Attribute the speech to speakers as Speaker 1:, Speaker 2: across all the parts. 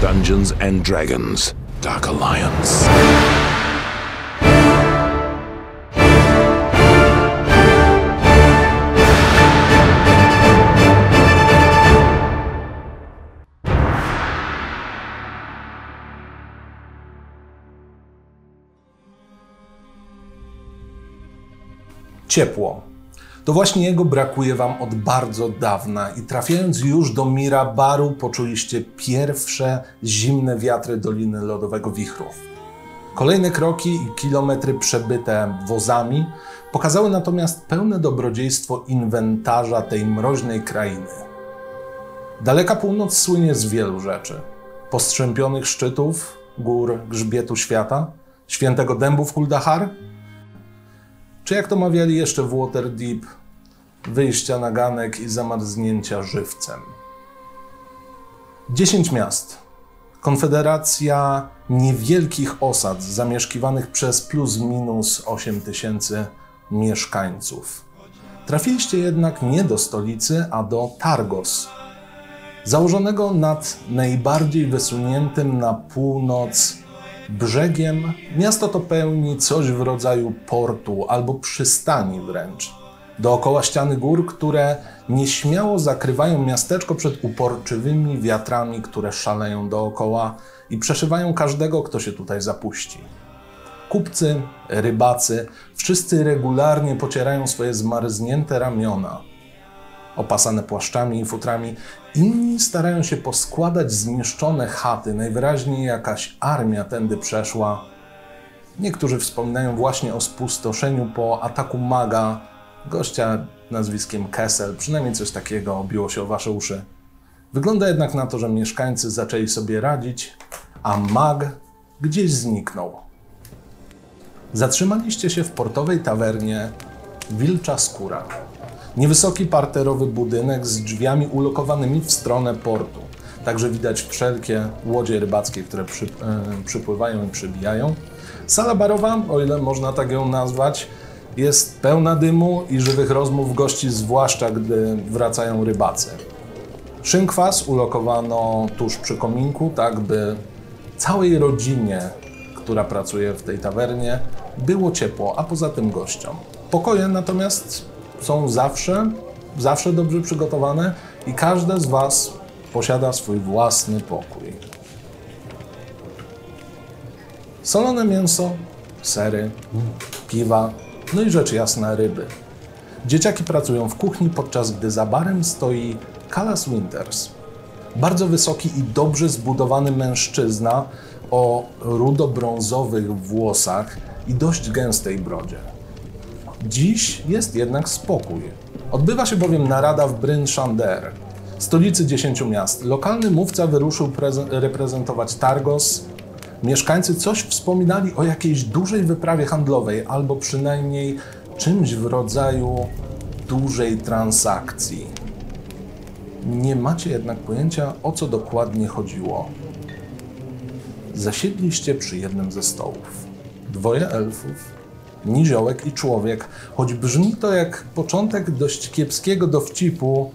Speaker 1: Dungeons and Dragons Dark Alliance.
Speaker 2: ciepło. To właśnie jego brakuje wam od bardzo dawna i trafiając już do Mirabaru poczuliście pierwsze zimne wiatry Doliny Lodowego Wichrów. Kolejne kroki i kilometry przebyte wozami pokazały natomiast pełne dobrodziejstwo inwentarza tej mroźnej krainy. Daleka północ słynie z wielu rzeczy. Postrzępionych szczytów, gór, grzbietu świata, świętego dębu w Kuldahar, czy jak to mawiali jeszcze w Waterdeep, wyjścia na ganek i zamarznięcia żywcem. 10 miast. Konfederacja niewielkich osad zamieszkiwanych przez plus minus 8 tysięcy mieszkańców. Trafiliście jednak nie do stolicy, a do Targos, założonego nad najbardziej wysuniętym na północ brzegiem. Miasto to pełni coś w rodzaju portu albo przystani wręcz. Dookoła ściany gór, które nieśmiało zakrywają miasteczko przed uporczywymi wiatrami, które szaleją dookoła i przeszywają każdego, kto się tutaj zapuści. Kupcy, rybacy, wszyscy regularnie pocierają swoje zmarznięte ramiona, opasane płaszczami i futrami. Inni starają się poskładać zniszczone chaty, najwyraźniej jakaś armia tędy przeszła. Niektórzy wspominają właśnie o spustoszeniu po ataku maga, gościa nazwiskiem Kessel, przynajmniej coś takiego obiło się o wasze uszy. Wygląda jednak na to, że mieszkańcy zaczęli sobie radzić, a mag gdzieś zniknął. Zatrzymaliście się w portowej tawernie Wilcza Skóra. Niewysoki parterowy budynek z drzwiami ulokowanymi w stronę portu. Także widać wszelkie łodzie rybackie, które przy, e, przypływają i przybijają. Sala barowa, o ile można tak ją nazwać, jest pełna dymu i żywych rozmów gości, zwłaszcza gdy wracają rybacy. Szynkwas ulokowano tuż przy kominku, tak by całej rodzinie, która pracuje w tej tawernie, było ciepło, a poza tym gościom. Pokoje natomiast są zawsze, zawsze dobrze przygotowane i każde z Was posiada swój własny pokój. Solone mięso, sery, piwa, no i rzecz jasna ryby. Dzieciaki pracują w kuchni, podczas gdy za barem stoi Kalas Winters. Bardzo wysoki i dobrze zbudowany mężczyzna o rudo-brązowych włosach i dość gęstej brodzie. Dziś jest jednak spokój. Odbywa się bowiem narada w Bryn Shander, stolicy 10 miast. Lokalny mówca wyruszył prezen- reprezentować Targos. Mieszkańcy coś wspominali o jakiejś dużej wyprawie handlowej, albo przynajmniej czymś w rodzaju dużej transakcji. Nie macie jednak pojęcia, o co dokładnie chodziło. Zasiedliście przy jednym ze stołów. Dwoje elfów, Niziołek i Człowiek. Choć brzmi to jak początek dość kiepskiego dowcipu,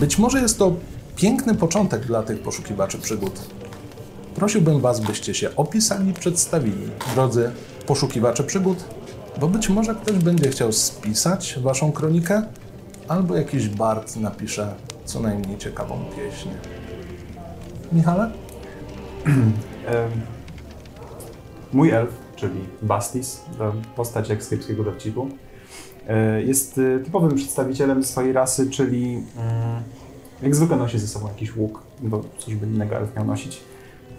Speaker 2: być może jest to piękny początek dla tych poszukiwaczy przygód. Prosiłbym Was, byście się opisali i przedstawili, drodzy poszukiwacze przygód, bo być może ktoś będzie chciał spisać Waszą kronikę, albo jakiś bard napisze co najmniej ciekawą pieśń. Michale?
Speaker 3: Em, Mój elf, czyli Bastis, em, postać jak z kiepskiego dowcipu, e, jest e, typowym przedstawicielem swojej rasy, czyli mm, jak zwykle nosi ze sobą jakiś łuk, bo coś by innego elf miał nosić.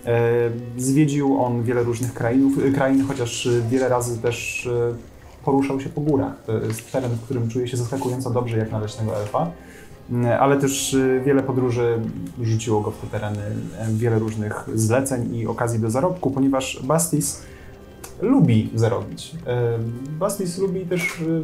Speaker 3: E, Zwiedził on wiele różnych krainów, e, krain, chociaż e, wiele razy też e, poruszał się po górach. To jest teren, w którym czuje się zaskakująco dobrze jak na leśnego elfa. Mm, ale też y, wiele podróży rzuciło go w te tereny, y, wiele różnych zleceń i okazji do zarobku, ponieważ Bastis lubi zarobić. Y, Bastis lubi też y,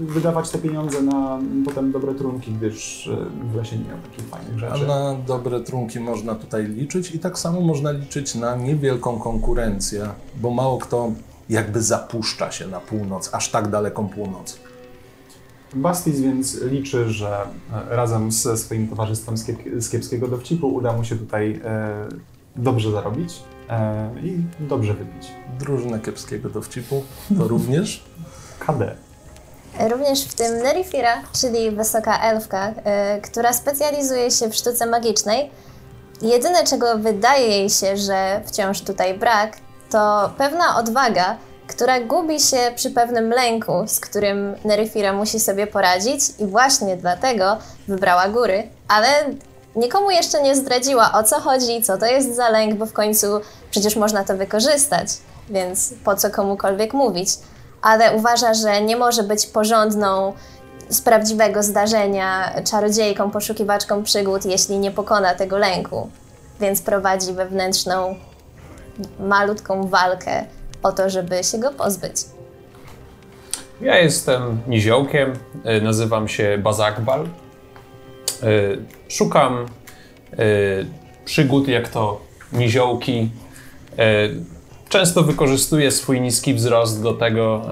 Speaker 3: wydawać te pieniądze na potem dobre trunki, gdyż y, w lesie nie miał takich fajnych
Speaker 2: A
Speaker 4: Znaczy,
Speaker 3: rzeczy.
Speaker 2: na dobre trunki można tutaj liczyć i tak samo można liczyć na niewielką konkurencję, bo mało kto jakby zapuszcza się na północ, aż tak daleką północ.
Speaker 3: Bastis więc liczy, że e, razem ze swoim towarzystwem z, kiep- z kiepskiego dowcipu uda mu się tutaj e, dobrze zarobić e, i dobrze wypić.
Speaker 2: Drużyna kiepskiego dowcipu to również.
Speaker 3: KD.
Speaker 5: Również w tym Nerifira, czyli wysoka elfka, y, która specjalizuje się w sztuce magicznej, jedyne czego wydaje jej się, że wciąż tutaj brak, to pewna odwaga, która gubi się przy pewnym lęku, z którym Nerifira musi sobie poradzić i właśnie dlatego wybrała góry, ale nikomu jeszcze nie zdradziła o co chodzi, co to jest za lęk, bo w końcu przecież można to wykorzystać, więc po co komukolwiek mówić ale uważa, że nie może być porządną z prawdziwego zdarzenia czarodziejką, poszukiwaczką przygód, jeśli nie pokona tego lęku. Więc prowadzi wewnętrzną, malutką walkę o to, żeby się go pozbyć.
Speaker 4: Ja jestem niziołkiem, y, nazywam się Bazakbal. Y, Szukam y, przygód jak to niziołki. Y, Często wykorzystuję swój niski wzrost do tego,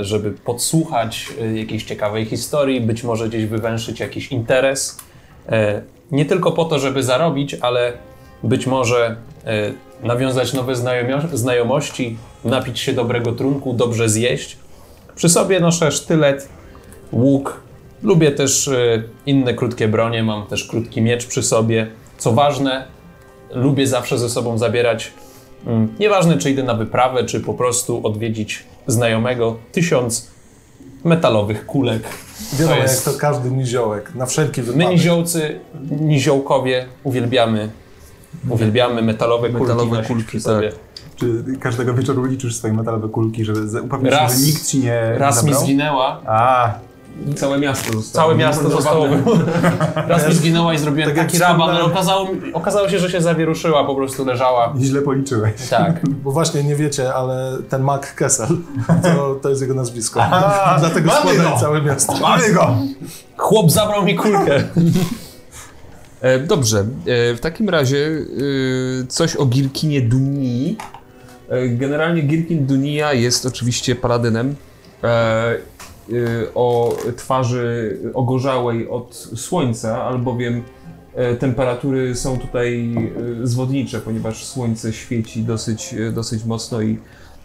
Speaker 4: e, żeby podsłuchać y, jakiejś ciekawej historii, być może gdzieś wywęszyć jakiś interes. E, Nie tylko po to, żeby zarobić, ale być może e, nawiązać nowe znajomio- znajomości, napić się dobrego trunku, dobrze zjeść. Przy sobie noszę sztylet, łuk. Lubię też y, inne krótkie bronie, mam też krótki miecz przy sobie. Co ważne, lubię zawsze ze sobą zabierać, mm, nieważne czy idę na wyprawę, czy po prostu odwiedzić znajomego, tysiąc metalowych kulek.
Speaker 2: Wiadomo,
Speaker 4: To
Speaker 2: jak
Speaker 4: jest-
Speaker 2: to każdy niziołek, na wszelki
Speaker 4: My
Speaker 2: wypadek.
Speaker 4: niziołcy, niziołkowie uwielbiamy, uwielbiamy metalowe kulki.
Speaker 6: Metalowe
Speaker 4: nosić
Speaker 6: kulki,
Speaker 4: przy
Speaker 6: tak.
Speaker 4: sobie.
Speaker 3: Czy każdego wieczoru liczysz swoje metalowe kulki, żeby z- upewnić się,
Speaker 4: Raz-
Speaker 3: że nikt ci nie
Speaker 4: Raz mi
Speaker 3: zabrał?
Speaker 4: zginęła,
Speaker 3: A,
Speaker 6: Całe miasto zostało.
Speaker 4: Całe miasto zostało wy- Raz mi zginęła i zrobiłem
Speaker 2: Tak jak
Speaker 4: taki raban, ale
Speaker 2: wspomniałem.
Speaker 4: okazało, mi- okazało się, że się zawieruszyła, po prostu leżała.
Speaker 3: źle policzyłeś.
Speaker 4: Tak.
Speaker 2: Bo właśnie nie wiecie, ale ten Mac Kessel, to, to jest jego nazwisko. Dlatego
Speaker 3: mamy
Speaker 2: składają
Speaker 4: no.
Speaker 3: go!
Speaker 2: całe miasto.
Speaker 3: Mamy go!
Speaker 4: Chłop zabrał mi kulkę.
Speaker 6: E, dobrze, e, w takim razie e, coś o Gilkinie Dunii. E, generalnie Gilkin Dunia jest oczywiście paladynem e, e, o twarzy ogorzałej od słońca, albowiem e, temperatury są tutaj e, zwodnicze, ponieważ słońce świeci dosyć, e, dosyć mocno i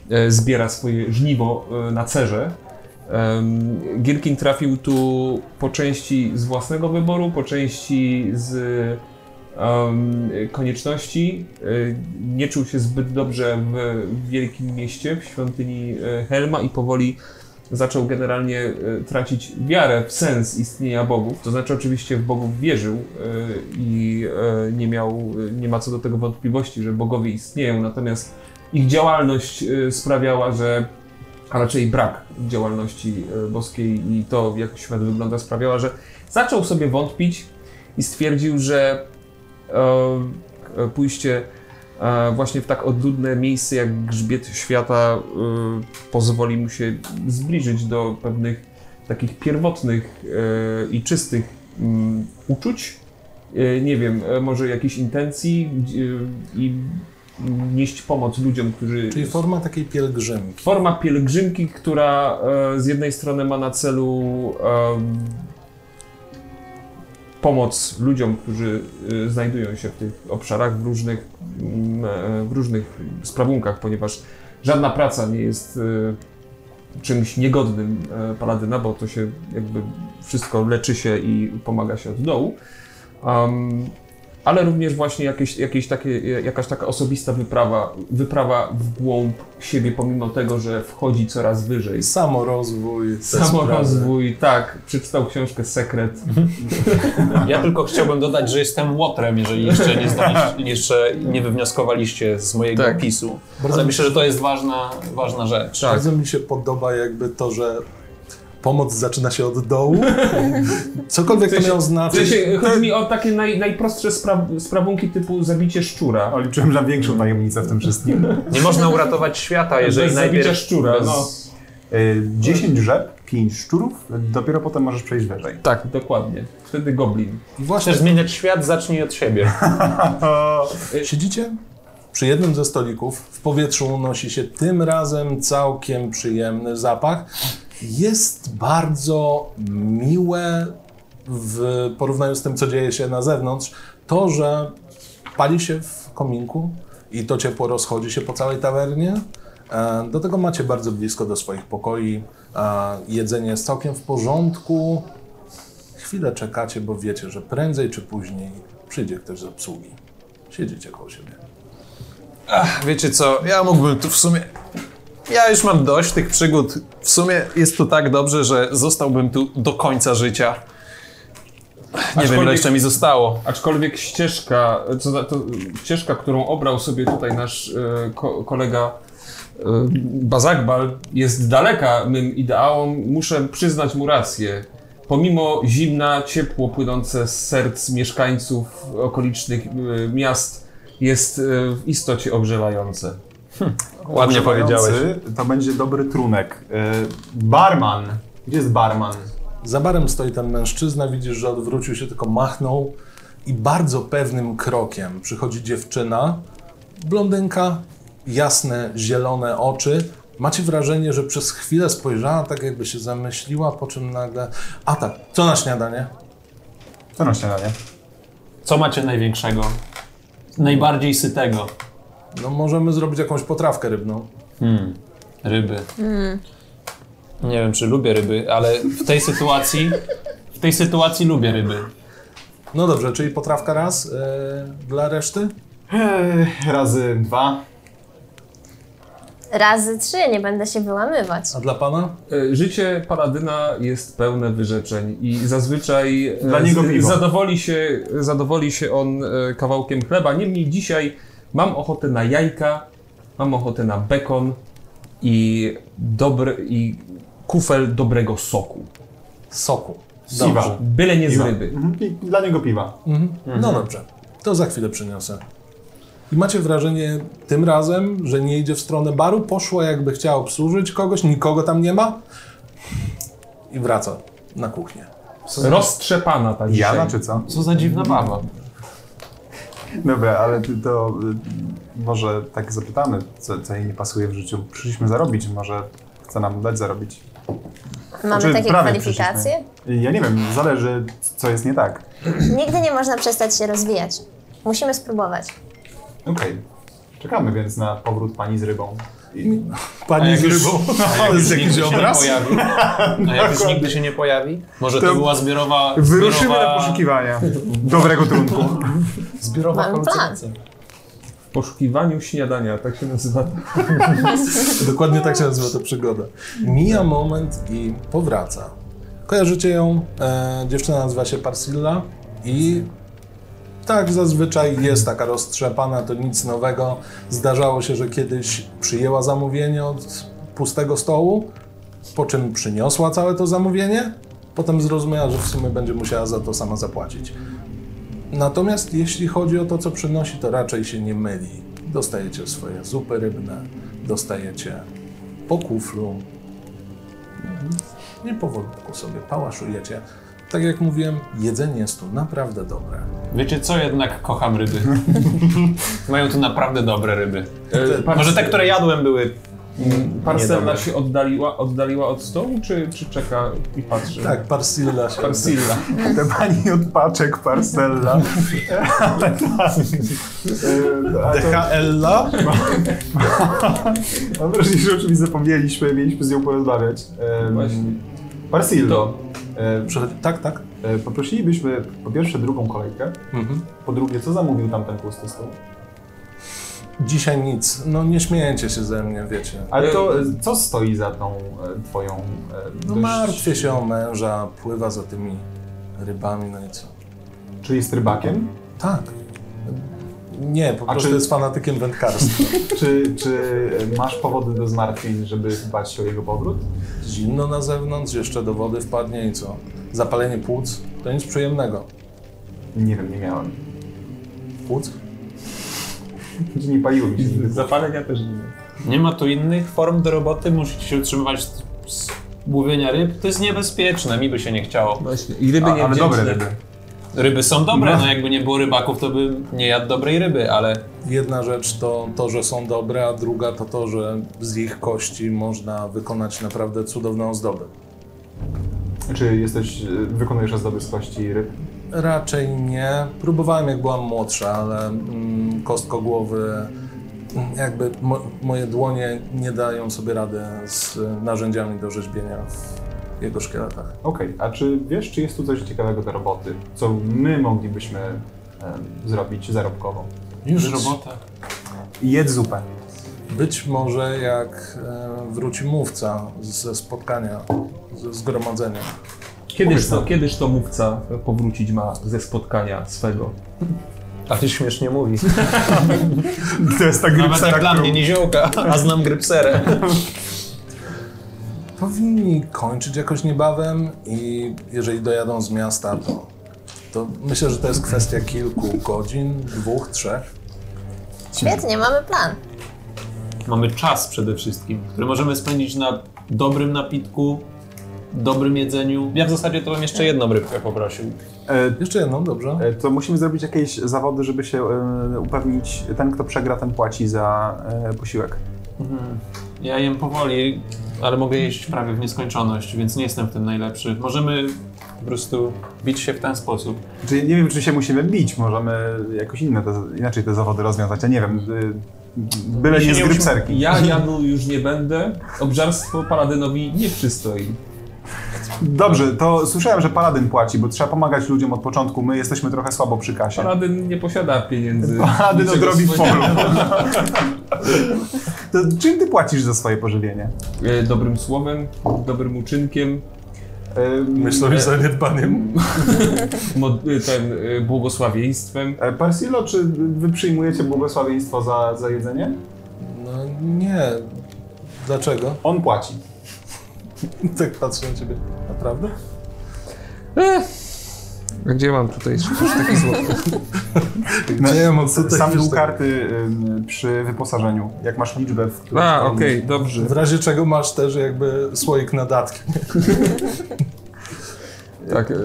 Speaker 6: e, zbiera swoje żniwo e, na cerze. Em, Gierkin trafił tu po części z własnego wyboru, po części z em, konieczności. Y, Nie czuł się zbyt dobrze w wielkim mieście, w świątyni e, Helma i powoli zaczął generalnie e, tracić wiarę w sens istnienia bogów. To znaczy oczywiście w bogów wierzył e, i e, nie miał, nie ma co do tego wątpliwości, że bogowie istnieją, natomiast ich działalność e, sprawiała, że a raczej brak działalności e, boskiej i to, jak świat wygląda, sprawiała, że zaczął sobie wątpić i stwierdził, że e, e, pójście e, właśnie w tak odludne miejsce jak grzbiet świata e, pozwoli mu się zbliżyć do pewnych takich pierwotnych e, i czystych mm, uczuć. E, nie wiem, e, może jakichś intencji e, i mm, nieść pomoc ludziom, którzy
Speaker 2: Czyli forma takiej pielgrzymki.
Speaker 6: forma pielgrzymki, która e, z jednej strony ma na celu em, pomoc ludziom, którzy e, znajdują się w tych obszarach, w różnych, mm, e, w różnych sprawunkach, ponieważ żadna praca nie jest e, czymś niegodnym e, paladyna, bo to się jakby wszystko leczy się i pomaga się od dołu. Em, ale również właśnie jakieś, jakieś takie, e, jakaś taka osobista wyprawa, wyprawa w głąb siebie, pomimo tego, że wchodzi coraz wyżej.
Speaker 2: Samorozwój. te
Speaker 6: Samorozwój, tak, przeczytał książkę Sekret.
Speaker 4: No Ja tylko chciałbym dodać, że jestem łotrem, jeżeli jeszcze nie, zdaliście, jeszcze nie wywnioskowaliście z mojego
Speaker 6: Tak.
Speaker 4: opisu.
Speaker 2: Bardzo
Speaker 4: Ale
Speaker 2: mi-
Speaker 4: myślę, że to jest ważna, ważna rzecz.
Speaker 6: Tak.
Speaker 2: Bardzo mi się podoba jakby to, że pomoc zaczyna się od dołu. Cokolwiek to
Speaker 6: sensie-
Speaker 2: miało
Speaker 6: W sensie,
Speaker 2: znaczyć.
Speaker 6: Znaczy, chodzi mi o takie naj, najprostsze spraw, sprawunki typu zabicie szczura.
Speaker 3: O, liczyłem na większą tajemnicę w tym wszystkim.
Speaker 4: Nie można uratować świata, jeżeli
Speaker 6: Bez zabicia
Speaker 4: najpierw...
Speaker 6: szczura,
Speaker 4: bez-
Speaker 6: no.
Speaker 3: Y, 10 rzep, 5 szczurów, dopiero potem możesz przejść wyżej.
Speaker 6: Tak, dokładnie. Wtedy goblin.
Speaker 2: I właśnie
Speaker 4: Chcesz zmieniać świat, zacznij od siebie.
Speaker 2: siedzicie przy jednym ze stolików. W powietrzu unosi się tym razem całkiem przyjemny zapach. Jest bardzo miłe w porównaniu z tym, co dzieje się na zewnątrz, to, że pali się w kominku i to ciepło rozchodzi się po całej tawernie. E, Do tego macie bardzo blisko do swoich pokoi. E, Jedzenie jest całkiem w porządku. Chwilę czekacie, bo wiecie, że prędzej czy później przyjdzie ktoś z obsługi. Siedzicie koło siebie.
Speaker 4: Wiecie co, ja mógłbym tu w sumie. Ja już mam dość tych przygód. W sumie jest tu tak dobrze, że zostałbym tu do końca życia. Nie wiem, ile
Speaker 6: Aczkolwiek-
Speaker 4: jeszcze mi zostało.
Speaker 6: Aczkolwiek ścieżka, co za, to, ścieżka, którą obrał sobie tutaj nasz e, ko, kolega e, Bazakbal, jest daleka mym ideałom. Muszę przyznać mu rację. Pomimo zimna, ciepło płynące z serc mieszkańców okolicznych e, miast jest e, w istocie ogrzewające.
Speaker 4: Ładnie powiedziałeś.
Speaker 3: To będzie dobry trunek. E, barman. Gdzie jest barman?
Speaker 2: Za barem stoi ten mężczyzna, widzisz, że odwrócił się, tylko machnął i bardzo pewnym krokiem przychodzi dziewczyna, blondynka, jasne, zielone oczy. Macie wrażenie, że przez chwilę spojrzała tak, jakby się zamyśliła, po czym nagle... A tak, co na śniadanie?
Speaker 3: Co na śniadanie?
Speaker 4: Co macie największego? Najbardziej sytego?
Speaker 2: No możemy zrobić jakąś potrawkę rybną.
Speaker 4: Ryby. Mm. Nie wiem, czy lubię ryby, ale w tej sytuacji. W tej sytuacji lubię ryby.
Speaker 2: No dobrze, czyli potrawka raz yy, dla reszty?
Speaker 3: E, razy dwa.
Speaker 5: Razy trzy, nie będę się wyłamywać.
Speaker 2: A dla pana?
Speaker 6: E, Życie paladyna jest pełne wyrzeczeń i zazwyczaj e,
Speaker 3: Dla niego
Speaker 6: z-
Speaker 3: piwo.
Speaker 6: zadowoli, się, zadowoli się on e, kawałkiem chleba. Niemniej dzisiaj mam ochotę na jajka, mam ochotę na bekon i, dobry, i kufel dobrego soku.
Speaker 2: Soku.
Speaker 3: Siwa.
Speaker 6: Byle nie z
Speaker 3: Piwa.
Speaker 6: ryby.
Speaker 3: Mhm. I Dla niego piwa.
Speaker 2: No dobrze, to za chwilę przyniosę. I macie wrażenie tym razem, że nie idzie w stronę baru, poszła jakby chciała obsłużyć kogoś, nikogo tam nie ma i wraca na kuchnię.
Speaker 6: Roztrzepana ta dzisiaj.
Speaker 3: Jana czy co?
Speaker 4: Co za dziwna bawa.
Speaker 3: Dobra, ale ty to y, może tak zapytamy, co, co jej nie pasuje w życiu. Przyszliśmy zarobić, może chce nam dać zarobić.
Speaker 5: Mamy
Speaker 3: Znaczy,
Speaker 5: takie
Speaker 3: prawie
Speaker 5: kwalifikacje?
Speaker 3: przyszliśmy. Ja nie wiem, zależy co jest nie tak.
Speaker 5: Nigdy nie można przestać się rozwijać. Musimy spróbować.
Speaker 3: Okej. Czekamy więc na powrót pani z rybą. I
Speaker 2: Pani z rybą.
Speaker 4: Ale
Speaker 2: jest jakiś obraz?
Speaker 4: Się nie pojawi. A jak już nigdy się nie pojawi? Może to,
Speaker 3: To
Speaker 4: była zbiorowa.
Speaker 3: Wyruszymy na
Speaker 4: zbiorowa-
Speaker 3: poszukiwania dobrego trunku.
Speaker 4: Zbiorowa
Speaker 5: Mam plan.
Speaker 4: halucynacja.
Speaker 6: W poszukiwaniu śniadania, tak się nazywa.
Speaker 2: Dokładnie tak się nazywa ta przygoda. Mija moment i powraca. Kojarzycie ją, e, dziewczyna nazywa się Parsilla i tak zazwyczaj jest taka roztrzepana, to nic nowego. Zdarzało się, że kiedyś przyjęła zamówienie od pustego stołu, po czym przyniosła całe to zamówienie, potem zrozumiała, że w sumie będzie musiała za to sama zapłacić. Natomiast jeśli chodzi o to, co przynosi, to raczej się nie myli. Dostajecie swoje zupy rybne, dostajecie po kuflu. Nie powolutku sobie pałaszujecie. Tak jak mówiłem, jedzenie jest tu naprawdę dobre.
Speaker 4: Wiecie co, jednak kocham ryby. Mają tu naprawdę dobre ryby. E, Może te, które jadłem, były.
Speaker 6: Parcella
Speaker 4: Niedobre.
Speaker 6: się oddaliła, oddaliła od stołu, czy, czy czeka i patrzy?
Speaker 2: Tak, Parsilla się
Speaker 6: Parsilla.
Speaker 3: Te pani od paczek Parcella. E, Ale tak. Y, a to-
Speaker 2: DHL-a?
Speaker 3: Mam wrażenie, że o czymś zapomnieliśmy, mieliśmy z nią porozmawiać. Em,
Speaker 6: Właśnie.
Speaker 3: Parsillo, em,
Speaker 2: Przychodzi- Tak, tak.
Speaker 3: e, poprosilibyśmy po pierwsze drugą kolejkę,
Speaker 2: Mhm.
Speaker 3: po drugie co zamówił tamten pusty stół.
Speaker 2: Dzisiaj nic. No nie śmiejecie się ze mnie, wiecie.
Speaker 3: Ale to e, co stoi za tą e, twoją... e,
Speaker 2: No
Speaker 3: dość-
Speaker 2: martwię się o męża, pływa za tymi rybami, no i co?
Speaker 3: Czy jest rybakiem?
Speaker 2: Tak. Nie, po
Speaker 3: A
Speaker 2: prostu
Speaker 3: czy-
Speaker 2: jest fanatykiem wędkarstwa.
Speaker 3: Czy, czy masz powody do zmartwień, żeby bać się o jego powrót?
Speaker 2: Zimno na zewnątrz, jeszcze do wody wpadnie i co? Zapalenie płuc? To nic przyjemnego.
Speaker 3: Nie wiem, nie miałem.
Speaker 2: Płuc?
Speaker 3: Nie paliły mi się nigdy.
Speaker 6: Zapalenia też nie.
Speaker 4: Nie ma tu innych form do roboty, musicie się utrzymywać z, z łowienia ryb. To jest niebezpieczne, mi by się nie chciało.
Speaker 6: Właśnie. I ryby
Speaker 3: A,
Speaker 6: nie
Speaker 3: ale dobre ryby.
Speaker 4: Ryby są dobre, no jakby nie było rybaków, to bym nie jadł dobrej ryby, ale
Speaker 2: Jedna rzecz to to, że są dobre, a druga to to, że z ich kości można wykonać naprawdę cudowne ozdoby.
Speaker 3: Czy jesteś, e, wykonujesz ozdoby z kości ryb?
Speaker 2: Raczej nie. Próbowałem jak byłam młodsza, ale mm, kostkogłowy, mm, jakby mo, moje dłonie nie dają sobie rady z y, narzędziami do rzeźbienia w jego szkieletach.
Speaker 3: Okej, a czy wiesz, czy jest tu coś ciekawego do roboty, co my moglibyśmy em, zrobić zarobkowo?
Speaker 4: Już robota.
Speaker 3: Jedz zupę.
Speaker 2: Być może jak e, wróci mówca ze spotkania, ze zgromadzenia.
Speaker 6: Kiedyż to, kiedyż to mówca powrócić ma ze spotkania swego?
Speaker 4: A ty śmiesznie mówi.
Speaker 3: To jest ta
Speaker 4: Nawet jak dla mnie niziołka, a znam grypserę.
Speaker 2: Powinni kończyć jakoś niebawem i jeżeli dojadą z miasta, to, to myślę, że to jest kwestia kilku godzin, dwóch, trzech.
Speaker 5: Świetnie, mamy plan.
Speaker 4: Mamy czas przede wszystkim, który możemy spędzić na dobrym napitku, dobrym jedzeniu. Ja w zasadzie to bym jeszcze jedną rybkę poprosił.
Speaker 3: E,
Speaker 2: Jeszcze jedną, dobrze?
Speaker 3: e, to musimy zrobić jakieś zawody, żeby się e, upewnić, ten kto przegra, ten płaci za e, posiłek.
Speaker 4: Ja jem powoli, ale mogę jeść prawie w nieskończoność, więc nie jestem w tym najlepszy. Możemy po prostu bić się w ten sposób.
Speaker 3: Czy, nie wiem, czy się musimy bić, możemy jakoś inne te, inaczej te zawody rozwiązać, ja nie wiem. E, byle
Speaker 4: się
Speaker 3: nie z
Speaker 4: nie
Speaker 3: grypserki.
Speaker 6: Ja jadł już nie będę, obżarstwo Paladynowi nie przystoi.
Speaker 3: Dobrze, to słyszałem, że Paladyn płaci, bo trzeba pomagać ludziom od początku, my jesteśmy trochę słabo przy kasie.
Speaker 6: Paladyn nie posiada pieniędzy.
Speaker 3: Paladyn
Speaker 6: Niczego
Speaker 3: odrobi
Speaker 6: swojego.
Speaker 3: polu. to czym ty płacisz za swoje pożywienie?
Speaker 6: E, Dobrym słowem, dobrym uczynkiem,
Speaker 3: Ym,
Speaker 2: Myślę, że zaniedbaniem.
Speaker 6: mod, e, ten, e, błogosławieństwem.
Speaker 3: e, Parsilo, czy wy przyjmujecie błogosławieństwo za, za jedzenie?
Speaker 2: No nie. Dlaczego?
Speaker 3: On płaci.
Speaker 2: Tak patrzę na ciebie. Naprawdę?
Speaker 6: A E, gdzie mam tutaj taki złoty?
Speaker 3: No,
Speaker 2: Gdzie ja mam tutaj
Speaker 3: Sam
Speaker 2: wiesz,
Speaker 3: dół
Speaker 2: tak-
Speaker 3: karty ym, przy wyposażeniu, jak masz liczbę, w której
Speaker 6: A,
Speaker 3: to-
Speaker 6: okej, dobrze.
Speaker 2: W razie czego masz też jakby słoik na datki.
Speaker 6: Tak, e,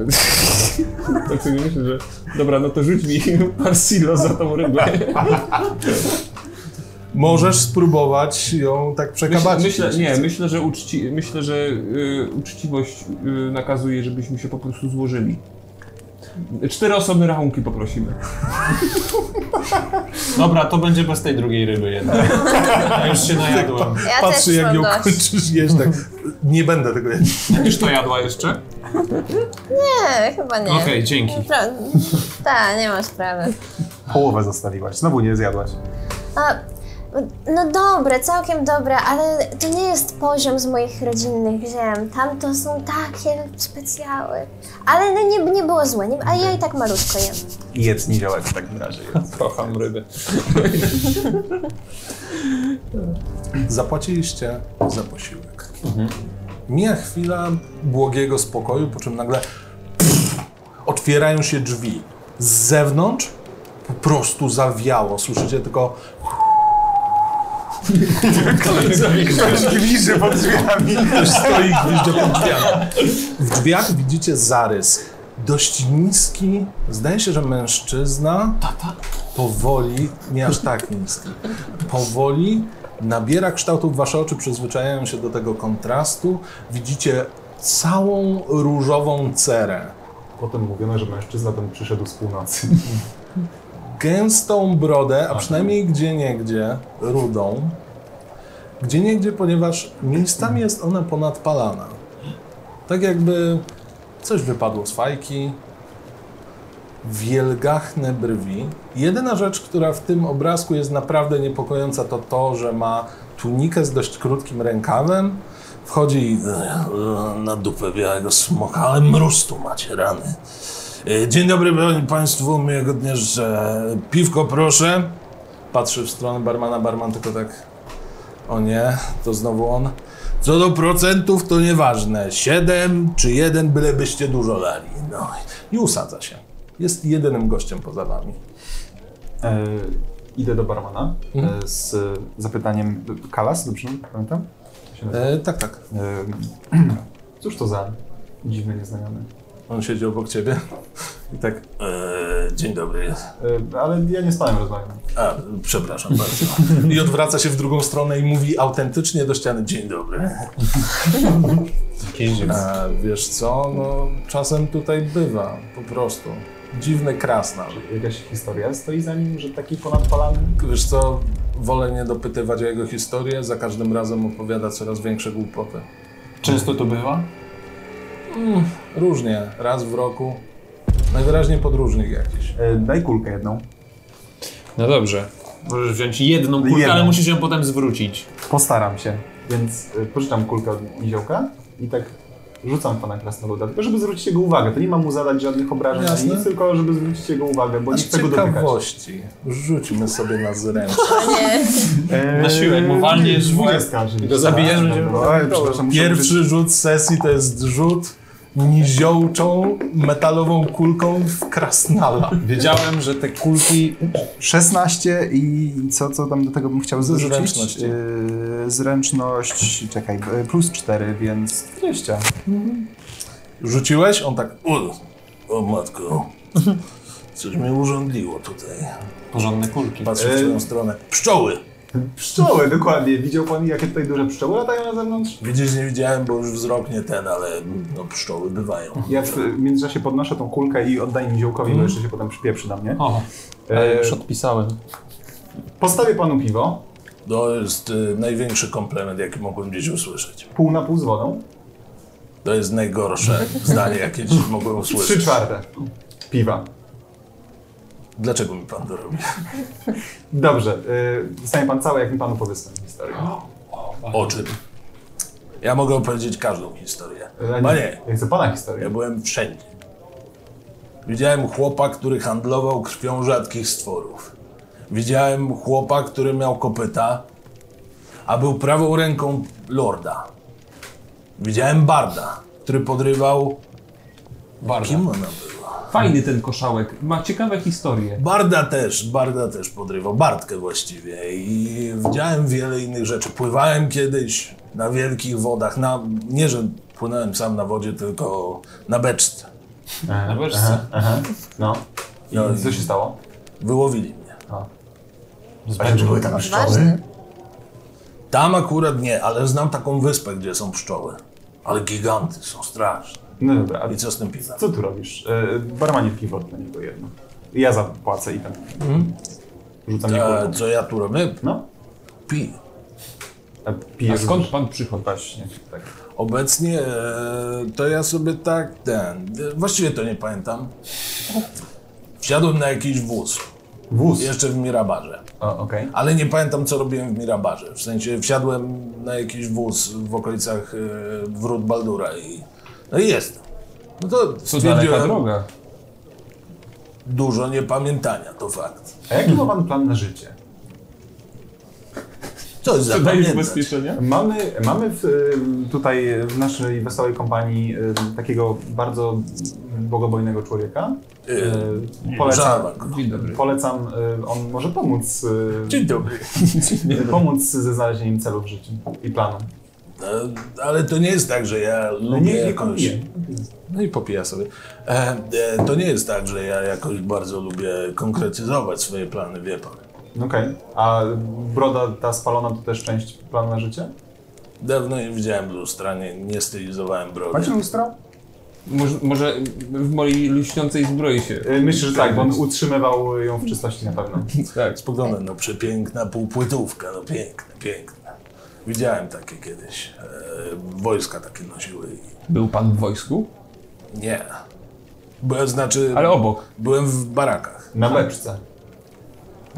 Speaker 6: tak sobie myślę, że dobra, no to rzuć mi Parsilo za tą rybę.
Speaker 2: Możesz spróbować ją tak
Speaker 6: Myślę,
Speaker 2: przekabacić.
Speaker 6: myślę,
Speaker 2: jeśli
Speaker 6: nie,
Speaker 2: chcesz.
Speaker 6: myślę, że, uczci, myślę, że y, uczciwość y, nakazuje, żebyśmy się po prostu złożyli. Cztery osobne rachunki poprosimy.
Speaker 4: Dobra, to będzie bez tej drugiej ryby jednak. Ja już się najadłem.
Speaker 5: Ja
Speaker 2: Patrzy
Speaker 5: też
Speaker 2: jak
Speaker 5: mam
Speaker 2: ją
Speaker 5: dość.
Speaker 2: kończysz jeść, tak. Nie będę tego jeść.
Speaker 4: Już to jadła jeszcze?
Speaker 5: Nie, chyba nie.
Speaker 4: Okej, dzięki.
Speaker 5: Pra- Tak, nie ma sprawy.
Speaker 3: Połowę zostawiłaś, znowu nie zjadłaś.
Speaker 5: A, no dobre, całkiem dobre, ale to nie jest poziom z moich rodzinnych ziem. Tam to są takie specjały. Ale no nie, nie było złe, nie, ale ja i tak malutko jem.
Speaker 3: Jedz niedziałek w takim razie.
Speaker 4: Kocham ryby.
Speaker 2: Zapłaciliście za posiłek. Mija chwila błogiego spokoju, po czym nagle pff, otwierają się drzwi. Z zewnątrz po prostu zawiało. Słyszycie tylko
Speaker 3: Gwiżdże pod drzwiami.
Speaker 2: stoi gwizdze pod drzwiami. W drzwiach widzicie zarys. Dość niski, zdaje się, że mężczyzna powoli, nie aż tak niski, powoli nabiera kształtów, wasze oczy przyzwyczajają się do tego kontrastu. Widzicie całą różową cerę,
Speaker 3: Potem mówiono, że mężczyzna ten przyszedł z północy.
Speaker 2: gęstą brodę, a przynajmniej gdzieniegdzie rudą. Gdzieniegdzie, ponieważ miejscami jest ona ponadpalana. Tak jakby coś wypadło z fajki. Wielgachne brwi. Jedyna rzecz, która w tym obrazku jest naprawdę niepokojąca, to to, że ma tunikę z dość krótkim rękawem. Wchodzi i na dupę białego smoka, ale mróz tu macie rany. E, Dzień dobry broń Państwu, miłego dnia życzę. Piwko proszę. Patrzy w stronę barmana, barman tylko tak... O nie, to znowu on. Co do procentów to nieważne. Siedem czy jeden, bylebyście dużo lali. No i usadza się. Jest jedynym gościem poza wami.
Speaker 3: E, idę do barmana e, z e, zapytaniem. Kalas, dobrze pamiętam? To się nazywa?
Speaker 2: E, tak, tak.
Speaker 3: E, cóż to za dziwny nieznajomy?
Speaker 2: On siedzi obok ciebie. I tak... E, dzień dobry.
Speaker 3: E, ale ja nie z panem rozmawiam.
Speaker 2: A, przepraszam bardzo. I odwraca się w drugą stronę i mówi autentycznie do ściany. Dzień dobry.
Speaker 4: Jeździec.
Speaker 2: E, wiesz co, no czasem tutaj bywa, po prostu. Dziwny krasnal.
Speaker 3: Jakaś historia stoi za nim, że taki ponadpalany?
Speaker 2: Wiesz co, wolę nie dopytywać o jego historię, za każdym razem opowiada coraz większe głupoty. Mm,
Speaker 4: Często to bywa?
Speaker 2: Różnie, raz w roku. Najwyraźniej podróżnik jakiś.
Speaker 3: E, Daj kulkę jedną.
Speaker 4: No dobrze. Możesz wziąć jedną kulkę,
Speaker 3: Jedną.
Speaker 4: ale musisz ją potem zwrócić.
Speaker 3: Postaram się, więc e, pożyczam kulkę od niziołka i tak rzucam pana krasnoluda, tylko żeby zwrócić jego uwagę. To nie mam mu zadać żadnych obrażeń ani
Speaker 2: Jasne.
Speaker 3: nic, tylko żeby zwrócić jego uwagę, bo
Speaker 2: Z
Speaker 3: nie chcę go dotykać.
Speaker 2: ciekawości rzućmy sobie na zręczę.
Speaker 5: Nie.
Speaker 3: E,
Speaker 4: Eee, Na siłę, jak mu walniesz w łeb
Speaker 3: dwudziestka, czyli
Speaker 4: i go zabijesz,
Speaker 3: dobra,
Speaker 4: będzie-
Speaker 3: dobra. Oj, przepraszam, muszę użyć-
Speaker 2: Pierwszy rzut sesji to jest rzut niziołczą metalową kulką w krasnala.
Speaker 4: Wiedziałem, że te kulki
Speaker 3: 16 i co, co tam do tego bym chciał dorzucić?
Speaker 2: Zręczność.
Speaker 3: E, zręczność, czekaj, e, plus 4, więc 20.
Speaker 2: Rzuciłeś? On tak, u, o matko, coś mnie urządliło tutaj.
Speaker 4: Porządne kulki.
Speaker 2: Patrzę w twoją stronę. Pszczoły!
Speaker 3: Pszczoły, dokładnie. Widział pan, jakie tutaj duże pszczoły latają na zewnątrz?
Speaker 2: Widzisz, nie widziałem, bo już wzrok nie ten, ale no, pszczoły bywają.
Speaker 3: Ja w w międzyczasie podnoszę tą kulkę i oddaję mi ziołkowi, bo jeszcze się potem przypieprzy na mnie.
Speaker 4: Mhm. O,
Speaker 3: E,
Speaker 4: ale już odpisałem.
Speaker 3: Postawię panu piwo,
Speaker 2: To jest y, największy komplement, jaki mogłem dziś usłyszeć.
Speaker 3: pół na pół z wodą,
Speaker 2: To jest najgorsze zdanie, jakie dziś mogłem
Speaker 3: trzy
Speaker 2: usłyszeć.
Speaker 3: czwarte piwa.
Speaker 2: Dlaczego mi pan to robi?
Speaker 3: Dobrze, y, dostanie pan całe, jak mi panu powiedzę tę historię.
Speaker 2: O czym? Ja mogę opowiedzieć każdą historię.
Speaker 3: Ja
Speaker 2: Panie,
Speaker 3: Ja chcę pana
Speaker 2: ja
Speaker 3: historię.
Speaker 2: byłem wszędzie. Widziałem chłopa, który handlował krwią rzadkich stworów. Widziałem chłopa, który miał kopyta, a był prawą ręką lorda. Widziałem barda, który podrywał...
Speaker 4: Bardzo.
Speaker 2: Kim ona była?
Speaker 6: Fajny ten koszałek, ma ciekawe historie.
Speaker 2: Barda też, Barda też podrywał, Bartkę właściwie i widziałem wiele innych rzeczy. Pływałem kiedyś na wielkich wodach, na, nie że płynąłem sam na wodzie, tylko na beczce.
Speaker 3: Aha,
Speaker 4: wiesz
Speaker 3: aha, aha. No. I
Speaker 2: No i-
Speaker 3: co się stało?
Speaker 2: Wyłowili mnie.
Speaker 3: Czy były tam
Speaker 5: Ważne.
Speaker 2: Tam akurat nie, ale znam taką wyspę, gdzie są pszczoły. Ale giganty są straszne.
Speaker 3: No dobra, a
Speaker 2: I co z tym pisem?
Speaker 3: co tu robisz? Y, barmanie piwo dla niego jedno. Ja zapłacę i ten. Rzucam mi
Speaker 2: E,
Speaker 3: kulką.
Speaker 2: Mhm. co ja tu robię?
Speaker 3: No.
Speaker 2: Pi.
Speaker 3: A
Speaker 6: A
Speaker 3: pijesz
Speaker 6: skąd pan przychodzi?
Speaker 3: Właśnie, tak.
Speaker 2: Obecnie e, to ja sobie tak ten. e, Właściwie to nie pamiętam. Wsiadłem na jakiś wóz.
Speaker 3: Wóz.
Speaker 2: Jeszcze w Mirabarze.
Speaker 3: O, okej.
Speaker 2: Ale nie pamiętam, co robiłem w Mirabarze. W sensie wsiadłem na jakiś wóz w okolicach e, Wrót Baldura i. No i jestem. No to
Speaker 6: To daleka
Speaker 2: stwierdziłem
Speaker 6: droga.
Speaker 2: dużo niepamiętania, to fakt.
Speaker 3: A jaki ma pan plan na życie?
Speaker 2: Co jest
Speaker 6: To daje
Speaker 2: zapamiętać?
Speaker 6: ubezpieczenia?
Speaker 3: Mamy, mamy w, y, tutaj w naszej wesołej kompanii y, takiego bardzo bogobojnego człowieka.
Speaker 2: E,
Speaker 3: Y, Polecam,
Speaker 2: Żarłak.
Speaker 6: Dzień dobry.
Speaker 3: polecam y, on może pomóc, y,
Speaker 2: Dzień dobry.
Speaker 3: y, pomóc ze znalezieniem celów w życiu i planu.
Speaker 2: E, Ale to nie jest tak, że ja lubię
Speaker 3: Nie, nie
Speaker 2: jakoś...
Speaker 3: kombinuje.
Speaker 2: No i popija sobie. E, e, to nie jest tak, że ja jakoś bardzo lubię konkretyzować swoje plany, wie pan.
Speaker 3: Okej. A broda ta spalona to też część planu na życie?
Speaker 2: Dawno nie widziałem lustra, nie, nie stylizowałem brody.
Speaker 3: Macie lustro?
Speaker 6: Może, może w mojej lśniącej zbroi się.
Speaker 3: Y, Myślę, że tak, bo on utrzymywał ją w czystości na pewno.
Speaker 6: Tak.
Speaker 2: Spoglądam, no przepiękna półpłytówka, no piękna, piękna. Widziałem takie kiedyś. E, wojska takie nosiły i...
Speaker 6: Był pan w wojsku?
Speaker 2: Nie. Bo, znaczy,
Speaker 6: Ale obok.
Speaker 2: byłem w barakach.
Speaker 3: Na beczce.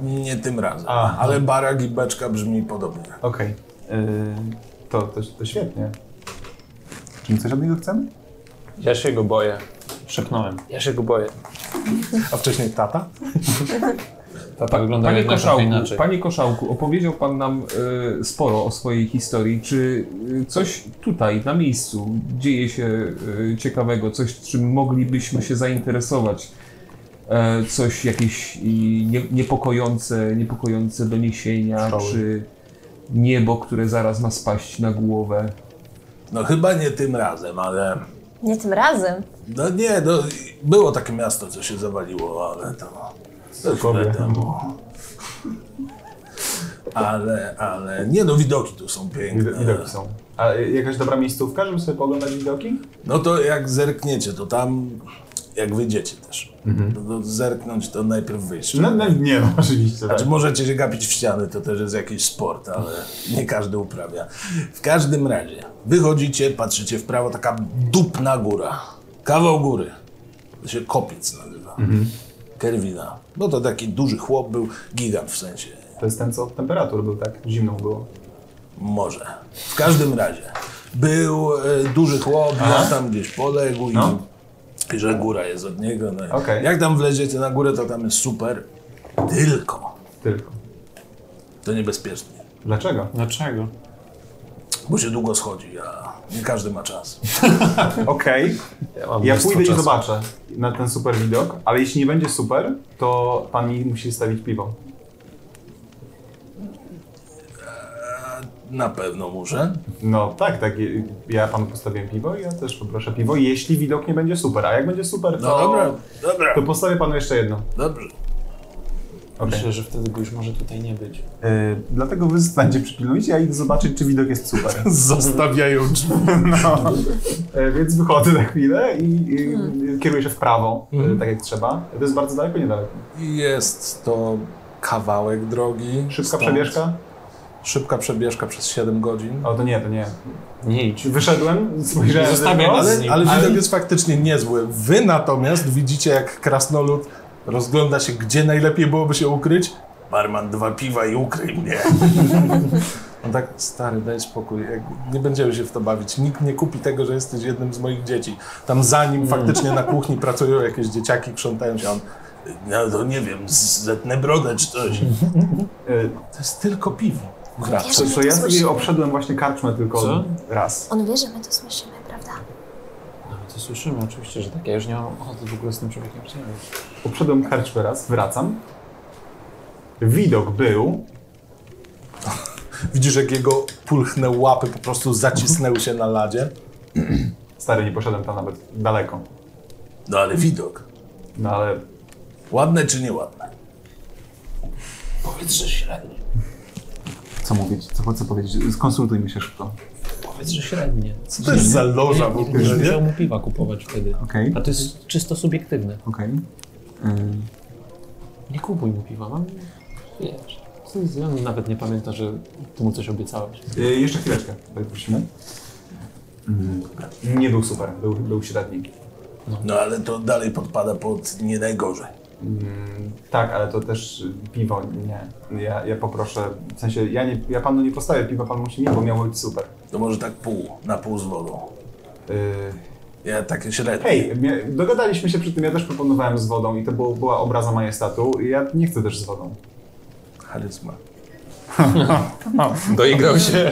Speaker 2: Nie tym razem.
Speaker 3: Aha.
Speaker 2: Ale barak i beczka brzmi podobnie.
Speaker 3: Okej. Y, To, to, to świetnie. Czy my coś od niego chcemy?
Speaker 4: Ja się go boję. Szepnąłem. Ja się go boję.
Speaker 2: A wcześniej tata?
Speaker 4: Tata tak wygląda
Speaker 6: Panie
Speaker 4: jednak
Speaker 6: koszałku,
Speaker 4: trochę inaczej.
Speaker 6: panie koszałku, opowiedział pan nam e, sporo o swojej historii. Czy e, coś tutaj, na miejscu, dzieje się e, ciekawego, coś, czym moglibyśmy się zainteresować? E, coś, jakieś i, nie, niepokojące, niepokojące doniesienia,
Speaker 3: Pszczoły.
Speaker 6: czy niebo, które zaraz ma spaść na głowę?
Speaker 2: No chyba nie tym razem, ale...
Speaker 5: Nie tym razem.
Speaker 2: No nie, no, było takie miasto, co się zawaliło, ale to...
Speaker 3: Kobiet.
Speaker 2: Ale, ale... Nie no, widoki tu są piękne.
Speaker 3: Wid- Widoki są. A y, jakaś dobra miejscówka, żeby sobie pooglądać widoki?
Speaker 2: No to jak zerkniecie, to tam jak wyjdziecie też. To- to Zerknąć to najpierw wyjść.
Speaker 3: No, no, nie, no, oczywiście. Tak.
Speaker 2: Znaczy możecie się gapić w ściany, to też jest jakiś sport, ale nie każdy uprawia. W każdym razie, wychodzicie, patrzycie w prawo, taka dupna góra. Kawał góry. To się kopiec nazywa.
Speaker 3: Mhm.
Speaker 2: Kerwina. No to taki duży chłop był, gigant w sensie.
Speaker 3: To jest ten, co od temperatur był, tak? Zimną było.
Speaker 2: Może. W każdym razie. Był e, duży chłop, ja tam gdzieś poległ i,
Speaker 3: No.
Speaker 2: i że góra jest od niego. No. i
Speaker 3: Okej.
Speaker 2: Jak tam wleziecie na górę, to tam jest super. Tylko
Speaker 3: Tylko.
Speaker 2: to niebezpiecznie.
Speaker 3: Dlaczego?
Speaker 4: Dlaczego?
Speaker 2: Bo się długo schodzi, a nie każdy ma czas.
Speaker 3: Okej.
Speaker 4: Ja, mam
Speaker 3: Ja
Speaker 4: mnóstwo
Speaker 3: pójdę i
Speaker 4: czasu.
Speaker 3: zobaczę na ten super widok, ale jeśli nie będzie super, to pan mi musi stawić piwo.
Speaker 2: Na pewno muszę.
Speaker 3: No tak, tak. je- Ja panu postawiłem piwo i ja też poproszę piwo, jeśli widok nie będzie super. A jak będzie super, to,
Speaker 2: No dobra, dobra,
Speaker 3: to postawię panu jeszcze jedno.
Speaker 2: dobrze.
Speaker 4: Myślę, że wtedy go już może tutaj nie być.
Speaker 3: Yy, dlatego wy znajdzie przypilnujcie, a idę zobaczyć, czy widok jest super.
Speaker 2: Zostawiają drzwi.
Speaker 3: No. E, Więc wychodzę na chwilę i, i
Speaker 2: Mhm.
Speaker 3: kieruję się w prawo, e,
Speaker 4: Mhm.
Speaker 3: tak jak trzeba. To jest bardzo daleko, niedaleko.
Speaker 2: Jest to kawałek drogi.
Speaker 3: Szybka
Speaker 2: Stąd-
Speaker 3: przebieżka?
Speaker 2: Szybka przebieżka przez 7 godzin.
Speaker 3: O, to nie, to nie.
Speaker 4: Nie idź.
Speaker 3: Wyszedłem, spojrzałem
Speaker 4: Nie zostawiam
Speaker 3: tylko,
Speaker 4: was
Speaker 2: Ale,
Speaker 4: z nim.
Speaker 2: ale
Speaker 3: Ale-
Speaker 2: widok jest faktycznie niezły. Wy natomiast widzicie, jak krasnolud rozgląda się, gdzie najlepiej byłoby się ukryć. Barman, dwa piwa i ukryj mnie. On tak, stary, daj spokój, jak- nie będziemy się w to bawić. Nikt nie kupi tego, że jesteś jednym z moich dzieci. Tam za nim faktycznie na kuchni pracują jakieś dzieciaki, krzątają się. a On, no to nie wiem, zetnę brodę czy coś.
Speaker 3: e,
Speaker 2: To jest tylko piwo. Krawcze.
Speaker 3: To,
Speaker 5: Wiesz,
Speaker 3: to
Speaker 5: my
Speaker 3: ja
Speaker 5: to
Speaker 3: sobie
Speaker 5: słyszymy.
Speaker 3: obszedłem właśnie karczmę tylko
Speaker 4: Co?
Speaker 3: raz.
Speaker 5: On wie, że my to słyszymy, prawda?
Speaker 4: To słyszymy oczywiście, że tak. Ja już nie mam ochoty w ogóle z tym człowiekiem rozmawiać.
Speaker 3: Obszedłem karczmę raz, wracam. Widok był.
Speaker 2: Widzisz, jak jego pulchne łapy po prostu zacisnęły się na ladzie.
Speaker 3: Stary, nie poszedłem tam nawet daleko.
Speaker 2: No ale widok.
Speaker 3: No ale
Speaker 2: Ładne czy nieładne? Powiedz, że średnie.
Speaker 3: co mówić? Co chcę powiedzieć? Skonsultujmy się szybko.
Speaker 4: Powiedz, że średnie.
Speaker 2: Co to jest za loża w ogóle,
Speaker 4: Już
Speaker 2: nie?
Speaker 4: musiał mu piwa kupować wtedy.
Speaker 3: Okej.
Speaker 4: A to jest czysto subiektywne.
Speaker 3: Okej.
Speaker 4: Nie kupuj mu piwa, mam... Wiesz... On nawet nie pamięta, że ty mu coś obiecałeś.
Speaker 3: Y, Jeszcze chwileczkę, tutaj prosimy. Nie był super, był, był średni.
Speaker 2: No ale to dalej podpada pod nie najgorzej.
Speaker 3: Tak, ale to też y, piwo nie. Ja, ja poproszę, w sensie ja, nie, ja panu nie postawię piwa, pan musi nie, bo miał być super.
Speaker 2: To może tak pół, na pół z wodą.
Speaker 3: Y,
Speaker 2: Ja takie średnie.
Speaker 3: Hej, mia- dogadaliśmy się przy tym, ja też proponowałem z wodą i to było, była obraza majestatu. i Ja nie chcę też z wodą.
Speaker 2: Charyzma.
Speaker 6: Doigrał się.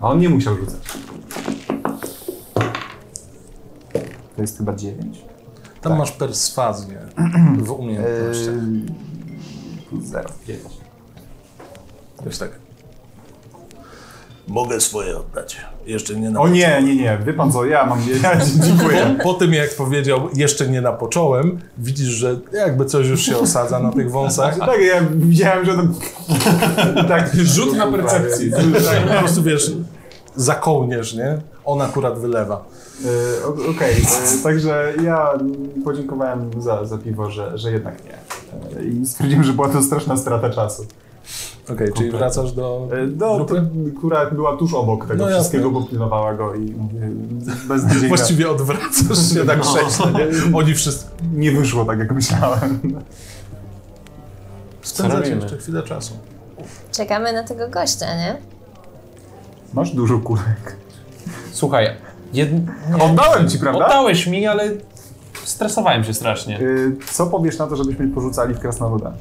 Speaker 3: A on nie musiał rzucać. To jest chyba 9.
Speaker 2: Tam
Speaker 3: Tak.
Speaker 2: masz perswazję w umiejętnościach.
Speaker 3: Eee. Plus 0. 9.
Speaker 2: Wiesz tak. Mogę swoje oddać. Jeszcze nie na
Speaker 3: O nie, nie, nie, wie pan co, ja mam. Ja, dziękuję.
Speaker 2: Po tym, jak powiedział, jeszcze nie napocząłem, widzisz, że jakby coś już się osadza na tych wąsach.
Speaker 3: Tak, ja widziałem, że to. Tak,
Speaker 2: Rzut na percepcję. Tak, po prostu wiesz, za kołnierz, nie? On akurat wylewa.
Speaker 3: Y, o- Okej, y, także ja mm, podziękowałem za, za piwo, że, że jednak nie. Y, I stwierdziłem, że była to straszna strata czasu.
Speaker 2: Okej, czyli wracasz do
Speaker 3: E, No, to,
Speaker 2: grupy?
Speaker 3: która była tuż obok tego
Speaker 2: No jasne.
Speaker 3: wszystkiego, bo pilnowała go i mówię, bez dzień
Speaker 2: Właściwie odwracasz się tak krześle, nie? Oni wszyscy...
Speaker 3: nie wyszło tak, jak myślałem.
Speaker 2: Spędzacie
Speaker 4: robimy?
Speaker 2: jeszcze chwilę czasu.
Speaker 5: Czekamy na tego gościa, nie?
Speaker 3: Masz dużo kulek.
Speaker 4: Słuchaj, jed... nie.
Speaker 3: Oddałem ci, prawda?
Speaker 4: Oddałeś mi, ale stresowałem się strasznie.
Speaker 3: Y, Co powiesz na to, żebyśmy porzucali w Krasnoluda?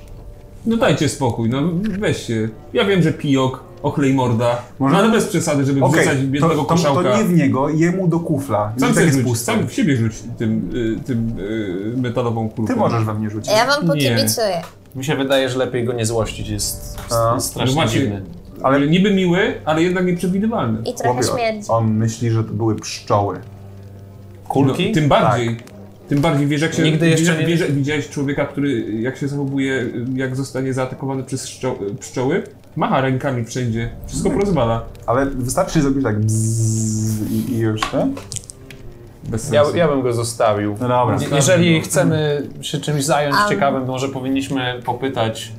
Speaker 6: No dajcie spokój, no weź się. Ja wiem, że pijok, ochlej morda.
Speaker 3: Może-
Speaker 6: No ale bez przesady, żeby wrzucać
Speaker 3: to,
Speaker 6: biednego
Speaker 3: to,
Speaker 6: koszałka.
Speaker 3: to nie w niego, jemu do kufla.
Speaker 6: Sam
Speaker 3: I
Speaker 6: sobie
Speaker 3: tak jest
Speaker 6: rzuć,
Speaker 3: pusto.
Speaker 6: sam w siebie rzuć tym, y, tym y, metalową kulką.
Speaker 3: Ty możesz we mnie rzucić.
Speaker 5: Ja wam
Speaker 6: Nie.
Speaker 5: pokibicuję.
Speaker 4: Mi się wydaje, że lepiej go nie złościć, jest
Speaker 3: A.
Speaker 4: jest strasznie
Speaker 6: No właśnie.
Speaker 4: dziwny.
Speaker 3: Ale
Speaker 6: Ale niby miły, ale jednak nieprzewidywalny.
Speaker 5: I trochę
Speaker 3: Chłopie,
Speaker 5: śmierdzi.
Speaker 3: on myśli, że to były pszczoły.
Speaker 4: Kulki? Tak.
Speaker 6: No, tym bardziej. Tym bardziej wiesz, jak się.
Speaker 4: Nigdy
Speaker 6: wiesz,
Speaker 4: jeszcze nie-
Speaker 6: wiesz, jak widziałeś człowieka, który jak się zachowuje, jak zostanie zaatakowany przez szczo- pszczoły, macha rękami wszędzie,
Speaker 4: Tak.
Speaker 6: wszystko porozwala.
Speaker 3: Ale wystarczy zrobić tak bzzz i, i już, nie?
Speaker 6: Bez sensu.
Speaker 4: Ja, ja bym go zostawił.
Speaker 3: No dobra.
Speaker 4: Je- Jeżeli chcemy się czymś zająć ciekawym, to może powinniśmy popytać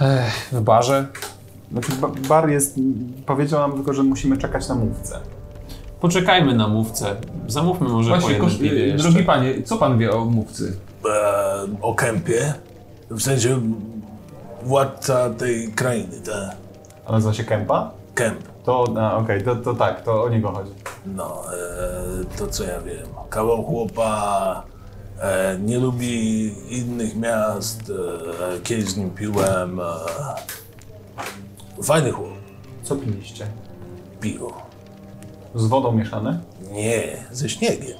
Speaker 4: Ech, w barze.
Speaker 3: Znaczy, ba- bar jest. Powiedział nam tylko, że musimy czekać na mówcę.
Speaker 4: Poczekajmy na mówce. Zamówmy może
Speaker 6: Właśnie,
Speaker 4: po
Speaker 6: kosz... y,
Speaker 4: jednym piwie jeszcze.
Speaker 6: drogi panie, co pan wie o mówcy?
Speaker 2: e, o kępie, w sensie władca tej krainy, ta
Speaker 3: A nazywa się Kępa?
Speaker 2: kęp.
Speaker 3: To, a, okej, to, to tak, to o niego chodzi.
Speaker 2: No, e, to co ja wiem. Kawał chłopa e, nie lubi innych miast. E, kiedyś z nim piłem. E, fajny chłop.
Speaker 3: Co piliście?
Speaker 2: Piwo.
Speaker 3: Z wodą mieszane?
Speaker 2: Nie, ze śniegiem.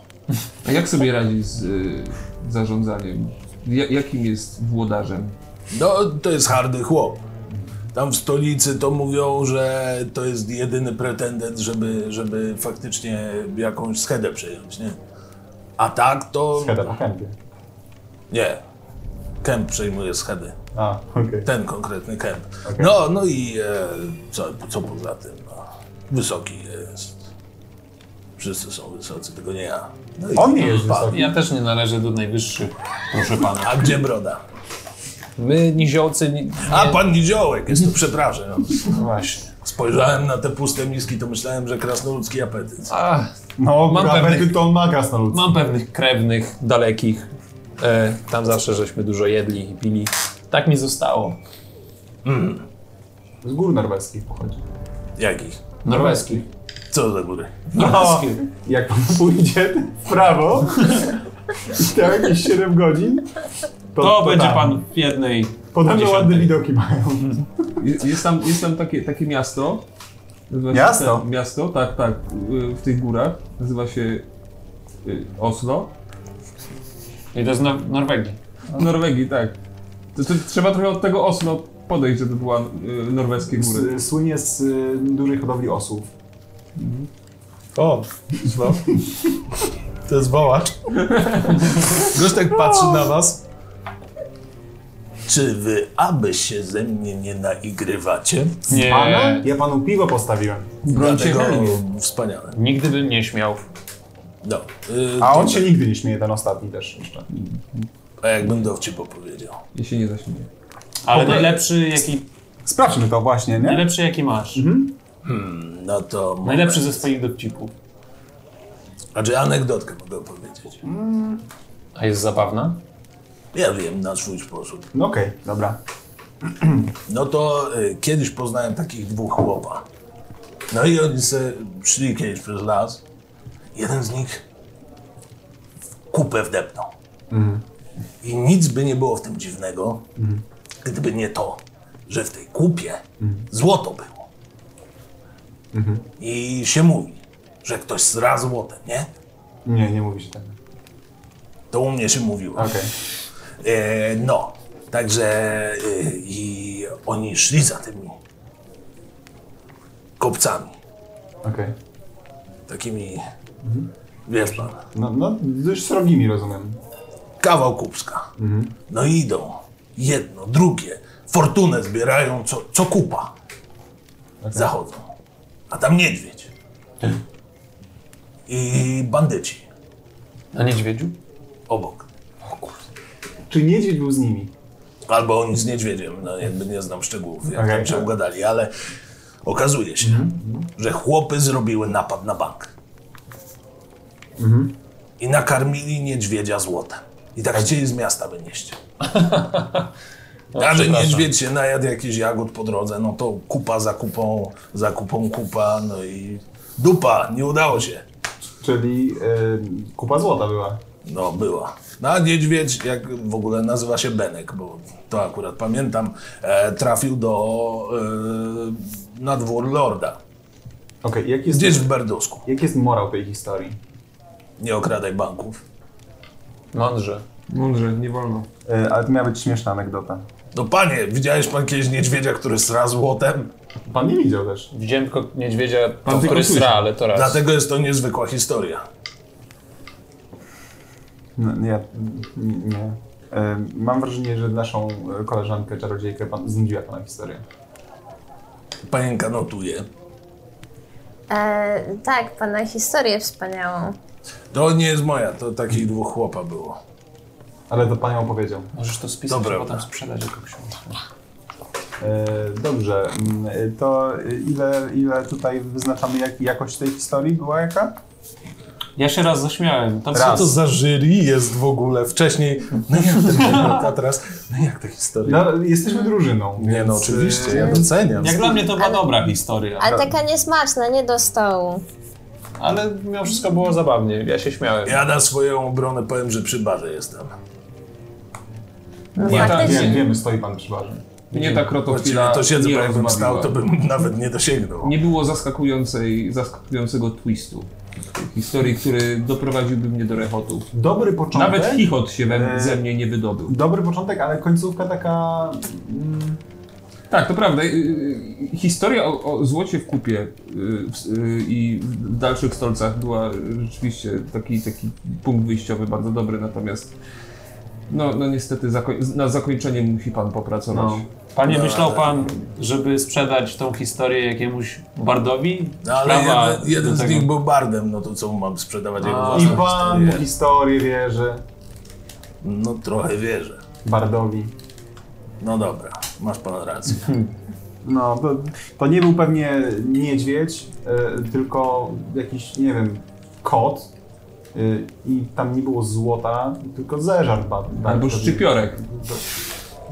Speaker 6: A jak sobie radzi z y, zarządzaniem? Ja, jakim jest włodarzem?
Speaker 2: No, to jest hardy chłop. Tam w stolicy to mówią, że to jest jedyny pretendent, żeby, żeby faktycznie jakąś schedę przejąć, nie? A tak to...
Speaker 3: Skada po kępie.
Speaker 2: Nie. Kemp przejmuje schedy.
Speaker 3: A, okej.
Speaker 2: Ten konkretny kemp.
Speaker 3: Okej.
Speaker 2: No, no i e, co, co poza tym? No, wysoki jest. Wszyscy są wysocy, tylko nie ja. No i
Speaker 3: On nie jest
Speaker 2: pan.
Speaker 3: wysoki.
Speaker 4: Ja też nie należę do najwyższych, proszę pana.
Speaker 2: A gdzie broda?
Speaker 4: My, niziołcy, ni-
Speaker 2: A pan Niziołek, jest tu, przepraszam.
Speaker 3: Właśnie.
Speaker 2: Spojrzałem na te puste miski, to myślałem, że krasnoludzki apetyt.
Speaker 4: a,
Speaker 3: No,
Speaker 4: Mam
Speaker 3: mam pewnych...
Speaker 4: pewnych-
Speaker 3: to on ma krasnolud.
Speaker 4: mam pewnych krewnych, dalekich. E, tam zawsze żeśmy dużo jedli i pili. Tak mi zostało.
Speaker 3: Z gór norweskich pochodzi.
Speaker 2: Jakich?
Speaker 4: Norweski.
Speaker 2: Co za góry?
Speaker 3: No, jak pan pójdzie w prawo, i tam jakieś 7 godzin, to,
Speaker 4: To będzie
Speaker 3: tam.
Speaker 4: pan w jednej.
Speaker 3: Podobno
Speaker 4: po
Speaker 3: ładne
Speaker 4: dziesiątej.
Speaker 3: widoki mają.
Speaker 6: Je- Jest tam, jest tam takie, takie miasto. Nazywa się
Speaker 3: Miasto?
Speaker 6: te- Miasto, tak, tak. y, W tych górach. Nazywa się y, Oslo.
Speaker 4: I to jest Nor- Norwegii.
Speaker 6: W Norwegii, tak. To, to trzeba trochę od tego Oslo podejść, żeby była y, norweskie góry.
Speaker 3: S- Słynie z y, dużej hodowli osłów.
Speaker 7: O, no. To jest wołacz. Gość tak patrzy na was.
Speaker 2: Czy wy aby się ze mnie nie naigrywacie?
Speaker 3: Pana?
Speaker 4: Nie,
Speaker 3: Ja panu piwo postawiłem.
Speaker 2: Dlatego wspaniale.
Speaker 4: nigdy bym nie śmiał.
Speaker 2: No, y,
Speaker 3: A on
Speaker 2: to-
Speaker 3: się nigdy nie śmieje, ten ostatni też jeszcze.
Speaker 2: y, A jakbym dowcip opowiedział?
Speaker 6: Ja się nie zaśmieję.
Speaker 4: Ale
Speaker 3: Dobra.
Speaker 4: najlepszy jaki,
Speaker 3: Sprawdźmy to właśnie, nie?
Speaker 4: najlepszy jaki masz.
Speaker 3: Mhm.
Speaker 2: No to... mo-
Speaker 4: Najlepszy ze swoich dowcipów.
Speaker 2: Znaczy anegdotkę mogę opowiedzieć.
Speaker 4: A jest zabawna?
Speaker 2: Ja wiem, na swój sposób.
Speaker 3: No okej, dobra.
Speaker 2: No to y, kiedyś poznałem takich dwóch chłopa. No i oni se szli kiedyś przez las. Jeden z nich w kupę wdepnął. I nic by nie było w tym dziwnego, gdyby nie to, że w tej kupie złoto było. I się mówi, że ktoś zra złotem, nie?
Speaker 3: Nie, nie mówi się tak.
Speaker 2: To u mnie się mówiło.
Speaker 3: Okej.
Speaker 2: E, no, także e, i oni szli za tymi kopcami,
Speaker 3: Okej.
Speaker 2: takimi, wiesz pan,
Speaker 3: No, no, już srogimi rozumiem.
Speaker 2: kawał kupska. No i idą, jedno, drugie, fortunę zbierają, co, co kupa. Zachodzą, a tam niedźwiedź i bandyci
Speaker 4: Na niedźwiedziu?
Speaker 2: obok.
Speaker 3: Czy niedźwiedź był z nimi?
Speaker 2: Albo oni z niedźwiedziem, no jakby nie znam szczegółów, jak
Speaker 3: Okej.
Speaker 2: tam się ugadali, ale okazuje się, że chłopy zrobiły napad na bank. I nakarmili niedźwiedzia złotem. I tak chcieli z miasta wynieść. A że
Speaker 4: przepraszam.
Speaker 2: niedźwiedź się najadł jakichś jagód po drodze, no to kupa za kupą, za kupą kupa, no i dupa, nie udało się.
Speaker 3: Czyli y, kupa złota była.
Speaker 2: No, była. No, a niedźwiedź, jak w ogóle nazywa się Benek, bo to akurat pamiętam, e, trafił do e, na dwór lorda.
Speaker 3: Okej, jaki jest,
Speaker 2: Gdzieś w Berdusku.
Speaker 3: jaki jest morał tej historii?
Speaker 2: Nie okradaj banków.
Speaker 4: Mądrze.
Speaker 6: Mądrze, nie wolno.
Speaker 3: Y, ale to miała być śmieszna anegdota.
Speaker 2: No panie, widziałeś pan kiedyś niedźwiedzia, który sra złotem?
Speaker 3: Pan nie widział też.
Speaker 4: Widziałem tylko niedźwiedzia, to,
Speaker 6: tylko
Speaker 4: który sra,
Speaker 6: słyszał.
Speaker 4: ale to raz.
Speaker 2: Dlatego jest to niezwykła historia.
Speaker 3: No, nie, n- nie. Y, mam wrażenie, że naszą y, koleżankę, czarodziejkę, pan, znudziła pana historię.
Speaker 2: Panienka notuje.
Speaker 5: E, tak, pana historię wspaniałą.
Speaker 8: To nie jest moja, to takich dwóch chłopa było.
Speaker 3: Ale to panią opowiedział.
Speaker 4: Możesz to spisać
Speaker 8: Dobra.
Speaker 4: i potem sprzedać jako książkę.
Speaker 3: E, dobrze, mm, e, to e, ile, ile tutaj wyznaczamy jak, jakość tej historii była jaka?
Speaker 4: Ja się raz zaśmiałem. Tam
Speaker 2: Co to za jury jest w ogóle? Wcześniej, no jak ten wygląda a teraz, no jak ta historia?
Speaker 3: No, jesteśmy drużyną.
Speaker 2: Nie
Speaker 3: więc,
Speaker 2: no, oczywiście,
Speaker 3: e,
Speaker 2: ja doceniam.
Speaker 4: Jak dla mnie to była
Speaker 5: Ale-
Speaker 4: dobra historia,
Speaker 5: A taka niesmaczna, nie do stołu.
Speaker 4: ale mimo wszystko było zabawnie. Ja się śmiałem.
Speaker 8: Ja na swoją obronę powiem, że przy barze jestem.
Speaker 5: No
Speaker 4: Nie, tak,
Speaker 5: faktycznie.
Speaker 3: Wiem, wiemy, stoi pan przy barze.
Speaker 6: Nie tak
Speaker 8: Właściwie
Speaker 6: rotofila
Speaker 8: Znaczy, to siedzę,
Speaker 6: nie
Speaker 8: bo jakbym stał,
Speaker 6: rozbawiła.
Speaker 8: to bym nawet nie dosięgnął.
Speaker 6: Nie było zaskakującej, zaskakującego twistu. w Historii, który doprowadziłby mnie do rechotu.
Speaker 3: Dobry początek.
Speaker 6: Nawet chichot się we,
Speaker 3: E,
Speaker 6: ze mnie nie wydobył.
Speaker 3: Dobry początek, ale końcówka taka... Mm,
Speaker 6: Tak, to prawda. Y, y, Historia o, o złocie w kupie y, w- y, i w dalszych stolcach była rzeczywiście taki, taki punkt wyjściowy bardzo dobry, natomiast no, no niestety zako- na zakończenie musi pan popracować.
Speaker 3: no.
Speaker 4: Panie,
Speaker 8: No,
Speaker 4: myślał
Speaker 8: ale-
Speaker 4: pan, żeby sprzedać tą historię jakiemuś bardowi?
Speaker 8: No ale
Speaker 4: Sprawa
Speaker 8: jeden, jeden
Speaker 4: do
Speaker 8: z
Speaker 4: tego-
Speaker 8: nich był bardem, no to co mu mam sprzedawać jego
Speaker 3: I
Speaker 8: własną
Speaker 3: pan mu
Speaker 8: historię?
Speaker 3: historię wierzy.
Speaker 8: No trochę wierzę.
Speaker 3: Bardowi.
Speaker 8: No dobra, masz pan rację.
Speaker 3: No, to, to nie był pewnie niedźwiedź, e, tylko jakiś, nie wiem, kot. E, I tam nie było złota, tylko zeżar. Ba, ba,
Speaker 6: Albo szczypiorek,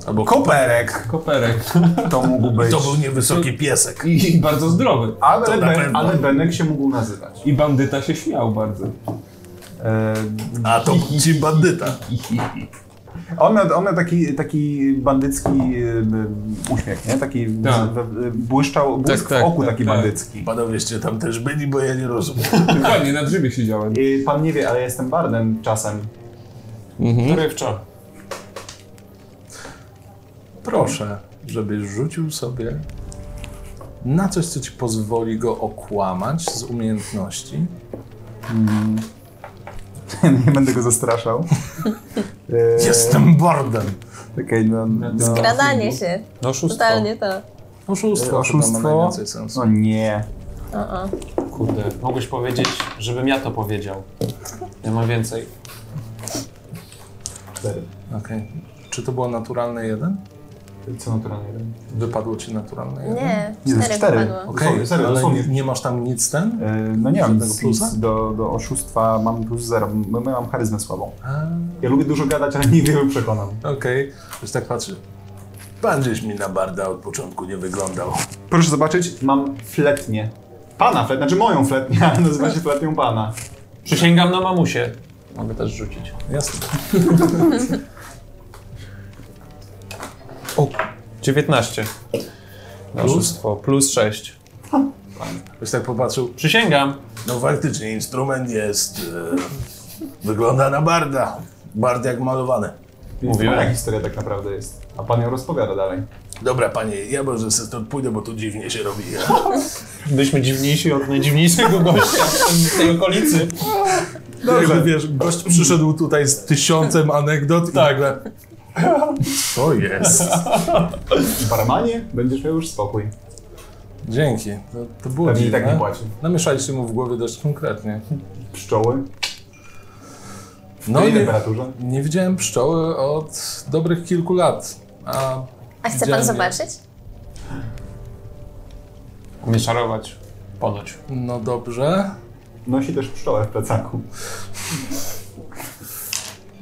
Speaker 8: Albo koperek.
Speaker 6: koperek
Speaker 3: To mógł być.
Speaker 8: To był niewysoki piesek.
Speaker 6: i, i bardzo zdrowy.
Speaker 8: To
Speaker 3: Ale,
Speaker 8: na
Speaker 3: ben,
Speaker 8: pewno.
Speaker 3: ale Benek się mógł nazywać.
Speaker 6: I bandyta się śmiał bardzo.
Speaker 3: E,
Speaker 8: A to ci bandyta.
Speaker 3: one one taki, taki bandycki em, uśmiech, nie? Taki
Speaker 6: Tak.
Speaker 3: w- w- błyszczał, błysk
Speaker 6: tak,
Speaker 3: w oku
Speaker 6: tak,
Speaker 3: taki
Speaker 6: tak.
Speaker 3: bandycki.
Speaker 8: Panowieście tam też byli, bo ja nie rozumiem.
Speaker 6: Dokładnie, na drzwi siedziałem.
Speaker 3: I pan nie wie, ale ja jestem bardem czasem.
Speaker 4: Dorywczo.
Speaker 2: Proszę, żebyś rzucił sobie na coś, co ci pozwoli go okłamać z umiejętności.
Speaker 3: nie będę go zastraszał. E,
Speaker 8: Jestem bardem.
Speaker 3: Okej, no, no.
Speaker 5: Skradanie się.
Speaker 4: No szóstwo.
Speaker 5: Totalnie to.
Speaker 2: Oszustwo, oszustwo. chyba ma
Speaker 3: Oszustwo.
Speaker 2: E, najwięcej sensu.
Speaker 3: No nie.
Speaker 5: O, o.
Speaker 4: Kurde, mogłeś powiedzieć, żebym ja to powiedział. Nie ma więcej.
Speaker 3: Cztery.
Speaker 2: Okej. Czy to było naturalne jeden?
Speaker 3: Co naturalnie robię?
Speaker 2: Wypadło ci naturalne jeden?
Speaker 5: Nie,
Speaker 3: Nie,
Speaker 5: cztery,
Speaker 3: cztery.
Speaker 5: wypadło.
Speaker 2: Okej,
Speaker 3: Dosłownie, serio,
Speaker 2: ale
Speaker 3: dosłownie.
Speaker 2: nie, nie masz tam nic ten?
Speaker 3: E, No nie mam
Speaker 2: Żadnego
Speaker 3: nic,
Speaker 2: plusa?
Speaker 3: nic do, do oszustwa, mam plus zero. M- Mam charyzmę słabą.
Speaker 2: A,
Speaker 3: Ja lubię dużo gadać, ale nie wielu przekonam.
Speaker 2: Okej, już tak patrzy.
Speaker 8: Pan żeś mi na barda od początku nie wyglądał.
Speaker 3: Proszę zobaczyć, mam fletnię. Pana fletnię, znaczy moją fletnię, ale nazywa się fletnią pana.
Speaker 4: Przysięgam na mamusie. Mogę też rzucić.
Speaker 2: Jasne.
Speaker 4: O, 19. Na
Speaker 2: Plus?
Speaker 4: szóstwo. Plus 6.
Speaker 2: Już tak popatrzył.
Speaker 4: Przysięgam.
Speaker 8: No faktycznie, instrument jest... E, wygląda na barda. Bard jak malowany.
Speaker 3: Więc
Speaker 4: Mówiłem.
Speaker 3: moja historia tak naprawdę jest. A pan ją rozpowiada dalej.
Speaker 8: Dobra panie, ja może se stąd pójdę, bo tu dziwnie się robi.
Speaker 4: Byliśmy dziwniejsi od najdziwniejszego gościa w tej okolicy.
Speaker 2: Jakby wiesz, gość przyszedł tutaj z tysiącem
Speaker 3: Tak.
Speaker 2: anegdot i nagle...
Speaker 8: To jest.
Speaker 3: Barmanie, będziesz miał już spokój.
Speaker 2: Dzięki, to, to było
Speaker 3: Pewnie i tak nie
Speaker 2: dziwne.
Speaker 3: płaci.
Speaker 8: No,
Speaker 2: Namieszaliście mu w głowie dość konkretnie.
Speaker 3: Pszczoły,
Speaker 2: No
Speaker 3: no
Speaker 2: i
Speaker 3: i temperaturze.
Speaker 2: nie widziałem pszczoły od dobrych kilku lat. A
Speaker 5: A chce
Speaker 2: Widziałem,
Speaker 5: pan
Speaker 2: nie.
Speaker 5: zobaczyć?
Speaker 4: Umie czarować. Ponoć.
Speaker 2: no dobrze.
Speaker 3: Nosi też pszczołę w plecaku.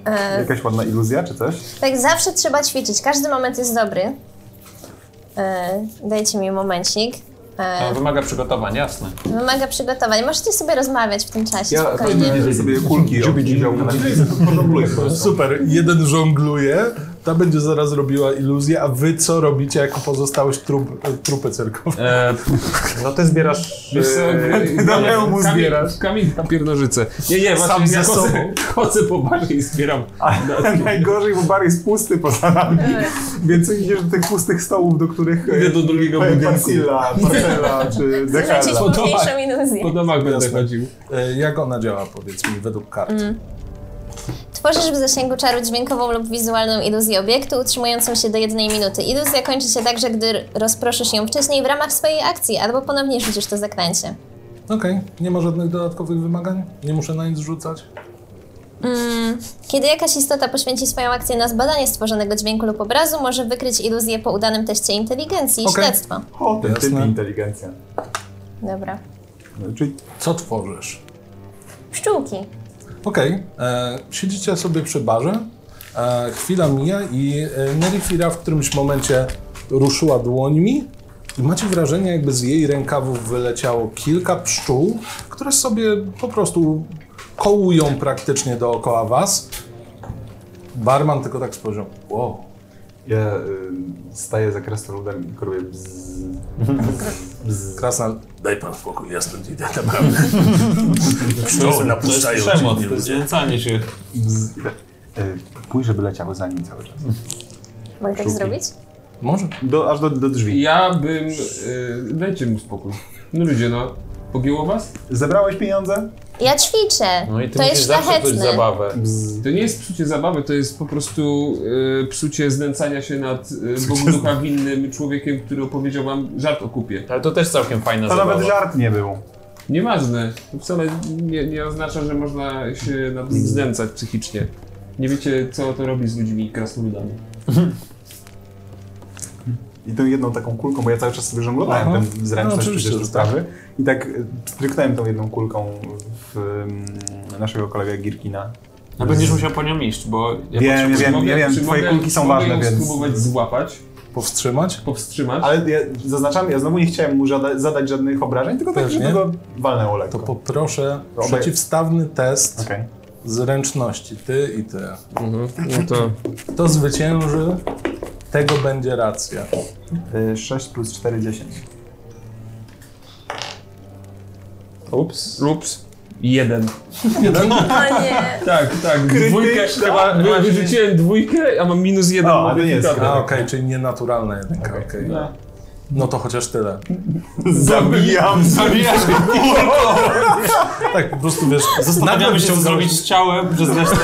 Speaker 5: E,
Speaker 3: Jakaś ładna iluzja czy coś?
Speaker 5: tak zawsze trzeba ćwiczyć, każdy moment jest dobry. E, dajcie mi momencik.
Speaker 4: To
Speaker 5: E,
Speaker 4: wymaga przygotowań, jasne.
Speaker 5: wymaga przygotowań. Możecie sobie rozmawiać w tym czasie spokojnie.
Speaker 3: że sobie kulki wziął na
Speaker 2: Super, jeden żongluje, ta będzie zaraz robiła iluzję, a wy co robicie jako pozostałość trup, trupy cyrkowe?
Speaker 6: E,
Speaker 4: No ty zbierasz...
Speaker 6: do
Speaker 3: hełmu
Speaker 6: zbierasz. e, Kamień na piernożyce. Nie, nie, właśnie
Speaker 2: Sam
Speaker 6: ja
Speaker 2: ze
Speaker 6: chodzę,
Speaker 2: sobą.
Speaker 6: chodzę po barze i zbieram.
Speaker 3: Najgorzej, bo bar jest pusty poza nami. Więc idziesz do tych pustych stołów, do których... e,
Speaker 6: Idę do drugiego
Speaker 3: e,
Speaker 6: budynku.
Speaker 3: Parsilla, Parcela czy
Speaker 5: Rzucić
Speaker 3: Dechala.
Speaker 5: mocniejszą iluzję.
Speaker 6: Po domach będę
Speaker 2: Jasne.
Speaker 6: chodził.
Speaker 2: E, Jak ona działa, powiedz mi, według kart?
Speaker 5: Tworzysz w zasięgu czaru dźwiękową lub wizualną iluzję obiektu, utrzymującą się do jednej minuty. Iluzja tak, kończy się także, gdy rozproszysz ją wcześniej w ramach swojej akcji, albo ponownie rzucisz to zaklęcie.
Speaker 8: Okej, nie ma żadnych dodatkowych wymagań? Nie muszę na nic rzucać?
Speaker 5: Kiedy jakaś istota poświęci swoją akcję na zbadanie stworzonego dźwięku lub obrazu, może wykryć iluzję po udanym teście inteligencji i
Speaker 8: Okej.
Speaker 5: śledztwa.
Speaker 3: O, ten typ
Speaker 8: Jasne.
Speaker 3: inteligencja.
Speaker 5: Dobra.
Speaker 3: No, Czyli
Speaker 8: Co tworzysz?
Speaker 5: Pszczółki.
Speaker 8: Okej, e, siedzicie sobie przy barze, e, chwila mija i e, Nerifira w którymś momencie ruszyła dłońmi i macie wrażenie, jakby z jej rękawów wyleciało kilka pszczół, które sobie po prostu kołują praktycznie dookoła was. Barman tylko tak spojrzał, wow,
Speaker 3: ja ym, staję za krasnoludem i koruję bzz, bzz.
Speaker 8: krasnal,
Speaker 2: Daj pan spokój, ja stąd idę, naprawdę. Pszczoły napuszczają ci
Speaker 4: przemoc,
Speaker 2: mnie
Speaker 4: to jest
Speaker 2: ludzie.
Speaker 4: znęcanie się.
Speaker 3: bzz. Y, Pójdź, żeby leciały za nim cały czas.
Speaker 5: Mogę tak
Speaker 3: Pszczółki.
Speaker 5: zrobić?
Speaker 8: może?
Speaker 3: Do, aż do, do drzwi.
Speaker 6: Ja bym... Yy, dajcie mu spokój. No ludzie, no. Pogięło was?
Speaker 3: Zebrałeś pieniądze?
Speaker 5: Ja ćwiczę.
Speaker 4: No i ty
Speaker 5: to
Speaker 4: musisz
Speaker 5: jest
Speaker 4: zawsze czuć
Speaker 5: szlachetne.
Speaker 4: zabawę.
Speaker 6: To nie jest psucie zabawy, to jest po prostu yy, psucie znęcania się nad yy, Bogu ducha winnym człowiekiem, który opowiedział wam żart o kupie.
Speaker 4: Ale to też całkiem fajna
Speaker 3: To nawet
Speaker 4: zabawa.
Speaker 3: żart nie był.
Speaker 6: Nieważne. To wcale nie, nie oznacza, że można się nad nim znęcać psychicznie. Nie wiecie, co to robi z ludźmi krasnoludami.
Speaker 3: I tą jedną taką kulką, bo ja cały czas sobie żonglowałem
Speaker 8: Aha.
Speaker 3: tym
Speaker 8: No,
Speaker 3: zręczność no,
Speaker 8: oczywiście,
Speaker 3: przecież do
Speaker 8: że tak.
Speaker 3: sprawy. I tak y, stryknąłem tą jedną kulką w ym, naszego kolegę Girkina.
Speaker 4: A No będziesz musiał po nią iść, bo ja
Speaker 3: Wiem,
Speaker 4: potrzebuję-
Speaker 3: wiem. ja
Speaker 6: czy
Speaker 3: twoje
Speaker 6: mogę-
Speaker 3: kulki są
Speaker 6: czy
Speaker 3: ważne,
Speaker 6: mogę ją
Speaker 3: więc-
Speaker 6: spróbować złapać,
Speaker 8: Powstrzymać?
Speaker 6: powstrzymać.
Speaker 3: Ale ja, zaznaczam, ja znowu nie chciałem mu żada, zadać żadnych obrażeń, tylko tak,
Speaker 8: Też
Speaker 3: żeby
Speaker 8: nie?
Speaker 3: go walnęło lekko.
Speaker 8: To poproszę
Speaker 3: Obaj-
Speaker 8: przeciwstawny test
Speaker 3: Okej.
Speaker 8: zręczności, ty i ty.
Speaker 6: No to...
Speaker 8: Kto zwycięży, tego będzie racja.
Speaker 3: Y, 6 plus 4, 10.
Speaker 6: Ups. Ups. Jeden.
Speaker 8: Jeden?
Speaker 5: O nie.
Speaker 6: Tak, tak. Dwójkę. Chyba, wy, wyrzuciłem dwójkę, a mam minus jeden.
Speaker 3: O, a No, to nie jest
Speaker 8: A,
Speaker 6: Dobra.
Speaker 4: Tak.
Speaker 8: okej, czyli nienaturalna jedynka, okej.
Speaker 6: No.
Speaker 8: No to chociaż tyle.
Speaker 3: Zabijam!
Speaker 4: Zabijasz go
Speaker 8: Tak, po prostu wiesz,
Speaker 4: Zastanawiamy
Speaker 8: nagle
Speaker 4: się, co
Speaker 8: wyciągnąłeś-
Speaker 4: zrobić z ciałem przez resztę.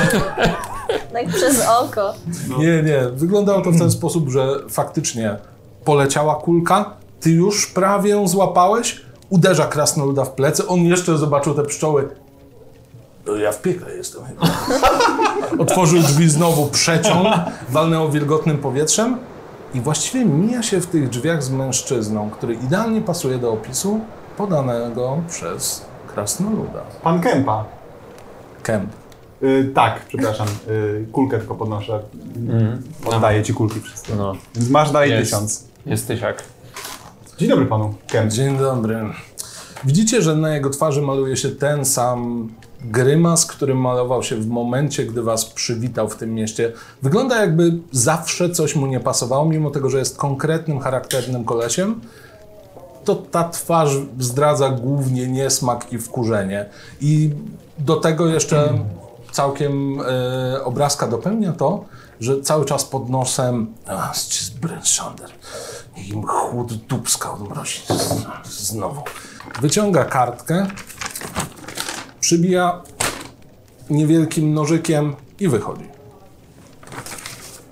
Speaker 5: Tak przez oko.
Speaker 8: Nie, nie, wyglądało to w ten sposób, że faktycznie poleciała kulka, ty już prawie ją złapałeś, uderza krasnoluda w plecy, on jeszcze zobaczył te pszczoły,
Speaker 2: No, ja w piekle jestem chyba.
Speaker 8: otworzył drzwi znowu, przeciął, walnęło wilgotnym powietrzem i właściwie mija się w tych drzwiach z mężczyzną, który idealnie pasuje do opisu podanego przez krasnoluda.
Speaker 3: Pan Kępa.
Speaker 8: Kemp.
Speaker 3: Y, tak, przepraszam. Y, kulkę tylko podnoszę. Oddaję ci kulki wszystkie.
Speaker 4: No,
Speaker 3: Więc masz dalej
Speaker 4: Mhm. Jest.
Speaker 3: 1000.
Speaker 4: jesteś jak.
Speaker 3: Dzień dobry panu Kemp.
Speaker 8: Dzień dobry. Widzicie, że na jego twarzy maluje się ten sam grymas, który malował się w momencie, gdy was przywitał w tym mieście. Wygląda jakby zawsze coś mu nie pasowało, mimo tego, że jest konkretnym, charakternym kolesiem. To ta twarz zdradza głównie niesmak i wkurzenie. I do tego jeszcze całkiem e, obrazka dopełnia to, że cały czas pod nosem
Speaker 2: A, z Brenschander. Niech im chłód dupska odmrozi. Z- Znowu.
Speaker 8: Wyciąga kartkę, przybija niewielkim nożykiem i wychodzi.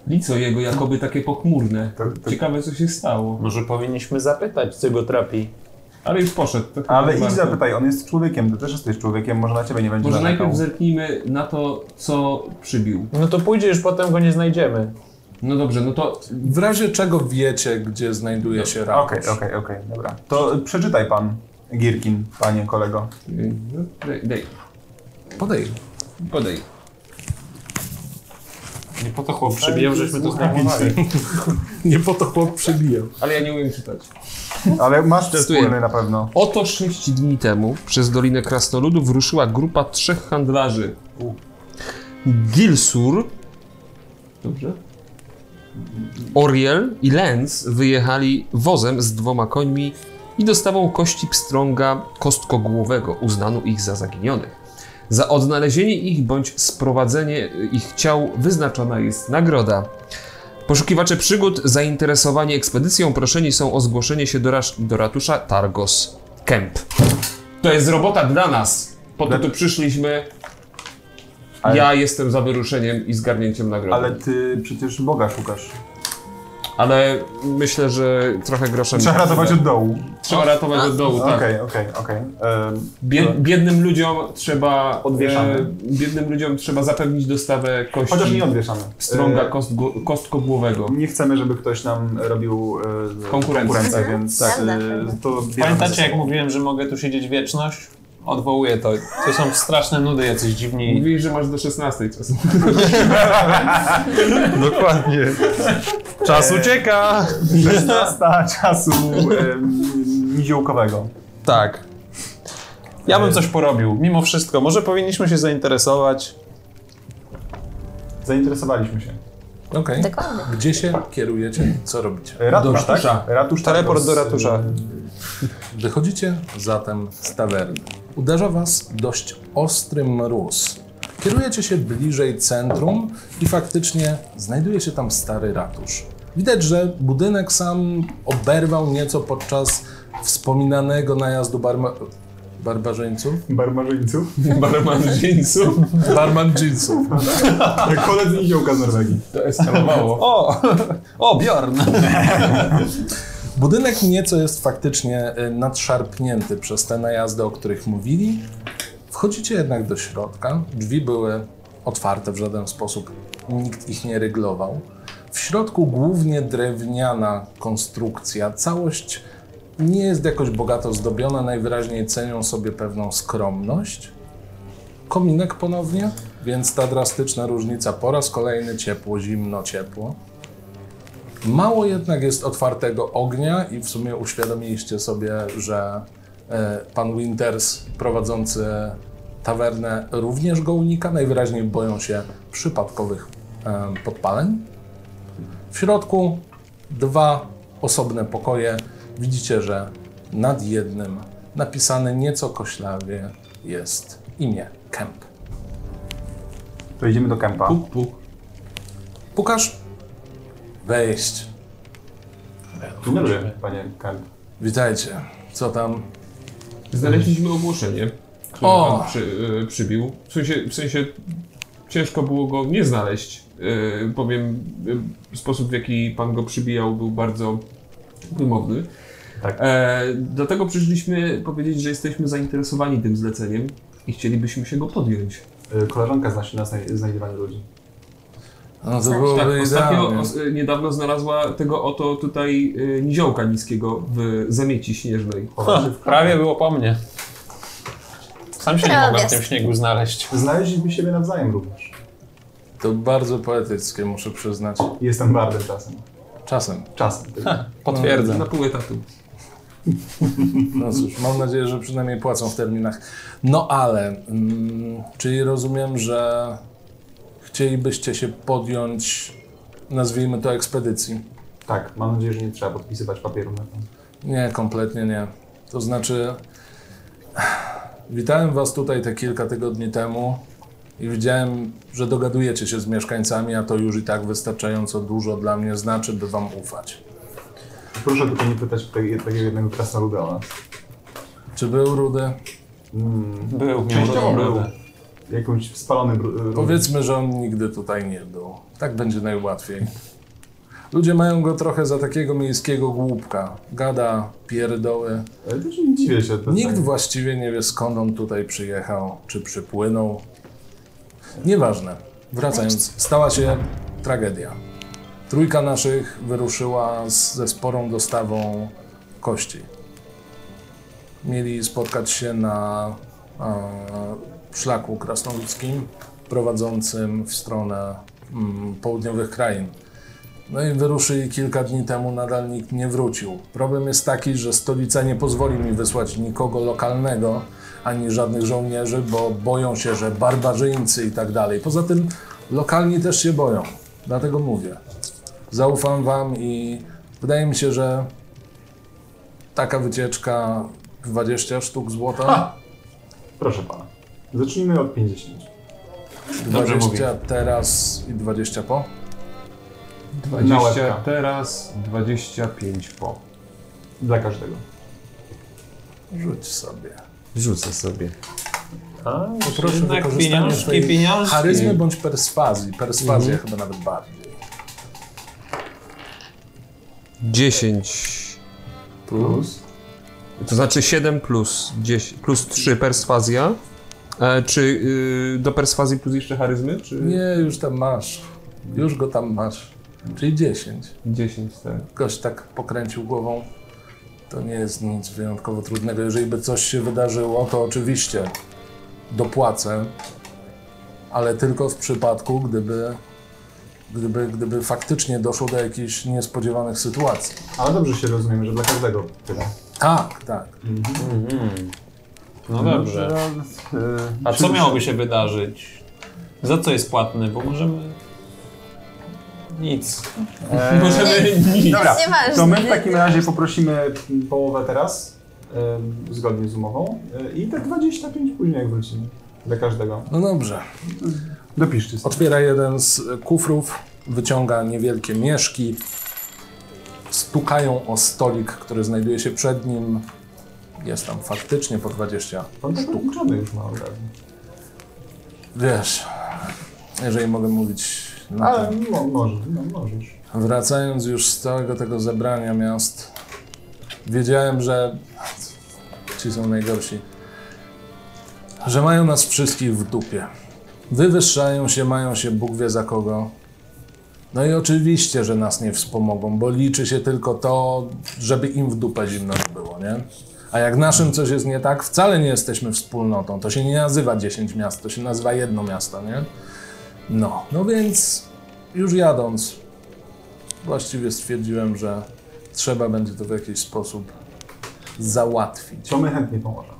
Speaker 6: Lico jego jakoby takie pochmurne. Ciekawe co się stało.
Speaker 4: Może powinniśmy zapytać, co go trapi.
Speaker 6: Ale już poszedł. to chyba
Speaker 3: Ale idź
Speaker 6: warto.
Speaker 3: zapytaj, on jest człowiekiem, ty też jesteś człowiekiem, może na ciebie nie będzie
Speaker 6: Może
Speaker 3: narzekał.
Speaker 6: najpierw zerknijmy na to, co przybił.
Speaker 4: No to pójdzie, już potem go nie znajdziemy.
Speaker 6: No dobrze, no to
Speaker 8: W razie czego wiecie, gdzie znajduje się
Speaker 3: Okej,
Speaker 8: rakusz.
Speaker 3: okej, okej, dobra. To przeczytaj pan Girkin, panie kolego.
Speaker 6: Yy, no, Daj, daj,
Speaker 8: Podej.
Speaker 6: podaj.
Speaker 4: Nie po to chłop przybijał, żeśmy to zmarnowali.
Speaker 8: Nie po to chłop przybijał.
Speaker 6: Ale ja nie umiem czytać.
Speaker 3: Ale masz
Speaker 6: Testuję.
Speaker 3: wspólny na pewno.
Speaker 6: Oto sześć dni temu przez Dolinę Krasnoludów ruszyła grupa trzech handlarzy. Gilsur, dobrze? Oriel i Lenz wyjechali wozem z dwoma końmi i dostawą kości pstrąga kostkogłowego. Uznano ich za zaginionych. Za odnalezienie ich bądź sprowadzenie ich ciał wyznaczona jest nagroda. Poszukiwacze przygód zainteresowani ekspedycją proszeni są o zgłoszenie się do, rasz- do ratusza Targos Kemp. To jest robota dla nas. Po to tu przyszliśmy.
Speaker 3: Ale-
Speaker 6: Ja jestem za wyruszeniem i zgarnięciem nagrody.
Speaker 3: Ale ty przecież Boga szukasz.
Speaker 6: Ale myślę, że trochę groszem...
Speaker 3: Trzeba ratować od dołu.
Speaker 6: Trzeba ratować od dołu, tak.
Speaker 3: Okej, okej, okej. Em,
Speaker 6: Bied, biednym ludziom trzeba... e,
Speaker 3: Odwieszamy.
Speaker 6: biednym ludziom trzeba zapewnić dostawę kości...
Speaker 3: Chociaż nie odwieszamy.
Speaker 6: Strąga
Speaker 3: E,
Speaker 6: kost, gło- kostkobłowego.
Speaker 3: Nie chcemy, żeby ktoś nam robił e,
Speaker 6: Konkurencję.
Speaker 3: konkurencję, więc
Speaker 5: Tak.
Speaker 3: e, to bierzemy
Speaker 4: Pamiętacie,
Speaker 3: ze
Speaker 4: jak
Speaker 3: sobą.
Speaker 4: mówiłem, że mogę tu siedzieć wieczność? Odwołuję to. To są straszne nudy, jacyś dziwni.
Speaker 6: Mówili, że masz do 16 czasem.
Speaker 9: Dokładnie. Czas ucieka!
Speaker 3: 16 czasu em, niziołkowego.
Speaker 4: Tak. Ja bym coś porobił, mimo wszystko. Może powinniśmy się zainteresować.
Speaker 3: Zainteresowaliśmy się.
Speaker 8: Okej.
Speaker 5: Dokładnie.
Speaker 8: Gdzie się kierujecie? Co robicie?
Speaker 3: E, Ratusz, tak?
Speaker 4: ratusza.
Speaker 3: Ratusz, tak,
Speaker 4: Teleport
Speaker 3: bo
Speaker 4: do
Speaker 3: z-
Speaker 4: ratusza.
Speaker 8: Wychodzicie zatem z tawerny. Uderza was dość ostry mróz. Kierujecie się bliżej centrum i faktycznie znajduje się tam stary ratusz. Widać, że budynek sam oberwał nieco podczas wspominanego najazdu barma... barbarzyńców.
Speaker 3: e, Barbarzyńców.
Speaker 6: Barman jeansów.
Speaker 8: Barman jeansów.
Speaker 3: Kolec niziołka z Norwegii.
Speaker 6: To eskalowało.
Speaker 4: O! O, Bjorn!
Speaker 8: Budynek nieco jest faktycznie y, nadszarpnięty przez te najazdy, o których mówili. Wchodzicie jednak do środka. Drzwi były otwarte w żaden sposób, nikt ich nie ryglował. W środku głównie drewniana konstrukcja, całość nie jest jakoś bogato zdobiona, najwyraźniej cenią sobie pewną skromność. Kominek ponownie, więc ta drastyczna różnica po raz kolejny ciepło, zimno, ciepło. Mało jednak jest otwartego ognia i w sumie uświadomiliście sobie, że e, pan Winters prowadzący tawernę również go unika. Najwyraźniej boją się przypadkowych e, podpaleń. W środku dwa osobne pokoje. Widzicie, że nad jednym napisane nieco koślawie jest imię Kemp.
Speaker 3: To idziemy do kempa.
Speaker 6: Puk, puk.
Speaker 8: Pukasz? Wejść.
Speaker 3: Dzień dobry, panie kemp.
Speaker 8: Witajcie. Co tam?
Speaker 6: Znaleźliśmy ogłoszenie, które
Speaker 8: O!
Speaker 6: pan przy, y, przybił. W sensie, w sensie ciężko było go nie znaleźć. Y, powiem, y, sposób w jaki pan go przybijał był bardzo wymowny.
Speaker 3: Tak.
Speaker 6: E, dlatego przyszliśmy powiedzieć, że jesteśmy zainteresowani tym zleceniem i chcielibyśmy się go podjąć.
Speaker 3: E, Koleżanka zna się na znaj- znajdywaniu ludzi.
Speaker 8: No to
Speaker 5: Tak,
Speaker 8: byłoby
Speaker 6: Tak, ostatnio
Speaker 8: idealnie.
Speaker 6: os, niedawno znalazła tego oto tutaj y, niziołka niskiego w zamieci śnieżnej.
Speaker 4: Prawie było po mnie. Sam się nie mogłem w
Speaker 5: Drobiazg.
Speaker 4: tym śniegu znaleźć.
Speaker 3: Znaleźliśmy siebie nawzajem również.
Speaker 8: To bardzo poetyckie, muszę przyznać.
Speaker 3: Jestem bardem czasem.
Speaker 8: Czasem.
Speaker 3: Czasem. tylko.
Speaker 4: Potwierdzam.
Speaker 6: Na pół etatu.
Speaker 8: No cóż, mam nadzieję, że przynajmniej płacą w terminach. No ale, mm, czyli rozumiem, że chcielibyście się podjąć, nazwijmy to ekspedycji.
Speaker 3: Tak, mam nadzieję, że nie trzeba podpisywać papieru na to.
Speaker 8: Nie, kompletnie nie. To znaczy, witałem was tutaj te kilka tygodni temu i widziałem, że dogadujecie się z mieszkańcami, a to już i tak wystarczająco dużo dla mnie znaczy, by wam ufać.
Speaker 3: Proszę tylko nie pytać te- takiego jednego krasnoluda o nas.
Speaker 8: Czy był rudy?
Speaker 4: Był,
Speaker 3: Częściowo
Speaker 4: był.
Speaker 3: był jakąś spalony br- e,
Speaker 8: Powiedzmy, że on nigdy tutaj nie był. Tak będzie najłatwiej. Ludzie mają go trochę za takiego miejskiego głupka. Gada, pierdoły.
Speaker 3: Ale też nie dziwię się. To
Speaker 8: Nikt
Speaker 3: tak.
Speaker 8: właściwie nie wie skąd on tutaj przyjechał, czy przypłynął. Nieważne. Wracając, stała się tragedia. Trójka naszych wyruszyła z, ze sporą dostawą kości. Mieli spotkać się na e, szlaku krasnoludzkim prowadzącym w stronę mm, południowych krain. No i wyruszyli kilka dni temu, nadal nikt nie wrócił. Problem jest taki, że stolica nie pozwoli mi wysłać nikogo lokalnego, ani żadnych żołnierzy, bo boją się, że barbarzyńcy i tak dalej. Poza tym lokalni też się boją, dlatego mówię. Zaufam wam i wydaje mi się, że taka wycieczka 20 sztuk złota,
Speaker 3: Proszę pana. Zacznijmy od 50.
Speaker 8: 20 teraz i 20 po.
Speaker 3: łebka.
Speaker 6: 20 teraz, 25 po.
Speaker 3: Dla każdego.
Speaker 8: Rzuć sobie.
Speaker 9: Rzucę sobie.
Speaker 3: A,
Speaker 8: Proszę
Speaker 4: Jednak pieniążki,
Speaker 8: swojej
Speaker 4: pieniążki.
Speaker 8: charyzmy bądź perswazji. Perswazja chyba nawet bardziej.
Speaker 6: 10.
Speaker 3: Plus.
Speaker 6: To znaczy 7 plus 10, plus 3 perswazja. E, czy y, do perswazji plus jeszcze charyzmy? Czy
Speaker 8: Nie, już tam masz. Już go tam masz. Czyli 10.
Speaker 6: 10, tak.
Speaker 8: Gość tak pokręcił głową. To nie jest nic wyjątkowo trudnego. Jeżeli by coś się wydarzyło, to oczywiście dopłacę, ale tylko w przypadku, gdyby, gdyby, gdyby faktycznie doszło do jakichś niespodziewanych sytuacji.
Speaker 3: Ale dobrze się rozumiemy, że dla każdego tyle.
Speaker 8: Tak, tak.
Speaker 4: No dobrze. A co miałoby się wydarzyć? Za co jest płatny? Bo możemy... Nic. Możemy nic.
Speaker 3: Dobra,
Speaker 5: Nic Eee, nie masz.
Speaker 3: to my w takim razie poprosimy połowę teraz, em, zgodnie z umową, e, i te 25 później, jak wrócimy. Dla każdego.
Speaker 8: No dobrze.
Speaker 3: Dopiszcie sobie.
Speaker 8: Otwiera jeden z kufrów, wyciąga niewielkie mieszki, stukają o stolik, który znajduje się przed nim. Jest tam faktycznie po 20
Speaker 3: Pan tak uczony już ma od razu.
Speaker 8: Wiesz, jeżeli mogę mówić na
Speaker 3: Ale
Speaker 8: ten.
Speaker 3: mo, możesz, no, możesz.
Speaker 8: Wracając już z całego tego zebrania miast, wiedziałem, że ci są najgorsi, że mają nas wszystkich w dupie. Wywyższają się, mają się, Bóg wie za kogo. No i oczywiście, że nas nie wspomogą, bo liczy się tylko to, żeby im w dupę zimno nie było, nie? A jak naszym coś jest nie tak, wcale nie jesteśmy wspólnotą. To się nie nazywa 10 miast, to się nazywa jedno miasto, nie? No, no więc już jadąc, właściwie stwierdziłem, że trzeba będzie to w jakiś sposób załatwić.
Speaker 3: To my chętnie pomożemy.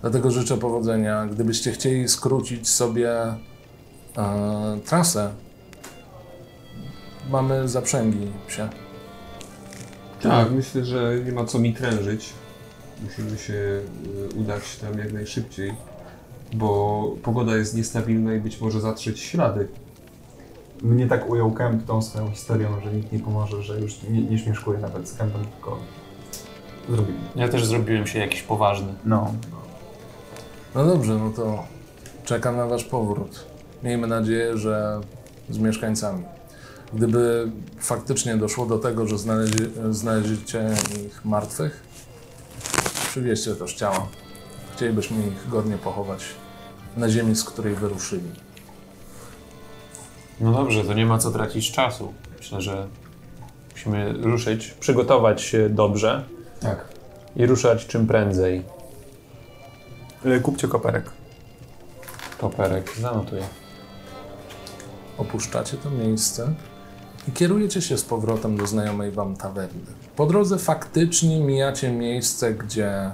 Speaker 8: Dlatego życzę powodzenia. Gdybyście chcieli skrócić sobie e, trasę, mamy zaprzęgi się.
Speaker 6: Tak, myślę, że nie ma co mi trężyć. Musimy się y, udać tam jak najszybciej, bo pogoda jest niestabilna i być może zatrzeć ślady.
Speaker 3: Mnie tak ujął Kemp tą swoją historią, że nikt nie pomoże, że już nie, nie śmieszkuję nawet z Kempem, tylko zrobimy.
Speaker 4: Ja też zrobiłem się jakiś poważny.
Speaker 3: No.
Speaker 8: No dobrze, no to czekam na wasz powrót. Miejmy nadzieję, że z mieszkańcami. Gdyby faktycznie doszło do tego, że znaleźli, znaleźliście ich martwych, przywieźcie też ciała. Chcielibyśmy ich godnie pochować na ziemi, z której wyruszyli.
Speaker 4: No dobrze, to nie ma co tracić czasu. Myślę, że musimy ruszyć, przygotować się dobrze.
Speaker 6: Tak.
Speaker 4: I ruszać czym prędzej.
Speaker 3: E, Kupcie koperek.
Speaker 4: Koperek, zanotuję.
Speaker 8: Opuszczacie to miejsce i kierujecie się z powrotem do znajomej wam tawerny. Po drodze faktycznie mijacie miejsce, gdzie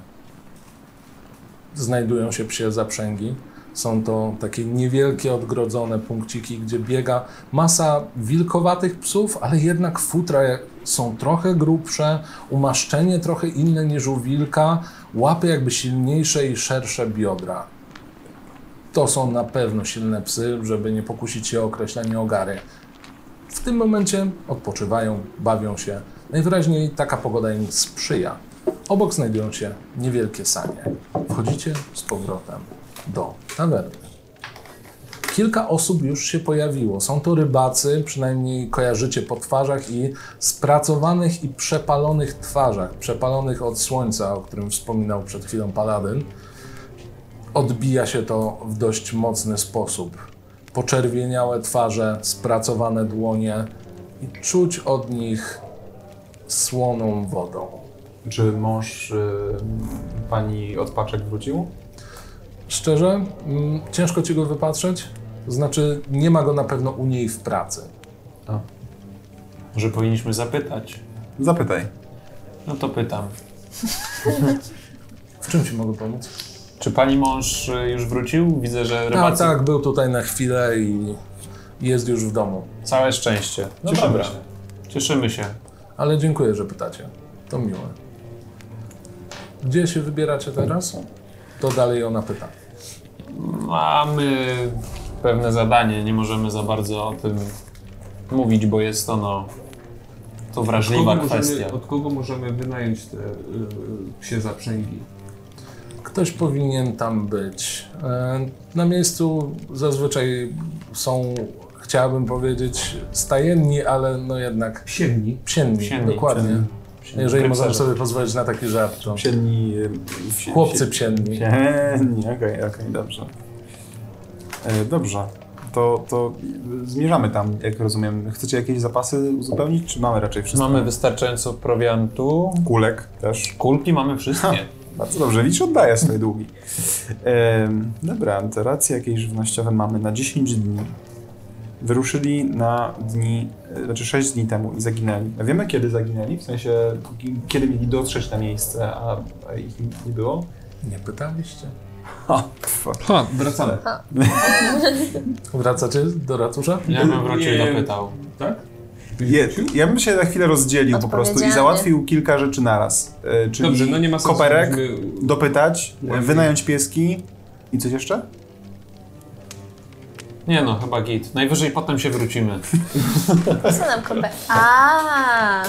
Speaker 8: znajdują się psie zaprzęgi. Są to takie niewielkie, odgrodzone punkciki, gdzie biega masa wilkowatych psów, ale jednak futra są trochę grubsze, umaszczenie trochę inne niż u wilka, łapy jakby silniejsze i szersze biodra. To są na pewno silne psy, żeby nie pokusić się o określenie ogary. W tym momencie odpoczywają, bawią się. Najwyraźniej taka pogoda im sprzyja. Obok znajdują się niewielkie sanie. Wchodzicie z powrotem do tawerny. Kilka osób już się pojawiło. Są to rybacy, przynajmniej kojarzycie po twarzach i spracowanych i przepalonych twarzach, przepalonych od słońca, o którym wspominał przed chwilą Paladyn odbija się to w dość mocny sposób. Poczerwieniałe twarze, spracowane dłonie i czuć od nich słoną wodą.
Speaker 3: Czy mąż y, pani od paczek wrócił?
Speaker 8: Szczerze, mm, ciężko ci go wypatrzeć. To Znaczy, nie ma go na pewno u niej w pracy.
Speaker 4: Może powinniśmy zapytać.
Speaker 3: Zapytaj.
Speaker 4: No to pytam.
Speaker 8: W czym ci mogę pomóc?
Speaker 4: Czy pani mąż y, już wrócił? Widzę, że
Speaker 8: A
Speaker 4: rybacy...
Speaker 8: tak, był tutaj na chwilę i jest już w domu.
Speaker 4: Całe szczęście. No
Speaker 3: Cieszymy
Speaker 4: dobra.
Speaker 3: się.
Speaker 4: Cieszymy się.
Speaker 8: Ale dziękuję, że pytacie. To miłe. Gdzie się wybieracie teraz? To dalej ona pyta.
Speaker 4: Mamy pewne zadanie, nie możemy za bardzo o tym mówić, bo jest ono to wrażliwa kwestia.
Speaker 6: możemy, od kogo możemy wynająć te y, psie zaprzęgi?
Speaker 8: Ktoś powinien tam być. E, Na miejscu zazwyczaj są chciałabym powiedzieć stajenni, ale no jednak
Speaker 6: Siedni.
Speaker 8: psienni,
Speaker 4: Psienni,
Speaker 8: dokładnie. Jeżeli możemy
Speaker 4: Rycerze.
Speaker 8: sobie pozwolić na taki żart, to
Speaker 3: Psienni... y,
Speaker 8: chłopcy psienni.
Speaker 3: Psienni, okej, okej, dobrze. E, dobrze, to, to zmierzamy tam, jak rozumiem. Chcecie jakieś zapasy uzupełnić, czy mamy raczej wszystko?
Speaker 4: Mamy wystarczająco prowiantu.
Speaker 3: kulek też.
Speaker 4: Kulki mamy wszystkie.
Speaker 3: Bardzo dobrze, Licz oddaje swoje długi. Em, dobra, te racje jakieś żywnościowe mamy na 10 dni. Wyruszyli na dni, e, znaczy 6 dni temu i zaginęli. A Wiemy kiedy zaginęli, w sensie ki- kiedy mieli dotrzeć na miejsce, a, a ich nie było.
Speaker 8: Nie pytaliście?
Speaker 3: Ha, pf,
Speaker 6: Ha, wracamy.
Speaker 8: Wracacie do ratusza?
Speaker 4: Ja bym wrócił
Speaker 6: Nie.
Speaker 4: i dopytał.
Speaker 3: Je, ja bym się na chwilę rozdzielił po prostu i
Speaker 5: Odpowiedzialny.
Speaker 3: załatwił kilka rzeczy naraz. E, czyli
Speaker 6: Dobrze, no nie ma sensu.
Speaker 3: koperek,
Speaker 6: żebyśmy-
Speaker 3: dopytać, e,
Speaker 6: Ładnie.
Speaker 3: wynająć pieski i coś jeszcze?
Speaker 4: Nie no, chyba git. Najwyżej potem się wrócimy.
Speaker 5: Co nam kopę? A,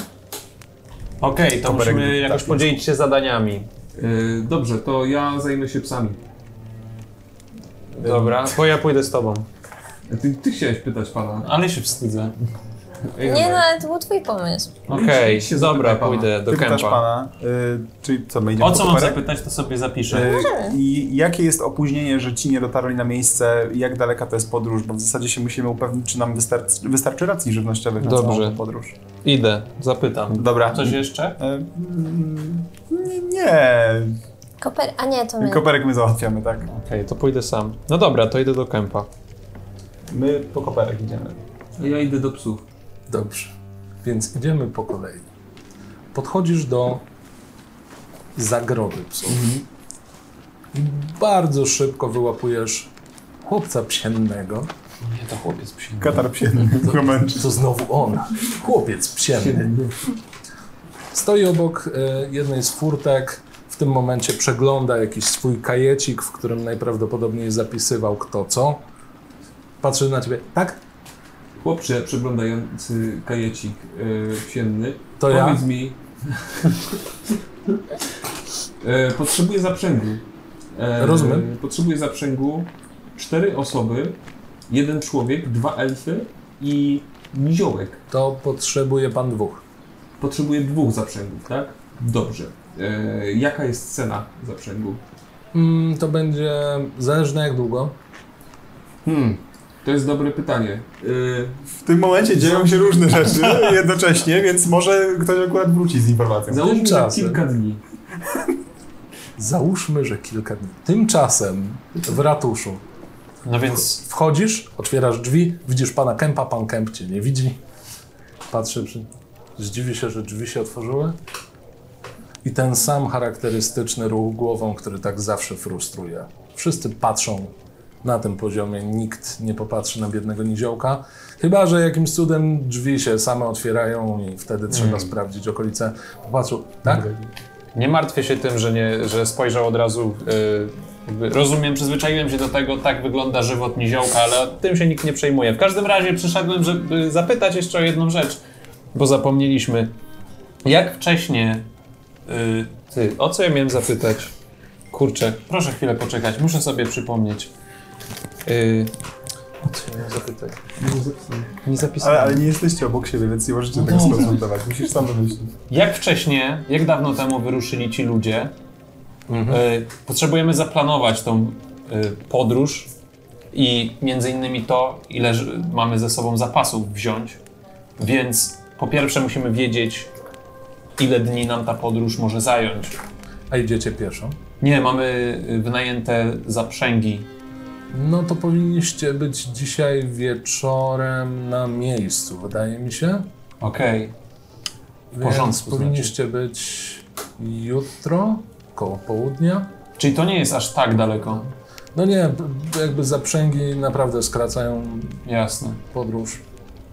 Speaker 4: Okej, to
Speaker 3: Koperek
Speaker 4: musimy
Speaker 3: był
Speaker 4: jakoś
Speaker 3: taki.
Speaker 4: podzielić się zadaniami.
Speaker 6: E, dobrze, to ja zajmę się psami.
Speaker 4: Dobra, bo ja pójdę z tobą.
Speaker 6: Ty, ty chciałeś pytać pana.
Speaker 4: Ale się wstydzę.
Speaker 6: Ej,
Speaker 5: nie no, ale to był twój pomysł.
Speaker 4: Okej,
Speaker 6: Idź się
Speaker 4: dobra,
Speaker 6: zapytaj pana.
Speaker 4: pójdę do
Speaker 3: Ty pytasz
Speaker 4: kępa.
Speaker 3: pana, e, czyli co, my idziemy
Speaker 4: O
Speaker 3: po
Speaker 4: co mam
Speaker 3: koperek?
Speaker 4: zapytać, to sobie zapiszę.
Speaker 3: E, I jakie jest opóźnienie, że ci nie dotarli na miejsce? Jak daleka to jest podróż? Bo w zasadzie się musimy upewnić, czy nam wystarczy, wystarczy racji żywnościowych na całą
Speaker 4: Dobrze.
Speaker 3: tą podróż.
Speaker 4: Idę, zapytam.
Speaker 3: Dobra.
Speaker 4: Coś jeszcze?
Speaker 3: E, mm, nie,
Speaker 5: Koper, a nie, to my.
Speaker 3: koperek my załatwiamy, tak.
Speaker 4: Okej, to pójdę sam. No dobra, to idę do kępa.
Speaker 3: My po koperek idziemy.
Speaker 6: Ja idę do psów.
Speaker 8: Dobrze, więc idziemy po kolei. Podchodzisz do zagrody psów i bardzo szybko wyłapujesz chłopca psiennego.
Speaker 4: Nie, to chłopiec psi.
Speaker 3: Katar psienny, męczy.
Speaker 8: To znowu on, chłopiec psienny. Stoi obok y, jednej z furtek, w tym momencie przegląda jakiś swój kajecik, w którym najprawdopodobniej zapisywał kto co. Patrzy na ciebie, tak?
Speaker 6: Chłopcze przeglądający kajecik yy, psienny,
Speaker 8: To ja.
Speaker 6: powiedz mi... e, potrzebuję zaprzęgu. E,
Speaker 8: Rozumiem.
Speaker 6: Potrzebuję zaprzęgu cztery osoby, jeden człowiek, dwa elfy i niziołek.
Speaker 8: To potrzebuje pan dwóch.
Speaker 6: Potrzebuję dwóch zaprzęgów, tak? Dobrze. E, jaka jest cena zaprzęgu?
Speaker 8: Mm, to będzie zależne jak długo.
Speaker 6: Hmm, to jest dobre pytanie. Y,
Speaker 3: W tym momencie dzieją się różne rzeczy jednocześnie, więc może ktoś akurat wróci z informacją.
Speaker 6: załóżmy że
Speaker 8: Tymczasem.
Speaker 6: kilka dni.
Speaker 8: Załóżmy, że kilka dni. Tymczasem w ratuszu
Speaker 4: No więc
Speaker 8: wchodzisz, otwierasz drzwi, widzisz pana Kępa, pan Kęp cię nie widzi. Patrzy przy... Zdziwi się, że drzwi się otworzyły. I ten sam charakterystyczny ruch głową, który tak zawsze frustruje. Wszyscy patrzą na tym poziomie, nikt nie popatrzy na biednego niziołka. Chyba, że jakimś cudem drzwi się same otwierają i wtedy trzeba sprawdzić okolice. Popatrzył, tak?
Speaker 4: nie martwię się tym, że, nie, że spojrzał od razu. y, jakby rozumiem, przyzwyczaiłem się do tego, tak wygląda żywot niziołka, ale tym się nikt nie przejmuje. W każdym razie przyszedłem, żeby zapytać jeszcze o jedną rzecz, bo zapomnieliśmy. Jak wcześnie. y, ty, o co ja miałem zapytać? Kurczę, proszę chwilę poczekać, muszę sobie przypomnieć. Y, o co ja miałem zapytać? Nie zapisałem.
Speaker 3: Ale, ale nie jesteście obok siebie, więc nie możecie tego skonsultować. Musisz sam wymyślić.
Speaker 4: Jak wcześnie, jak dawno temu wyruszyli ci ludzie? Y, potrzebujemy zaplanować tą y, podróż i między innymi to, ile ż- mamy ze sobą zapasów wziąć. Więc po pierwsze musimy wiedzieć, ile dni nam ta podróż może zająć.
Speaker 8: A idziecie pieszo.
Speaker 4: Nie, mamy y, wynajęte zaprzęgi.
Speaker 8: No to powinniście być dzisiaj wieczorem na miejscu, wydaje mi się.
Speaker 4: Okej.
Speaker 8: W
Speaker 4: porządku, znaczy.
Speaker 8: powinniście być jutro, koło południa.
Speaker 4: Czyli to nie jest aż tak daleko.
Speaker 8: No nie, b- b- jakby zaprzęgi naprawdę skracają
Speaker 4: Jasne.
Speaker 8: podróż.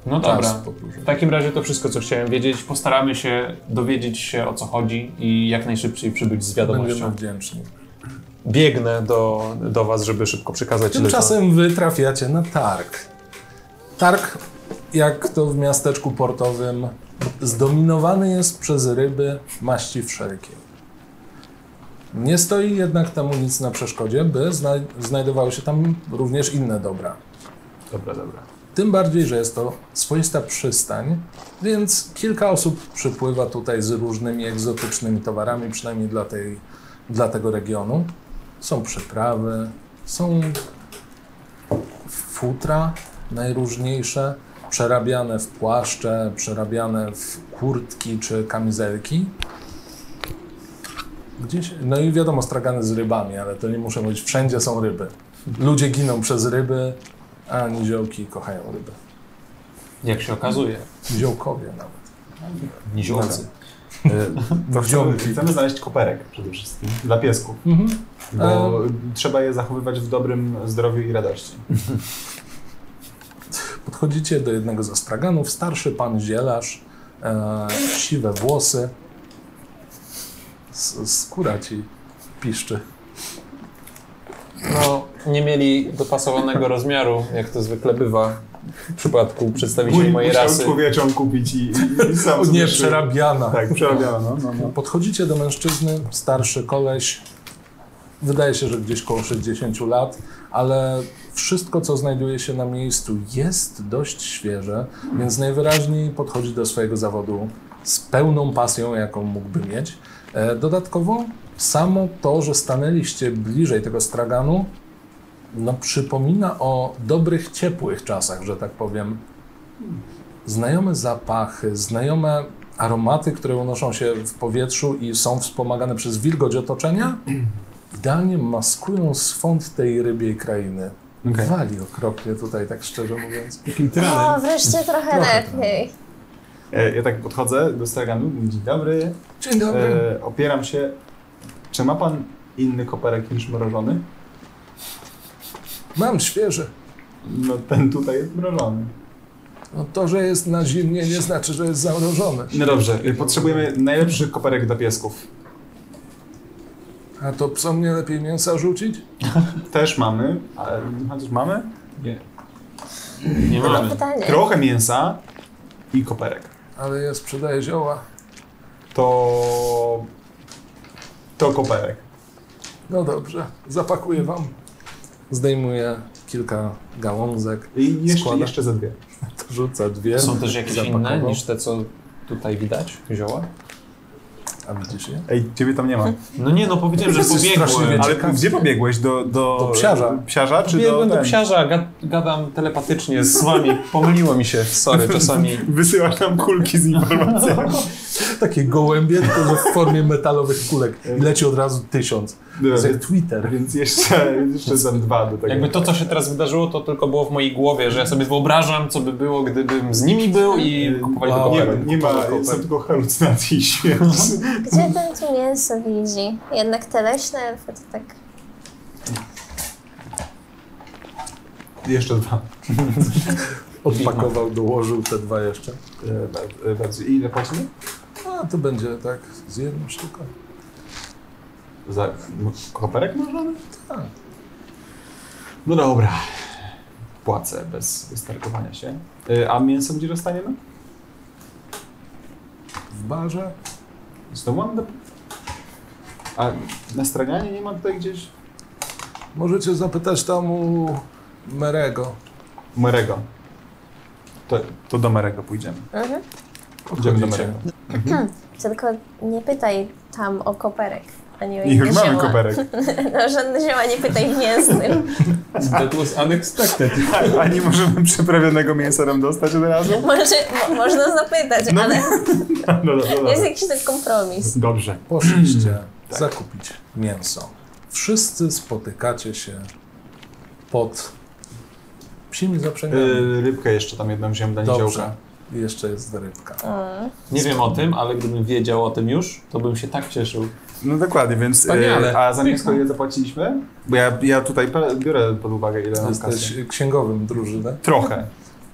Speaker 4: No
Speaker 8: Czas
Speaker 4: dobra.
Speaker 8: podróży.
Speaker 4: W takim razie to wszystko, co chciałem wiedzieć. Postaramy się dowiedzieć się, o co chodzi i jak najszybciej przybyć z
Speaker 8: Będziemy
Speaker 4: wiadomością.
Speaker 8: wdzięczni.
Speaker 4: Biegnę do, do was, żeby szybko przekazać ile to-
Speaker 8: Tymczasem wy trafiacie na targ. Targ, jak to w miasteczku portowym, zdominowany jest przez ryby maści wszelkiej. Nie stoi jednak temu nic na przeszkodzie, by zna- znajdowały się tam również inne dobra.
Speaker 3: Dobra, dobra.
Speaker 8: Tym bardziej, że jest to swoista przystań, więc kilka osób przypływa tutaj z różnymi egzotycznymi towarami, przynajmniej dla, tej, dla tego regionu. Są przyprawy, są futra najróżniejsze, przerabiane w płaszcze, przerabiane w kurtki czy kamizelki. Gdzieś, no i wiadomo, stragany z rybami, ale to nie muszę mówić, wszędzie są ryby. Ludzie giną przez ryby, a niziołki kochają ryby.
Speaker 4: Jak się okazuje.
Speaker 8: Niziołkowie nawet.
Speaker 4: Niziołcy.
Speaker 3: To chcemy, chcemy znaleźć koperek przede wszystkim dla piesków, bo trzeba je zachowywać w dobrym zdrowiu i radości.
Speaker 8: Podchodzicie do jednego ze straganów, starszy pan zielarz, e, siwe włosy. S- skóra ci piszczy.
Speaker 4: No, nie mieli dopasowanego rozmiaru, jak to zwykle bywa w przypadku przedstawicieli
Speaker 3: Mój
Speaker 4: mojej
Speaker 3: musiał
Speaker 4: rasy.
Speaker 3: człowieczą kupić i, i, i sam sobie-
Speaker 8: przerabiana.
Speaker 3: Tak, przerabiano, no, no, no.
Speaker 8: Podchodzicie do mężczyzny, starszy koleś, wydaje się, że gdzieś koło 60 lat, ale wszystko, co znajduje się na miejscu, jest dość świeże, więc najwyraźniej podchodzi do swojego zawodu z pełną pasją, jaką mógłby mieć. E, Dodatkowo samo to, że stanęliście bliżej tego straganu, no, przypomina o dobrych, ciepłych czasach, że tak powiem. Znajome zapachy, znajome aromaty, które unoszą się w powietrzu i są wspomagane przez wilgoć otoczenia, idealnie maskują swąd tej rybiej krainy. Wali okropnie tutaj, tak szczerze mówiąc.
Speaker 5: O, wreszcie trochę
Speaker 3: No.
Speaker 5: lepiej.
Speaker 3: E, Ja tak podchodzę do straganu, mówię, dzień dobry,
Speaker 8: Dzień dobry.
Speaker 3: e, opieram się. Czy ma pan inny koperek niż mrożony?
Speaker 8: Mam świeży.
Speaker 3: No ten tutaj jest mrożony.
Speaker 8: No to, że jest na zimnie, nie znaczy, że jest zamrożony.
Speaker 3: No dobrze, e, potrzebujemy najlepszych koperek dla piesków.
Speaker 8: A to psom nie lepiej mięsa rzucić?
Speaker 3: Też mamy, ale chociaż mamy?
Speaker 4: Nie mamy.
Speaker 5: Pytanie.
Speaker 3: Trochę mięsa i koperek.
Speaker 8: Ale ja sprzedaję zioła.
Speaker 3: To... To koperek.
Speaker 8: No dobrze, zapakuję wam. Zdejmuję kilka gałązek,
Speaker 3: I jeszcze,
Speaker 8: Składa.
Speaker 3: jeszcze ze dwie.
Speaker 8: rzucę dwie.
Speaker 4: Są też jakieś inne
Speaker 8: Zapakował.
Speaker 4: niż te, co tutaj widać, zioła?
Speaker 8: A widzisz je?
Speaker 3: Ej, ciebie tam nie ma.
Speaker 4: No nie, no powiedziałem, że
Speaker 8: Jesteś strasznie
Speaker 4: pobiegłem.
Speaker 8: wiedział.
Speaker 3: Ale
Speaker 8: Ciekawe.
Speaker 3: gdzie pobiegłeś? Do, do,
Speaker 8: Do psiarza.
Speaker 3: psiarza czy
Speaker 4: Biegłem do
Speaker 3: ten?
Speaker 4: psiarza, ga- gadam telepatycznie z wami. Pomyliło mi się, sorry, czasami.
Speaker 3: Wysyłasz nam kulki z informacjami.
Speaker 8: Takie gołębie, tylko że w formie metalowych kulek. I leci od razu tysiąc.
Speaker 3: Dobra,
Speaker 8: To
Speaker 3: więc-
Speaker 8: jak Twitter.
Speaker 3: Więc jeszcze, jeszcze tam dwa do tego.
Speaker 4: Jakby to, co się teraz wydarzyło, to tylko było w mojej głowie, że ja sobie wyobrażam, co by było, gdybym z nimi był i kupowali
Speaker 8: Wow.
Speaker 4: wow.
Speaker 3: nie,
Speaker 4: koperek.
Speaker 3: nie ma,
Speaker 4: Kupowali
Speaker 3: są
Speaker 4: koperek.
Speaker 3: tylko halucynacje i śmierć.
Speaker 5: Gdzie ten tu mięso widzi? Jednak te leśne elfy to tak...
Speaker 3: Jeszcze dwa.
Speaker 8: Odpakował, dołożył te dwa jeszcze.
Speaker 3: E, bar- e, bardzo. I ile płacimy?
Speaker 8: A to będzie tak z jedną sztuką.
Speaker 3: Za m- koperek możemy?
Speaker 8: Tak.
Speaker 3: No dobra. Płacę bez wystarkowania się. E, A mięso gdzie dostaniemy?
Speaker 8: W barze
Speaker 3: Znowu mam do... A na straganie nie ma tutaj gdzieś?
Speaker 8: możecie zapytać tam u Merego.
Speaker 3: Merego. To, to do Merego pójdziemy. Idziemy do
Speaker 8: Podchodzicie.
Speaker 3: Merego.
Speaker 5: Tylko nie pytaj tam o koperek, ani o
Speaker 3: I
Speaker 5: inne
Speaker 3: już mamy
Speaker 5: zioła.
Speaker 3: koperek.
Speaker 5: No, żadne zioła nie pytaj w mięsnym.
Speaker 6: That was unexpected.
Speaker 3: A, a nie możemy przeprawionego mięsa nam dostać od razu?
Speaker 5: Może, mo, można zapytać, ale
Speaker 3: No, no, no,
Speaker 5: jest jakiś ten kompromis.
Speaker 3: Dobrze.
Speaker 8: Poszliście
Speaker 3: Tak.
Speaker 8: zakupić mięso. Wszyscy spotykacie się pod psimi zaprzęgami.
Speaker 3: Y, rybkę jeszcze tam jedną wziąłem dla
Speaker 8: Dobrze.
Speaker 3: niziołka.
Speaker 8: I jeszcze jest rybka.
Speaker 4: Nie wiem o tym, ale gdybym wiedział o tym już, to bym się tak cieszył.
Speaker 3: No dokładnie, więc...
Speaker 6: Wspaniale.
Speaker 3: a za mięsko ile zapłaciliśmy? Bo ja, ja tutaj pe- biorę pod uwagę ile mam
Speaker 8: Jesteś
Speaker 3: kasy.
Speaker 8: księgowym drużyny.
Speaker 3: Trochę.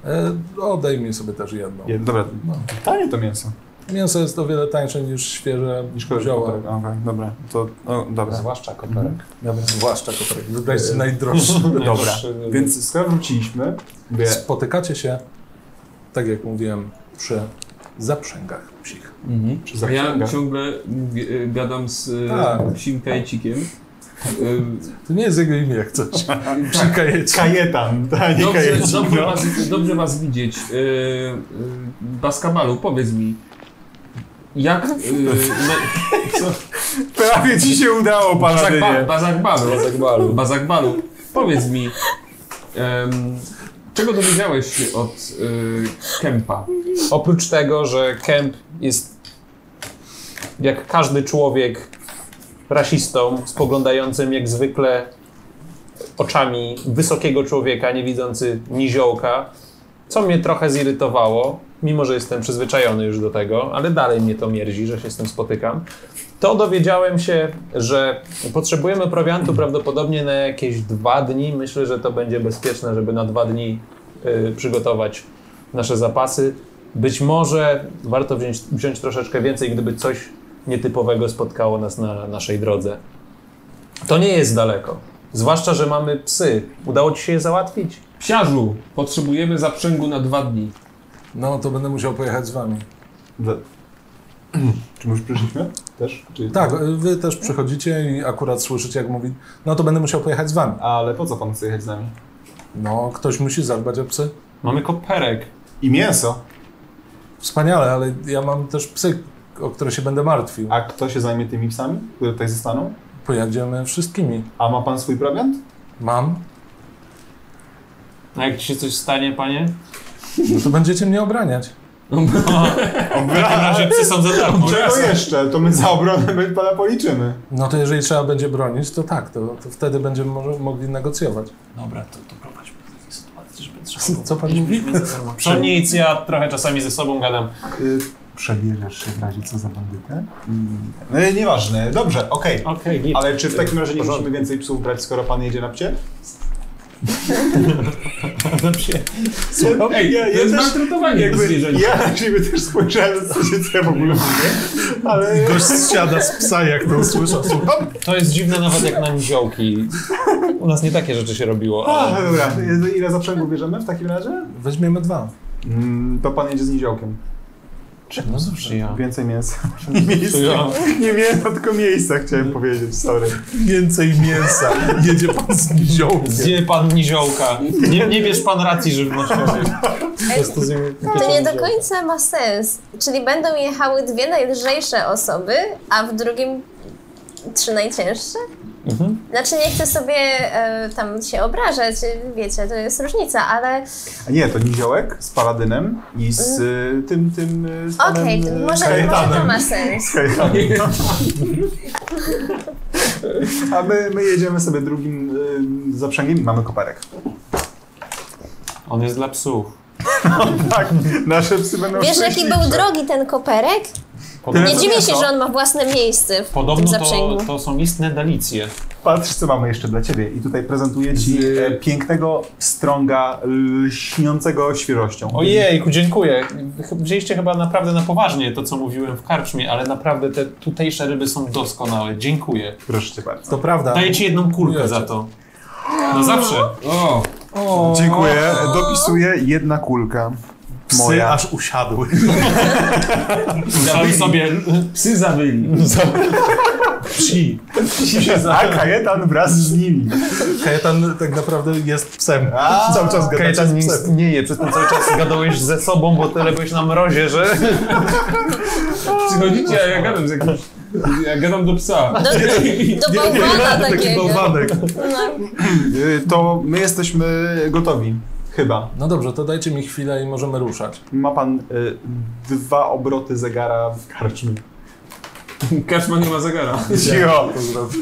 Speaker 8: E, odejmij sobie też jedną.
Speaker 3: Je, dobra,
Speaker 8: No.
Speaker 3: tanie to mięso.
Speaker 8: Mięso jest o wiele tańsze niż świeże
Speaker 3: Niż
Speaker 8: zioła.
Speaker 3: koperek. Okej, dobra. To, o, dobra.
Speaker 4: Zwłaszcza koperek.
Speaker 8: Dobra. Zwłaszcza koperek. Wybraliście najdroższy.
Speaker 3: Dobra,
Speaker 4: Najwyższy, nie wiem.
Speaker 3: więc skoro wróciliśmy, mówię,
Speaker 8: Spotykacie się, tak jak mówiłem, przy zaprzęgach psich.
Speaker 3: przy
Speaker 6: A ja
Speaker 3: zaprzęgach.
Speaker 6: ciągle mówię, y, gadam z
Speaker 8: Tak.
Speaker 6: tak. psim kajcikiem.
Speaker 2: To nie jest jego imię, jak coś. Przy kajecie.
Speaker 3: Kajetan, tak, nie
Speaker 6: Dobrze,
Speaker 3: kajetan.
Speaker 6: dobrze, was, dobrze was widzieć. Yy, yy, Baskamalu, powiedz mi, jak... Yy, no, co?
Speaker 3: Prawie ci się udało,
Speaker 6: Bazakba-
Speaker 3: paladynie.
Speaker 6: Bazakbalu. Bazakbalu. Bazakbalu. Powiedz mi, em, czego dowiedziałeś się od y, Kempa?
Speaker 4: Oprócz tego, że Kemp jest jak każdy człowiek rasistą, spoglądającym jak zwykle oczami wysokiego człowieka, nie widzący niziołka, co mnie trochę zirytowało, mimo że jestem przyzwyczajony już do tego, ale dalej mnie to mierzi, że się z tym spotykam. To dowiedziałem się, że potrzebujemy prowiantu prawdopodobnie na jakieś dwa dni. Myślę, że to będzie bezpieczne, żeby na dwa dni y, przygotować nasze zapasy. Być może warto wziąć, wziąć troszeczkę więcej, gdyby coś nietypowego spotkało nas na naszej drodze. To nie jest daleko. Zwłaszcza, że mamy psy. Udało ci się je załatwić?
Speaker 6: Psiarzu, potrzebujemy zaprzęgu na dwa dni.
Speaker 2: No, to będę musiał pojechać z wami.
Speaker 3: Dla- Czy my już przyszliśmy? Też? Czy...
Speaker 2: Tak, wy też przychodzicie i akurat słyszycie, jak mówi, no to będę musiał pojechać z wami.
Speaker 3: Ale po co pan chce jechać z nami?
Speaker 2: No, ktoś musi zadbać o psy.
Speaker 4: Mamy koperek.
Speaker 3: I mięso.
Speaker 2: Wspaniale, ale ja mam też psy, o które się będę martwił.
Speaker 3: A kto się zajmie tymi psami, które tutaj zostaną?
Speaker 2: Pojedziemy wszystkimi.
Speaker 3: A ma pan swój prowiant?
Speaker 2: Mam?
Speaker 4: A jak ci się coś stanie, panie?
Speaker 2: No to będziecie mnie obraniać.
Speaker 4: W takim razie psy są za darmo.
Speaker 3: Czego jeszcze? To my za obronę my pana policzymy.
Speaker 2: No to jeżeli trzeba będzie bronić, to tak, to, to wtedy będziemy może, mogli negocjować.
Speaker 8: Dobra, to, to prowadź mnie do takiej sytuacji, żeby trzeba
Speaker 2: Co pan mówi?
Speaker 4: To nic, ja trochę czasami ze sobą gadam.
Speaker 3: Y, Przebierasz się w razie co za bandytę? Mm. Nieważne, dobrze, okej.
Speaker 4: Okej,
Speaker 3: Ale czy w takim razie nie musimy więcej psów brać, skoro pan jedzie na psie?
Speaker 6: Ej, to jest maltretowanie jakby, zwierzęcia.
Speaker 3: Ja na siebie też spojrzałem, co się co ja w ogóle mówię, ale...
Speaker 2: Siada z psa, jak to usłyszał.
Speaker 4: To jest dziwne nawet jak na niziołki. U nas nie takie rzeczy się robiło, ale...
Speaker 3: A, dobra, ile zaprzęgu bierzemy w takim razie?
Speaker 2: Weźmiemy dwa.
Speaker 3: Mm, to pan jedzie z niziołkiem.
Speaker 4: No zawsze ja.
Speaker 3: Więcej mięsa. Nie mięsa, nie mięsa tylko miejsca chciałem powiedzieć, sorry.
Speaker 2: Więcej mięsa. Jedzie pan z niziołkiem.
Speaker 4: Zje pan niziołka. Nie, nie bierz pan racji żywnościowej.
Speaker 5: To nie do końca ma sens. Czyli będą jechały dwie najlżejsze osoby, a w drugim trzy najcięższe? Znaczy nie chcę sobie e, tam się obrażać, wiecie, to jest różnica, ale
Speaker 3: A nie, to niziołek z paladynem i z y, tym, tym... y, Z panem,
Speaker 5: okej,
Speaker 3: y,
Speaker 5: może, może to
Speaker 3: Kajetanem.
Speaker 5: ma sens.
Speaker 3: Kajetanem. no. A my, my jedziemy sobie drugim y, zaprzęgiem i mamy koparek.
Speaker 4: On jest dla psów.
Speaker 3: Tak, nasze psy będą
Speaker 5: Wiesz, jaki był
Speaker 3: szczęśliwsze.
Speaker 5: drogi ten koperek?
Speaker 3: Tyle
Speaker 5: Nie
Speaker 3: co
Speaker 5: dziwię się,
Speaker 3: mięso.
Speaker 5: że on ma własne miejsce w tym
Speaker 4: Podobno to,
Speaker 5: zaprzęgu.
Speaker 4: to są istne dalicje.
Speaker 3: Patrz, co mamy jeszcze dla ciebie. I tutaj prezentuję ci
Speaker 6: Z-
Speaker 3: e, pięknego strąga lśniącego świeżością.
Speaker 4: Ojejku, dziękuję. Ch- Wzięliście chyba naprawdę na poważnie to, co mówiłem w karczmie, ale naprawdę te tutejsze ryby są doskonałe. Dziękuję.
Speaker 3: Proszę cię bardzo.
Speaker 2: To prawda.
Speaker 4: Daję ci jedną kulkę za to. No zawsze.
Speaker 6: O,
Speaker 3: Dziękuję. Dopisuję jedna kulka. Moja.
Speaker 2: aż usiadły.
Speaker 4: Sami sobie
Speaker 6: psy zawyli.
Speaker 4: psi.
Speaker 3: A Kajetan wraz z nimi.
Speaker 2: Kajetan tak naprawdę jest psem.
Speaker 3: A,
Speaker 2: Cały czas gada
Speaker 4: Kajetan
Speaker 2: z
Speaker 4: Znaczy, nie
Speaker 2: psem.
Speaker 4: istnieje, przez ten cały czas gadałeś ze sobą, bo tyle byłeś na mrozie, że...
Speaker 6: Przychodzicie, a ja gadam z jakimś... Ja gadam do psa.
Speaker 5: Do, do bałwana
Speaker 2: Taki
Speaker 5: takiego.
Speaker 2: bałwanek.
Speaker 5: No.
Speaker 3: Y, To my jesteśmy gotowi. Chyba.
Speaker 2: No dobrze, to dajcie mi chwilę i możemy ruszać.
Speaker 3: Ma pan y, dwa obroty zegara w karczmie.
Speaker 6: Kaczma nie ma zegara.
Speaker 3: Cicho.
Speaker 2: To zrobię.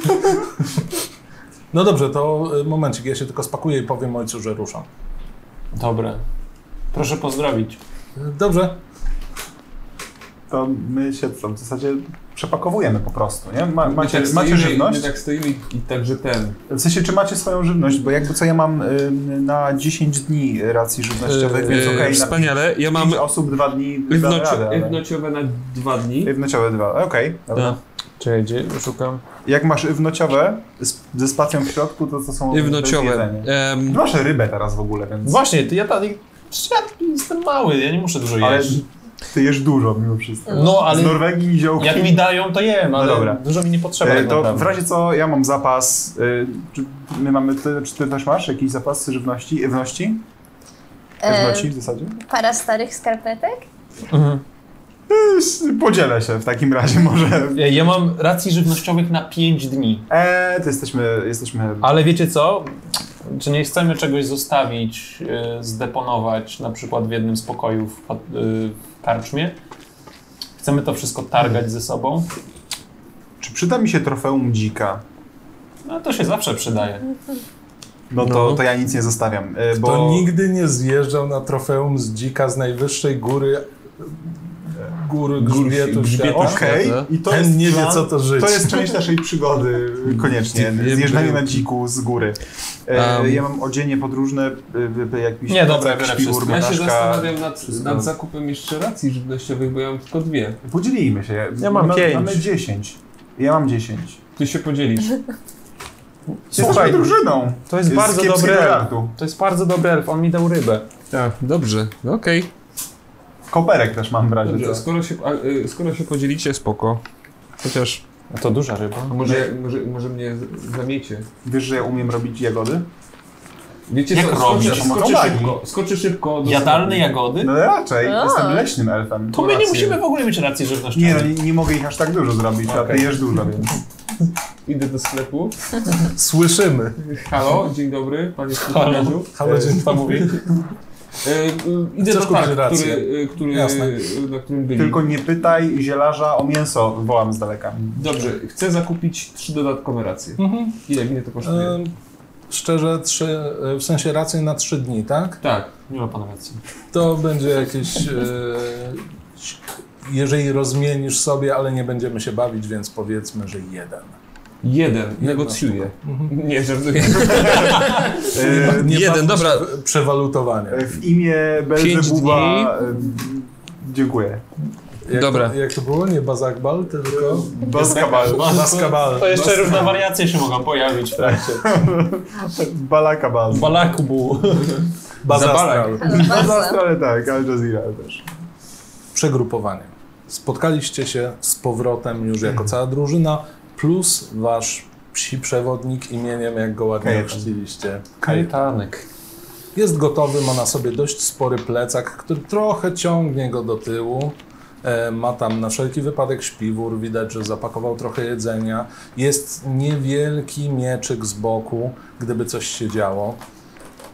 Speaker 2: No dobrze, to y, momencik, ja się tylko spakuję i powiem ojcu, że ruszam.
Speaker 4: Dobra. Proszę pozdrowić.
Speaker 2: Y, Dobrze,
Speaker 3: To my się w zasadzie przepakowujemy po prostu, nie? Ma,
Speaker 6: My
Speaker 3: macie
Speaker 6: tak
Speaker 3: macie
Speaker 6: stoimy i-
Speaker 3: żywność?
Speaker 6: My tak stoimy i, i także ten.
Speaker 3: W sensie, czy macie swoją żywność? Bo jakby co, ja mam y, na 10 dni racji żywnościowych,
Speaker 6: Y,
Speaker 3: więc okej, na
Speaker 6: E, wspaniale, ja mam
Speaker 3: 5 osób dwa dni damy radę,
Speaker 6: Rywnocio-
Speaker 3: ale-
Speaker 6: rywnociowe na dwa dni.
Speaker 3: Rywnociowe dwa, okej. dobra.
Speaker 6: Tak.
Speaker 4: Czekaj, gdzie? Szukam.
Speaker 3: Jak masz rywnociowe z, ze spacją w środku, to to są to jest
Speaker 6: Rywnociowe.
Speaker 3: jedzenie.
Speaker 6: Em,
Speaker 3: Masz rybę teraz w ogóle, więc...
Speaker 4: tak- Właśnie, ty, ja, ta, ja jestem mały, ja nie muszę dużo
Speaker 3: Ale
Speaker 4: jeść.
Speaker 3: Ty jesz dużo mimo wszystko.
Speaker 4: No, ale
Speaker 3: Z Norwegii i ziołki.
Speaker 4: jak mi dają, to jem, ale
Speaker 3: dobra.
Speaker 4: dużo mi nie potrzeba.
Speaker 3: E,
Speaker 4: tak
Speaker 3: To
Speaker 4: naprawdę.
Speaker 3: w razie co, ja mam zapas. e, Czy my mamy, ty, czy ty też masz jakiś zapas żywności? Ewności?
Speaker 5: E.
Speaker 3: Ewności w zasadzie?
Speaker 5: Para starych skarpetek?
Speaker 3: E, Podzielę się w takim razie może.
Speaker 4: E, Ja- Ja mam racji żywnościowych na 5 dni.
Speaker 3: E, to jesteśmy, jesteśmy...
Speaker 4: Ale wiecie co? Czy nie chcemy czegoś zostawić, e, zdeponować na przykład w jednym z pokojów w, pat- y, w karczmie? Chcemy to wszystko targać ze sobą?
Speaker 3: Czy przyda mi się trofeum dzika?
Speaker 4: No to się zawsze przydaje.
Speaker 3: No to, to ja nic nie zostawiam, e, bo...
Speaker 2: To nigdy nie zjeżdżał na trofeum z dzika z najwyższej góry góry grzbietu świata.
Speaker 3: Okej,
Speaker 6: Okej.
Speaker 3: i to
Speaker 2: Ten
Speaker 3: jest
Speaker 2: nie wie,
Speaker 3: plan-
Speaker 2: co to żyć.
Speaker 3: To jest część naszej przygody, koniecznie.
Speaker 6: Dzikie
Speaker 3: Zjeżdżanie
Speaker 6: bryłki.
Speaker 3: na dziku z góry. E,
Speaker 6: Em.
Speaker 3: ja mam odzienie podróżne, y, y, jakiś
Speaker 4: Nie, dobra, biorę
Speaker 3: śpiwór,
Speaker 4: wszystko.
Speaker 6: Ja się
Speaker 3: mataszka.
Speaker 6: zastanawiam nad,
Speaker 3: No, wszystko.
Speaker 6: nad zakupem jeszcze racji żywnościowych, bo ja mam tylko dwie.
Speaker 3: Podzielimy się. Ja,
Speaker 4: mam
Speaker 3: ma-
Speaker 4: pięć.
Speaker 3: Mamy 10. Ja mam 10.
Speaker 6: Ty się podzielisz.
Speaker 3: Jesteśmy drużyną.
Speaker 4: to jest
Speaker 3: Z
Speaker 4: bardzo
Speaker 3: kiepskiego
Speaker 4: dobre.
Speaker 3: żartu.
Speaker 4: To jest bardzo dobry elf, on mi dał rybę.
Speaker 3: Tak,
Speaker 6: Dobrze,
Speaker 3: No,
Speaker 6: okej.
Speaker 3: Koperek też mam w razie.
Speaker 6: Dobrze,
Speaker 3: co.
Speaker 6: a skoro się, a, y, skoro się podzielicie, spoko. Chociaż
Speaker 4: No to duża ryba.
Speaker 6: a może, może, może mnie z- zamiecie.
Speaker 3: Wiesz, że ja umiem robić jagody?
Speaker 6: Wiecie
Speaker 4: Jak
Speaker 6: co,
Speaker 4: robisz?
Speaker 6: skoczy, skoczy
Speaker 3: Pomagaj.
Speaker 6: szybko, skoczy szybko. do
Speaker 4: Jadalne
Speaker 6: sklepu.
Speaker 4: jagody?
Speaker 3: No raczej,
Speaker 5: A.
Speaker 3: jestem leśnym elfem.
Speaker 4: To my nie
Speaker 6: rację.
Speaker 4: musimy w ogóle mieć racji
Speaker 3: Nie, no,
Speaker 4: żywnościowej.
Speaker 3: nie, nie mogę ich aż tak dużo zrobić, a
Speaker 6: Okej.
Speaker 3: ty jesz dużo, więc...
Speaker 6: Idę do sklepu.
Speaker 2: Słyszymy.
Speaker 6: Halo, dzień dobry, panie sklepiarzu.
Speaker 2: Halo, dzień
Speaker 4: Co mówi?
Speaker 6: Y, y, Idę
Speaker 2: Chcesz
Speaker 6: do
Speaker 2: kupić
Speaker 6: targ,
Speaker 2: rację.
Speaker 6: który, y, który,
Speaker 2: Jasne.
Speaker 6: y, na którym byli.
Speaker 3: Tylko nie pytaj zielarza o mięso, wołam z daleka.
Speaker 6: Dobrze, chcę zakupić trzy dodatkowe racje.
Speaker 2: Mhm.
Speaker 6: Ile mnie to kosztuje?
Speaker 2: E, szczerze, trzy, e, w sensie rację na trzy dni, tak?
Speaker 6: Tak.
Speaker 4: Nie ma pan racji.
Speaker 2: To będzie jakieś... E, jeżeli rozmienisz sobie, ale nie będziemy się bawić, więc powiedzmy, że jeden.
Speaker 6: Jeden, negocjuję. Nie, żartuję.
Speaker 3: E,
Speaker 2: Mhm. Nie
Speaker 6: Jeden,
Speaker 2: bawisz
Speaker 6: dobra.
Speaker 2: w Przewalutowanie.
Speaker 3: W imię
Speaker 6: dni.
Speaker 3: Belzebuba. e, Dziękuję.
Speaker 2: Jak
Speaker 6: Dobra.
Speaker 2: To, jak to było? Nie Bazakbal, tylko...
Speaker 3: Baskabal.
Speaker 2: Baskabal.
Speaker 4: To jeszcze różne wariacje się mogą pojawić w
Speaker 6: Tak.
Speaker 4: trakcie.
Speaker 3: Balakabal.
Speaker 4: Balakbu.
Speaker 2: Bazastral.
Speaker 5: Ale bardzo.
Speaker 3: Bazastro, ale tak, Al Jazeera też.
Speaker 2: Przegrupowanie. Spotkaliście się z powrotem już jako cała drużyna, plus wasz psi przewodnik imieniem, jak go ładnie
Speaker 3: Kajetan.
Speaker 2: określiliście.
Speaker 4: Kajtanek.
Speaker 2: Jest gotowy, ma na sobie dość spory plecak, który trochę ciągnie go do tyłu. E, Ma tam na wszelki wypadek śpiwór, widać, że zapakował trochę jedzenia. Jest niewielki mieczyk z boku, gdyby coś się działo.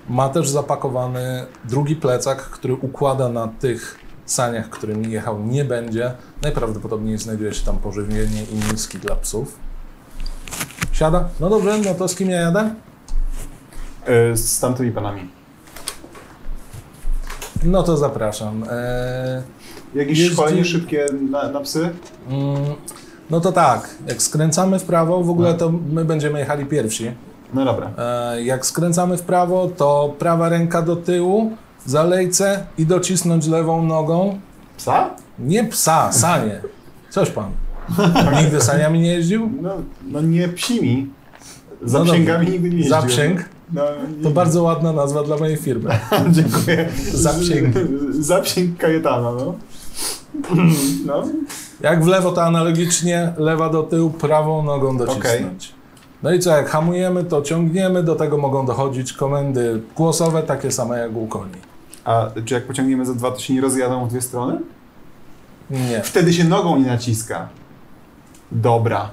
Speaker 2: Ma też zapakowany drugi plecak, który układa na tych saniach, którymi jechał, nie będzie. Najprawdopodobniej znajduje się tam pożywienie i miski dla psów. Siada? No dobrze, no to z kim ja jadę?
Speaker 3: E, Z tamtymi panami.
Speaker 2: No to zapraszam. E,
Speaker 3: Jakieś
Speaker 2: Jeździ-
Speaker 3: szkolenie szybkie na, na psy?
Speaker 2: Mm, No to tak, jak skręcamy w prawo, w ogóle to my będziemy jechali pierwsi.
Speaker 3: No dobra.
Speaker 2: E, Jak skręcamy w prawo, to prawa ręka do tyłu, zalejce i docisnąć lewą nogą.
Speaker 3: Psa?
Speaker 2: Nie psa, sanie. Coś pan. Nigdy saniami nie jeździł?
Speaker 3: No, no nie psimi. Za
Speaker 2: No
Speaker 3: psięgami
Speaker 2: dobra.
Speaker 3: nigdy nie jeździłem.
Speaker 2: Zapsięg.
Speaker 3: No,
Speaker 2: To
Speaker 3: nie-
Speaker 2: bardzo ładna nazwa dla mojej firmy.
Speaker 3: Dziękuję.
Speaker 2: Zapsięg.
Speaker 3: Zapsięg Kajetana, no. No,
Speaker 2: Jak w lewo, to analogicznie lewa do tyłu, prawą nogą docisnąć. No i co, jak hamujemy, to ciągniemy, do tego mogą dochodzić komendy głosowe, takie same jak u koni.
Speaker 3: A czy jak pociągniemy za dwa, to się nie rozjadą w dwie strony?
Speaker 2: Nie.
Speaker 3: Wtedy się nogą nie naciska. Dobra.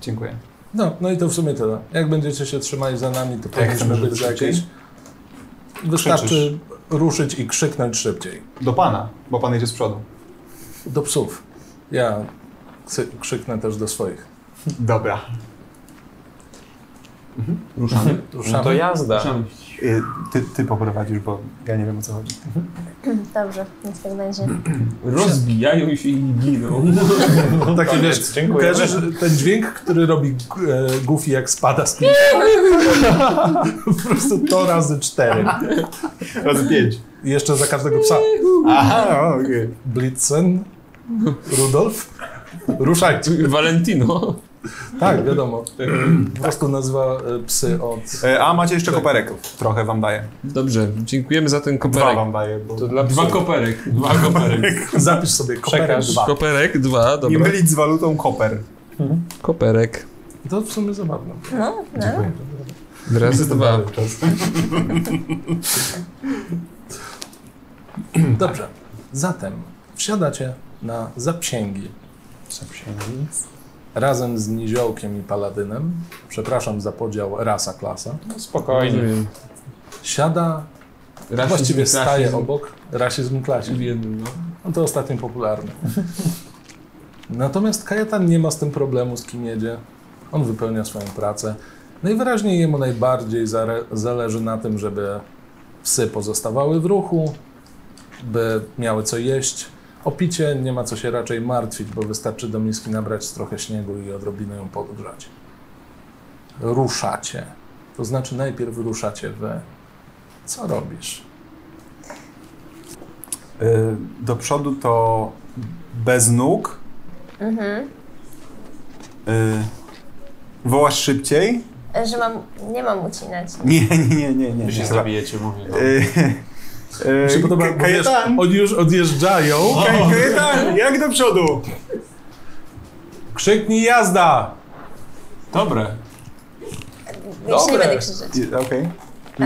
Speaker 3: Dziękuję.
Speaker 2: No, no i to w sumie tyle. Jak będziecie się trzymali za nami, to
Speaker 3: chcemy,
Speaker 2: powinniśmy
Speaker 3: żeby
Speaker 2: być za
Speaker 3: szybciej?
Speaker 2: jakieś... Wystarczy
Speaker 3: Krzyczysz.
Speaker 2: ruszyć i krzyknąć szybciej.
Speaker 3: Do pana, bo pan jedzie z przodu.
Speaker 2: Do psów. Ja ksy- krzyknę też do swoich.
Speaker 3: Dobra.
Speaker 6: Ruszamy.
Speaker 2: Ruszamy.
Speaker 4: No to jazda.
Speaker 6: Ruszamy.
Speaker 3: Y, Ty, ty poprowadzisz, bo ja nie wiem o co chodzi.
Speaker 5: Dobrze, niech tak będzie.
Speaker 6: Rozbijają się i giną.
Speaker 8: Tak,
Speaker 2: Taki, wiesz,
Speaker 4: dziękuję.
Speaker 2: kojarzysz ten dźwięk, który robi g- e, Goofy jak spada z klifu? Po prostu to razy cztery.
Speaker 3: Raz pięć.
Speaker 2: I Jeszcze za każdego psa.
Speaker 3: Aha, okej.
Speaker 2: Blitzen, Rudolf, ruszajcie.
Speaker 6: Valentino.
Speaker 8: Tak, wiadomo. Po prostu nazywa e, psy od...
Speaker 3: E, A macie jeszcze koperek. Trochę wam daję.
Speaker 6: Dobrze, dziękujemy za ten
Speaker 3: Dwa
Speaker 6: koperek.
Speaker 3: wam daję. Bo...
Speaker 4: To dla psów.
Speaker 6: koperek.
Speaker 4: Dwa koperek.
Speaker 8: Zapisz sobie koperek
Speaker 4: Przekaż.
Speaker 8: dwa.
Speaker 6: Koperek, dwa,
Speaker 3: Nie
Speaker 6: dobra.
Speaker 3: mylić z walutą koper.
Speaker 6: Koperek.
Speaker 8: To w sumie zabawne.
Speaker 5: No, no.
Speaker 6: Razy dwa.
Speaker 8: Dobrze. Zatem wsiadacie na zapsięgi. Razem z Niziołkiem i Paladynem, przepraszam za podział rasa klasa,
Speaker 4: Spokojnie.
Speaker 6: Rozumiem.
Speaker 8: siada,
Speaker 6: Rasizm,
Speaker 8: właściwie
Speaker 6: rasizm
Speaker 8: staje obok rasizm klasie.
Speaker 6: w jednym, no.
Speaker 8: No to ostatnio popularny. Natomiast Kajetan nie ma z tym problemu, z kim jedzie. On wypełnia swoją pracę. Najwyraźniej jemu najbardziej zare- zależy na tym, żeby psy pozostawały w ruchu, by miały co jeść. O picie nie ma co się raczej martwić, bo wystarczy do miski nabrać trochę śniegu i odrobinę ją podgrzać. Ruszacie. To znaczy najpierw ruszacie wy. Co robisz?
Speaker 3: Y, do przodu to bez nóg. Mhm. Wołasz szybciej?
Speaker 5: E, Że mam, nie mam ucinać.
Speaker 3: Nie, nie, nie, nie. nie,
Speaker 4: Wy się
Speaker 3: nie.
Speaker 4: zabijecie, mówię. no. wam.
Speaker 3: Y, y,
Speaker 8: Mi się podoba,
Speaker 3: K-
Speaker 8: bo wiesz,
Speaker 3: Kajetan!
Speaker 8: oni już odjeżdżają.
Speaker 3: Kaj- Kajetan! Jak do przodu?
Speaker 8: Krzyknij jazda!
Speaker 4: Dobre.
Speaker 5: Ja się nie
Speaker 4: Dobre.
Speaker 5: będę krzyczeć.
Speaker 3: Y, Okej.
Speaker 5: A,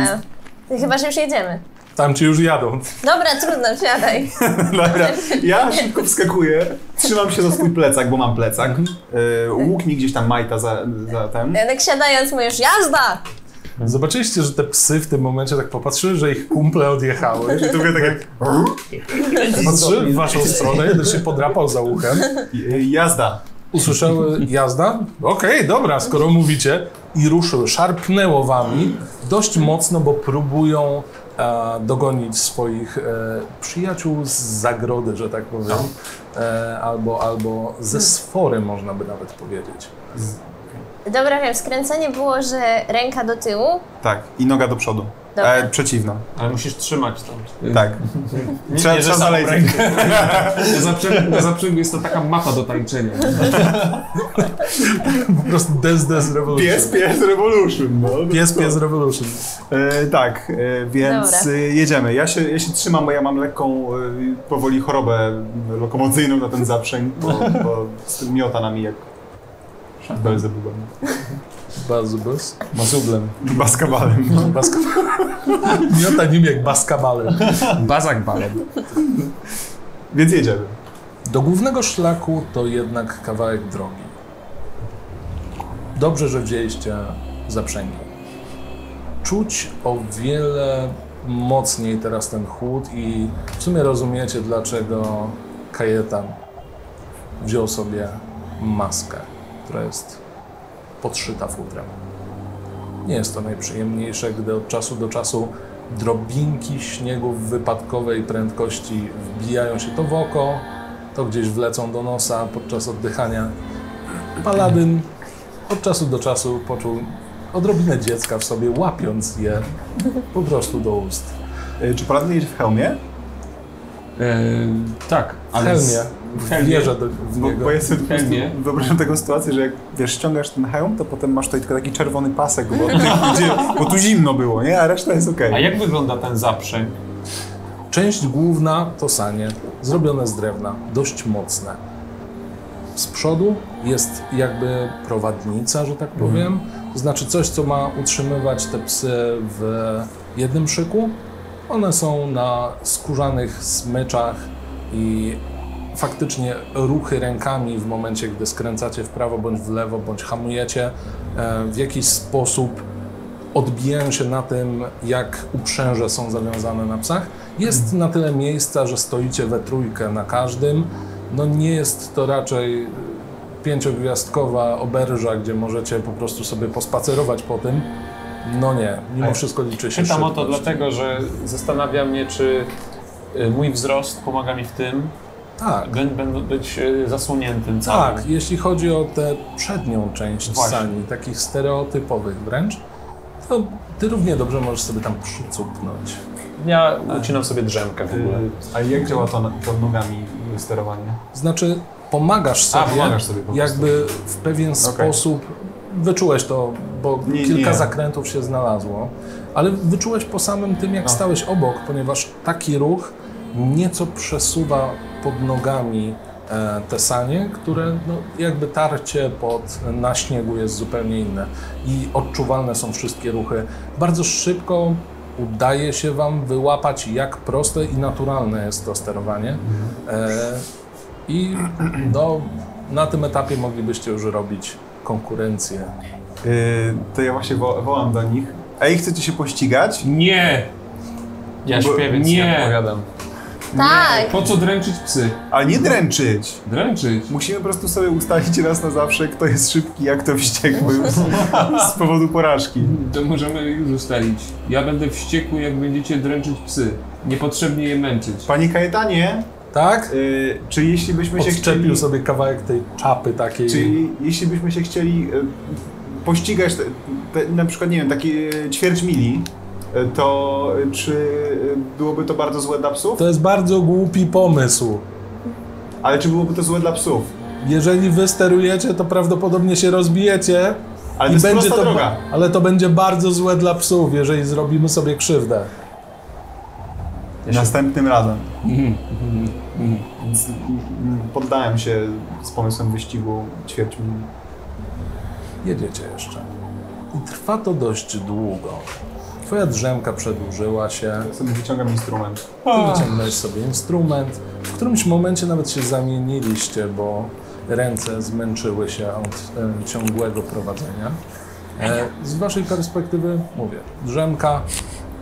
Speaker 5: E, chyba, że już jedziemy.
Speaker 8: Tam ci już jadą.
Speaker 5: Dobra, trudno, wsiadaj.
Speaker 3: Dobra, ja szybko wskakuję, trzymam się za swój plecak, bo mam plecak. Yy, łuk mi gdzieś tam majta za, za ten.
Speaker 5: Tak siadając mówisz, jazda!
Speaker 8: Zobaczyliście, że te psy w tym momencie tak popatrzyły, że ich kumple odjechały.
Speaker 3: I tu mówię takie...
Speaker 8: Patrzyły w waszą stronę, jeden się podrapał za uchem.
Speaker 3: Y, Jazda.
Speaker 8: Usłyszały jazda. Okej, dobra, skoro mówicie. I ruszyły. Szarpnęło wami dość mocno, bo próbują e, dogonić swoich e, przyjaciół z zagrody, że tak powiem. E, albo, albo ze sfory, można by nawet powiedzieć.
Speaker 5: Dobra, wiem, skręcenie było, że ręka do tyłu.
Speaker 3: Tak, i noga do przodu.
Speaker 5: Dobra.
Speaker 3: E, przeciwna.
Speaker 4: Ale musisz trzymać to.
Speaker 3: Tak. Trzeba,
Speaker 4: nie, że
Speaker 3: trzeba
Speaker 4: samą
Speaker 3: dalej.
Speaker 6: Na zaprzęgu, na zaprzęgu jest znaczy, to taka mapa do tańczenia.
Speaker 8: Po prostu des, des revolution.
Speaker 3: Pies, pies, revolution. No.
Speaker 8: Pies, pies revolution.
Speaker 3: E, tak, e, więc
Speaker 5: Dobra.
Speaker 3: e, jedziemy. Ja się, ja się trzymam, bo ja mam lekką, e, powoli chorobę lokomocyjną na ten zaprzęg, bo, bo z tym miota nami jak... Belzebubem.
Speaker 8: Bazubus.
Speaker 3: Mazublem. Baskabalem. No.
Speaker 8: Miota nim jak baskabale.
Speaker 6: Bazak balem.
Speaker 3: Więc jedziemy.
Speaker 8: Do głównego szlaku to jednak kawałek drogi. Dobrze, że wzięliście zaprzęgi. Czuć o wiele mocniej teraz ten chłód i w sumie rozumiecie, dlaczego Kajetan wziął sobie maskę, która jest podszyta futrem. Nie jest to najprzyjemniejsze, gdy od czasu do czasu drobinki śniegu w wypadkowej prędkości wbijają się to w oko, to gdzieś wlecą do nosa podczas oddychania. Paladyn od czasu do czasu poczuł odrobinę dziecka w sobie, łapiąc je po prostu do ust.
Speaker 3: E, Czy paladyn jedzie w hełmie?
Speaker 6: tak,
Speaker 8: W
Speaker 6: ale z-
Speaker 8: hełmie wjeżdża do, w
Speaker 3: Bo,
Speaker 8: niego.
Speaker 3: bo ja sobie po prostu
Speaker 6: Hełmie.
Speaker 3: wyobrażam taką sytuację, że jak wiesz, ściągasz ten hełm, to potem masz tutaj tylko taki czerwony pasek, bo, gdzie, bo tu zimno było, nie? A reszta jest okej.
Speaker 4: A jak wygląda ten zaprzęg?
Speaker 8: Część główna to sanie, zrobione z drewna, dość mocne. Z przodu jest jakby prowadnica, że tak powiem, to znaczy coś, co ma utrzymywać te psy w jednym szyku. One są na skórzanych smyczach i faktycznie ruchy rękami w momencie, gdy skręcacie w prawo bądź w lewo, bądź hamujecie, e, w jakiś sposób odbijają się na tym, jak uprzęże są zawiązane na psach. Jest
Speaker 4: Mhm.
Speaker 8: na tyle miejsca, że stoicie we trójkę na każdym. No nie jest to raczej pięciogwiazdkowa oberża, gdzie możecie po prostu sobie pospacerować po tym. No nie, mimo
Speaker 4: Ale
Speaker 8: wszystko liczy się
Speaker 4: Tak. Pytam o to
Speaker 8: szybkość.
Speaker 4: dlatego, że zastanawia mnie, czy y, mój wzrost pomaga mi w tym,
Speaker 8: Tak,
Speaker 4: bę- będę być y, zasłoniętym całym.
Speaker 8: tak. Jeśli chodzi o tę przednią część
Speaker 4: Właśnie.
Speaker 8: sani, takich stereotypowych wręcz, to ty równie dobrze możesz sobie tam przycupnąć.
Speaker 4: Ja ucinam sobie drzemkę
Speaker 3: Y,
Speaker 4: w ogóle.
Speaker 3: A jak działa to, na- to nogami y, sterowanie?
Speaker 8: Znaczy,
Speaker 2: pomagasz sobie,
Speaker 3: A, pomagasz sobie po
Speaker 2: jakby w pewien sposób wyczułeś to, bo
Speaker 3: Nie,
Speaker 2: kilka
Speaker 3: nie.
Speaker 2: zakrętów się znalazło, ale wyczułeś po samym tym, jak stałeś obok, ponieważ taki ruch nieco przesuwa pod nogami e, te sanie, które no, jakby tarcie pod, na śniegu jest zupełnie inne i odczuwalne są wszystkie ruchy. Bardzo szybko udaje się Wam wyłapać, jak proste i naturalne jest to sterowanie. E, i no, na tym etapie moglibyście już robić konkurencję.
Speaker 3: Yy, to ja właśnie wo- wołam do nich. Ej, chcecie się pościgać?
Speaker 6: Nie!
Speaker 4: Ja
Speaker 3: Bo-
Speaker 4: śpię, więc nie,
Speaker 6: nie.
Speaker 4: odpowiadam.
Speaker 5: Tak,
Speaker 6: Po co dręczyć psy?
Speaker 3: Ale nie dręczyć!
Speaker 6: Dręczyć.
Speaker 3: Musimy po prostu sobie ustalić raz na zawsze, kto jest szybki, a kto wściekły z powodu porażki.
Speaker 6: To możemy już ustalić. Ja będę wściekły, jak będziecie dręczyć psy. Niepotrzebnie je męczyć.
Speaker 3: Panie Kajetanie,
Speaker 2: Tak?
Speaker 3: yy, czy jeśli byśmy się chcieli...
Speaker 2: Odczepił sobie kawałek tej czapy takiej.
Speaker 3: Czyli jeśli byśmy się chcieli e, pościgać, te, te, na przykład, nie wiem, taki e, ćwierć mili, e, to e, czy e, byłoby to bardzo złe dla psów?
Speaker 2: To jest bardzo głupi pomysł.
Speaker 3: Ale czy byłoby to złe dla psów?
Speaker 2: Jeżeli wy sterujecie, to prawdopodobnie się rozbijecie.
Speaker 3: Ale to jest prosta
Speaker 2: to,
Speaker 3: droga.
Speaker 2: ale to będzie bardzo złe dla psów, jeżeli zrobimy sobie krzywdę.
Speaker 3: Następnym razem. Z- m- Poddałem się z pomysłem wyścigu ćwierć mili.
Speaker 2: Jedziecie jeszcze. I trwa to dość długo. Twoja drzemka przedłużyła się.
Speaker 3: Ja sobie wyciągam instrument.
Speaker 2: Wyciągnąłeś sobie instrument. W którymś momencie nawet się zamieniliście, bo ręce zmęczyły się od e, ciągłego prowadzenia. E, z waszej perspektywy, mówię, drzemka,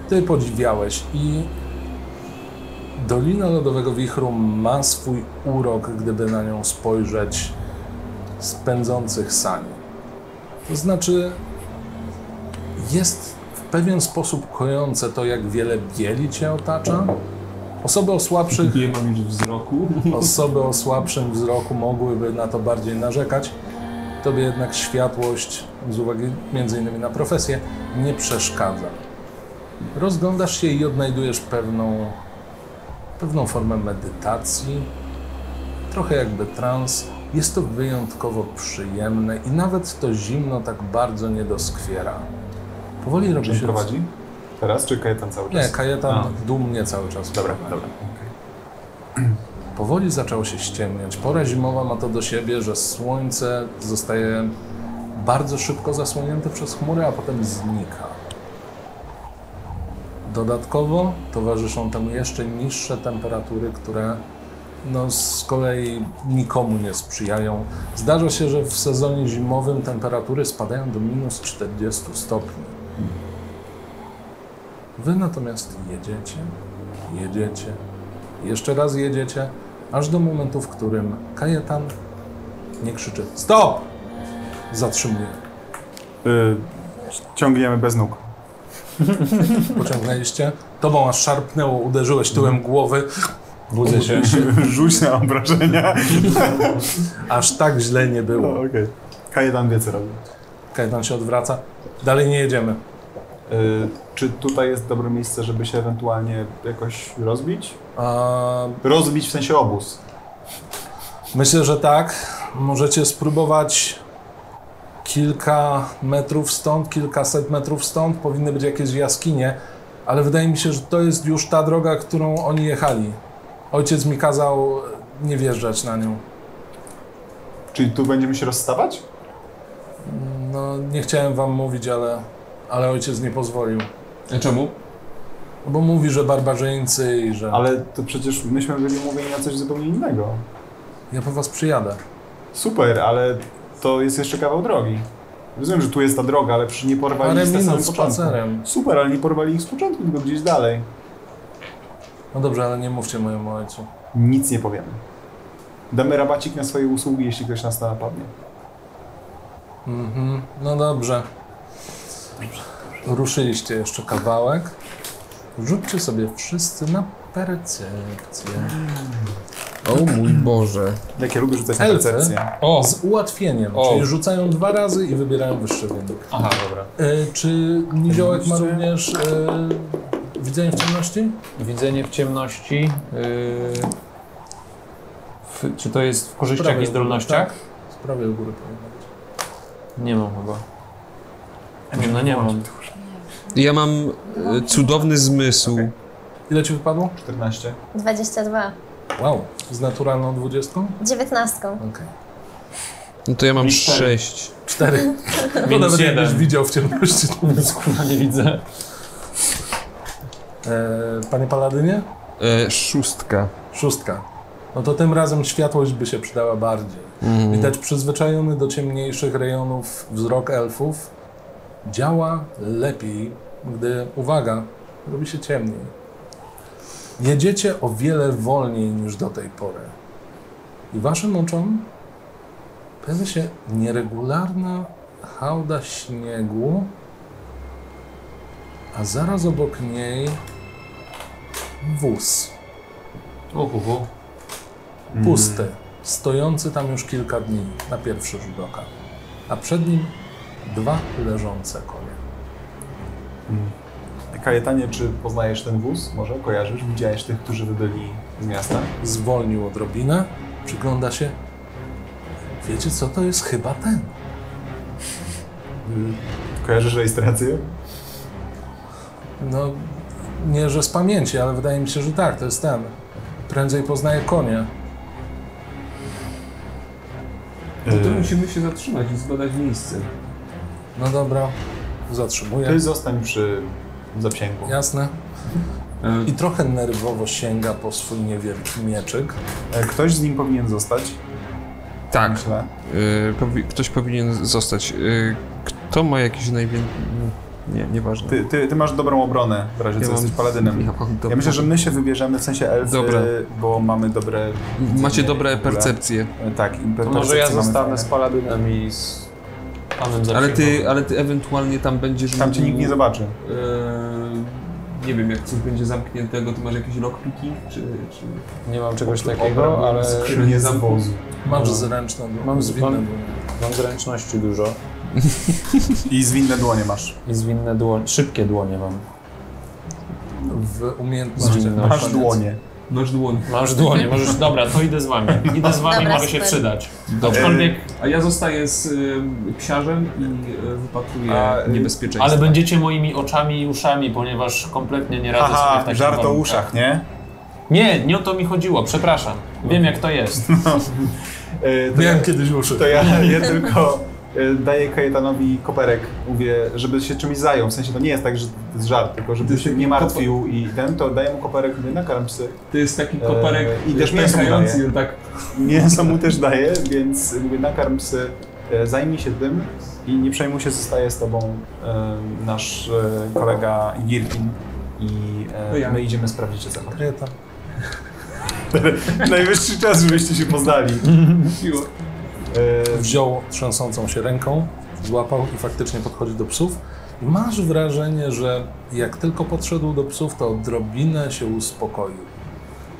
Speaker 2: ty podziwiałeś i Dolina Lodowego Wichru ma swój urok, gdyby na nią spojrzeć z pędzących sani. To znaczy, jest w pewien sposób kojące to, jak wiele bieli cię otacza. Osoby o słabszych
Speaker 6: Nie mam już wzroku.
Speaker 2: osoby o słabszym wzroku mogłyby na to bardziej narzekać. Tobie jednak światłość, z uwagi między innymi na profesję, nie przeszkadza. Rozglądasz się i odnajdujesz pewną, pewną formę medytacji, trochę jakby trans. Jest to wyjątkowo przyjemne i nawet to zimno tak bardzo nie doskwiera. Powoli robi
Speaker 3: Czy
Speaker 2: się...
Speaker 3: się prowadzi? Teraz czy Kajetan cały
Speaker 2: Nie,
Speaker 3: czas?
Speaker 2: Kajetan
Speaker 3: A.
Speaker 2: dumnie cały czas
Speaker 3: Dobra,
Speaker 2: prowadzi.
Speaker 3: dobra.
Speaker 2: Powoli zaczęło się ściemniać. Pora zimowa ma to do siebie, że słońce zostaje bardzo szybko zasłonięte przez chmury, a potem znika. Dodatkowo towarzyszą temu jeszcze niższe temperatury, które no, z kolei nikomu nie sprzyjają. Zdarza się, że w sezonie zimowym temperatury spadają do minus 40 stopni. Wy natomiast jedziecie, jedziecie, jeszcze raz jedziecie, aż do momentu, w którym Kajetan nie krzyczy STOP! Zatrzymuje.
Speaker 3: Y, ciągniemy bez nóg.
Speaker 2: Pociągnęliście, tobą aż szarpnęło, uderzyłeś tyłem głowy,
Speaker 4: Mhm. Budzę się.
Speaker 3: Rzuć na obrażenia.
Speaker 2: aż tak źle nie
Speaker 3: No,
Speaker 2: było.
Speaker 3: okej. Kajetan wie co robi.
Speaker 2: Kajetan się odwraca, dalej nie jedziemy.
Speaker 3: Y, czy tutaj jest dobre miejsce, żeby się ewentualnie jakoś rozbić?
Speaker 2: A,
Speaker 3: Rozbić w sensie obóz.
Speaker 2: Myślę, że tak. Możecie spróbować kilka metrów stąd, kilkaset metrów stąd. Powinny być jakieś jaskinie, ale wydaje mi się, że to jest już ta droga, którą oni jechali. Ojciec mi kazał nie wjeżdżać na nią.
Speaker 3: Czyli tu będziemy się rozstawać?
Speaker 2: No, nie chciałem wam mówić, ale, ale ojciec nie pozwolił. No,
Speaker 6: A czemu?
Speaker 2: Bo mówi, że barbarzyńcy i że
Speaker 3: Ale to przecież myśmy byli mówieni na coś zupełnie innego.
Speaker 2: ja po was przyjadę.
Speaker 3: Super, ale to jest jeszcze kawał drogi. Rozumiem, że tu jest ta droga, ale przy nie porwali
Speaker 2: Parę
Speaker 3: ich na samym
Speaker 2: minut
Speaker 3: początku.
Speaker 2: spacerem.
Speaker 3: Super, ale nie porwali ich z początku, tylko gdzieś dalej.
Speaker 2: No dobrze, ale nie mówcie mojemu ojcu.
Speaker 3: Nic nie powiemy. Damy rabacik na swoje usługi, jeśli ktoś nas napadnie.
Speaker 2: Mhm, no dobrze. Ruszyliście jeszcze kawałek. Rzućcie sobie wszyscy na percepcję.
Speaker 6: O mój Boże.
Speaker 3: Jak ja lubię rzucać na
Speaker 2: Elfy?
Speaker 3: percepcję.
Speaker 4: O,
Speaker 2: Z ułatwieniem,
Speaker 4: O.
Speaker 2: czyli rzucają dwa razy i wybierają wyższy wynik.
Speaker 4: aha, dobra.
Speaker 2: E, czy Niziołek ma również e, widzenie w ciemności?
Speaker 4: Widzenie w ciemności. Yy... W, czy to jest w korzyściach
Speaker 2: Prawie
Speaker 4: i zdolnościach?
Speaker 2: W prawej u góry powinno być.
Speaker 4: Nie mam chyba. Nie, no nie mam.
Speaker 6: Ja mam e, cudowny zmysł.
Speaker 2: Ile ci wypadło?
Speaker 3: 14.
Speaker 5: 22.
Speaker 2: Wow, z naturalną dwudziestką?
Speaker 5: 19.
Speaker 2: Okej.
Speaker 6: No to ja mam
Speaker 4: Mistrz.
Speaker 6: sześć.
Speaker 2: Cztery. To
Speaker 4: Minus
Speaker 2: nawet jakbyś
Speaker 4: jeden.
Speaker 2: widział w ciemności.
Speaker 4: Nic kurwa nie widzę.
Speaker 2: E, panie Paladynie?
Speaker 6: E, szóstka.
Speaker 2: Szóstka. No to tym razem światłość by się przydała bardziej. Widać przyzwyczajony do ciemniejszych rejonów wzrok elfów działa lepiej, gdy, uwaga, robi się ciemniej. Jedziecie o wiele wolniej niż do tej pory. I waszym oczom pojawia się nieregularna hałda śniegu, a zaraz obok niej wóz
Speaker 4: Uhuhu.
Speaker 2: pusty, stojący tam już kilka dni na pierwszy rzut oka. A przed nim dwa leżące konie.
Speaker 3: Kajetanie, czy poznajesz ten wóz? Może kojarzysz? Widziałeś tych, którzy wybyli z miasta?
Speaker 2: Zwolnił odrobinę, przygląda się. Wiecie co, to jest chyba ten.
Speaker 3: Y, Kojarzysz rejestrację?
Speaker 2: No, nie że z pamięci, ale wydaje mi się, że tak, to jest ten. Prędzej poznaje konie.
Speaker 3: Y,
Speaker 6: musimy się zatrzymać i zbadać miejsce.
Speaker 2: No dobra, zatrzymuję.
Speaker 3: Ty zostań przy zapsięgu.
Speaker 2: Jasne.
Speaker 6: E,
Speaker 2: I trochę nerwowo sięga po swój niewielki mieczyk.
Speaker 3: E, Ktoś z nim powinien zostać,
Speaker 6: tak.
Speaker 3: myślę.
Speaker 6: E, powi- ktoś powinien zostać. E, kto ma jakiś największy... Nie, nieważne.
Speaker 3: Ty, ty, ty masz dobrą obronę, w razie co jesteś paladynem.
Speaker 6: Ja, mam
Speaker 3: Ja
Speaker 6: dobre-
Speaker 3: myślę, że my się wybierzemy w sensie elfy,
Speaker 6: Dobra.
Speaker 3: bo mamy dobre.
Speaker 6: Macie
Speaker 3: nie, w
Speaker 6: dobre
Speaker 3: ogóle.
Speaker 6: percepcje.
Speaker 3: e, Tak, i
Speaker 4: To może ja
Speaker 3: percepcje mamy
Speaker 4: zostanę
Speaker 3: fajne.
Speaker 4: z paladynem i z panem Zapiego.
Speaker 6: Ale ty, ale ty ewentualnie tam będziesz...
Speaker 3: no. Tam cię
Speaker 6: mógł-
Speaker 3: nikt nie zobaczy.
Speaker 6: Eee, nie wiem, jak coś będzie zamkniętego, ty masz jakieś lockpiki, czy... czy...
Speaker 4: Nie mam czegoś takiego, ale
Speaker 3: Skrzynię z wozu.
Speaker 2: Masz zręczną dłoń.
Speaker 4: Mam
Speaker 2: zwinną
Speaker 4: mam-
Speaker 2: dłoń.
Speaker 4: mam zręczności dużo
Speaker 3: I zwinne dłonie masz.
Speaker 4: i zwinne dłonie, szybkie dłonie mam.
Speaker 2: W umiejętnościach.
Speaker 4: Zwinność.
Speaker 2: na
Speaker 3: Masz
Speaker 2: koniec.
Speaker 3: dłonie.
Speaker 6: Masz dłoń.
Speaker 4: Masz dłonie, możesz, dobra, to idę z wami. Idę z wami,
Speaker 5: Dobra,
Speaker 4: mogę się
Speaker 5: super.
Speaker 4: przydać.
Speaker 6: Dobra.
Speaker 4: Aczkolwiek,
Speaker 6: A ja zostaję z ym, psiarzem i y, wypatruję
Speaker 3: A, y,
Speaker 6: niebezpieczeństwo.
Speaker 4: ale będziecie moimi oczami i uszami, ponieważ kompletnie nie radzę sobie w
Speaker 3: Aha,
Speaker 4: takim
Speaker 3: żart o
Speaker 4: warunkach.
Speaker 3: uszach, nie?
Speaker 4: Nie, nie o to mi chodziło, przepraszam. Wiem jak to jest.
Speaker 3: E, to,
Speaker 2: Miałem
Speaker 3: ja,
Speaker 2: kiedyś uszy.
Speaker 3: to ja, ja tylko e, daję Kajetanowi koperek, mówię, żeby się czymś zajął. W sensie to nie jest tak, że to jest żart, tylko żeby się nie martwił i ten, to daję mu koperek, mówię, nakarm psy.
Speaker 6: To jest taki koperek
Speaker 3: i też
Speaker 6: y,
Speaker 3: mięso
Speaker 6: pękający,
Speaker 3: daje.
Speaker 6: on tak...
Speaker 3: Mięso mu też daję, więc mówię, nakarm psy, e, zajmij się tym i nie przejmuj się, zostaje z tobą e, nasz e, kolega Girkin i
Speaker 6: To ja.
Speaker 3: e, my idziemy sprawdzić, co tam.
Speaker 2: Kryta.
Speaker 3: Najwyższy czas, żebyście się poznali. E,
Speaker 2: wziął trząsącą się ręką, złapał i faktycznie podchodzi do psów. I masz wrażenie, że jak tylko podszedł do psów, to odrobinę się uspokoił.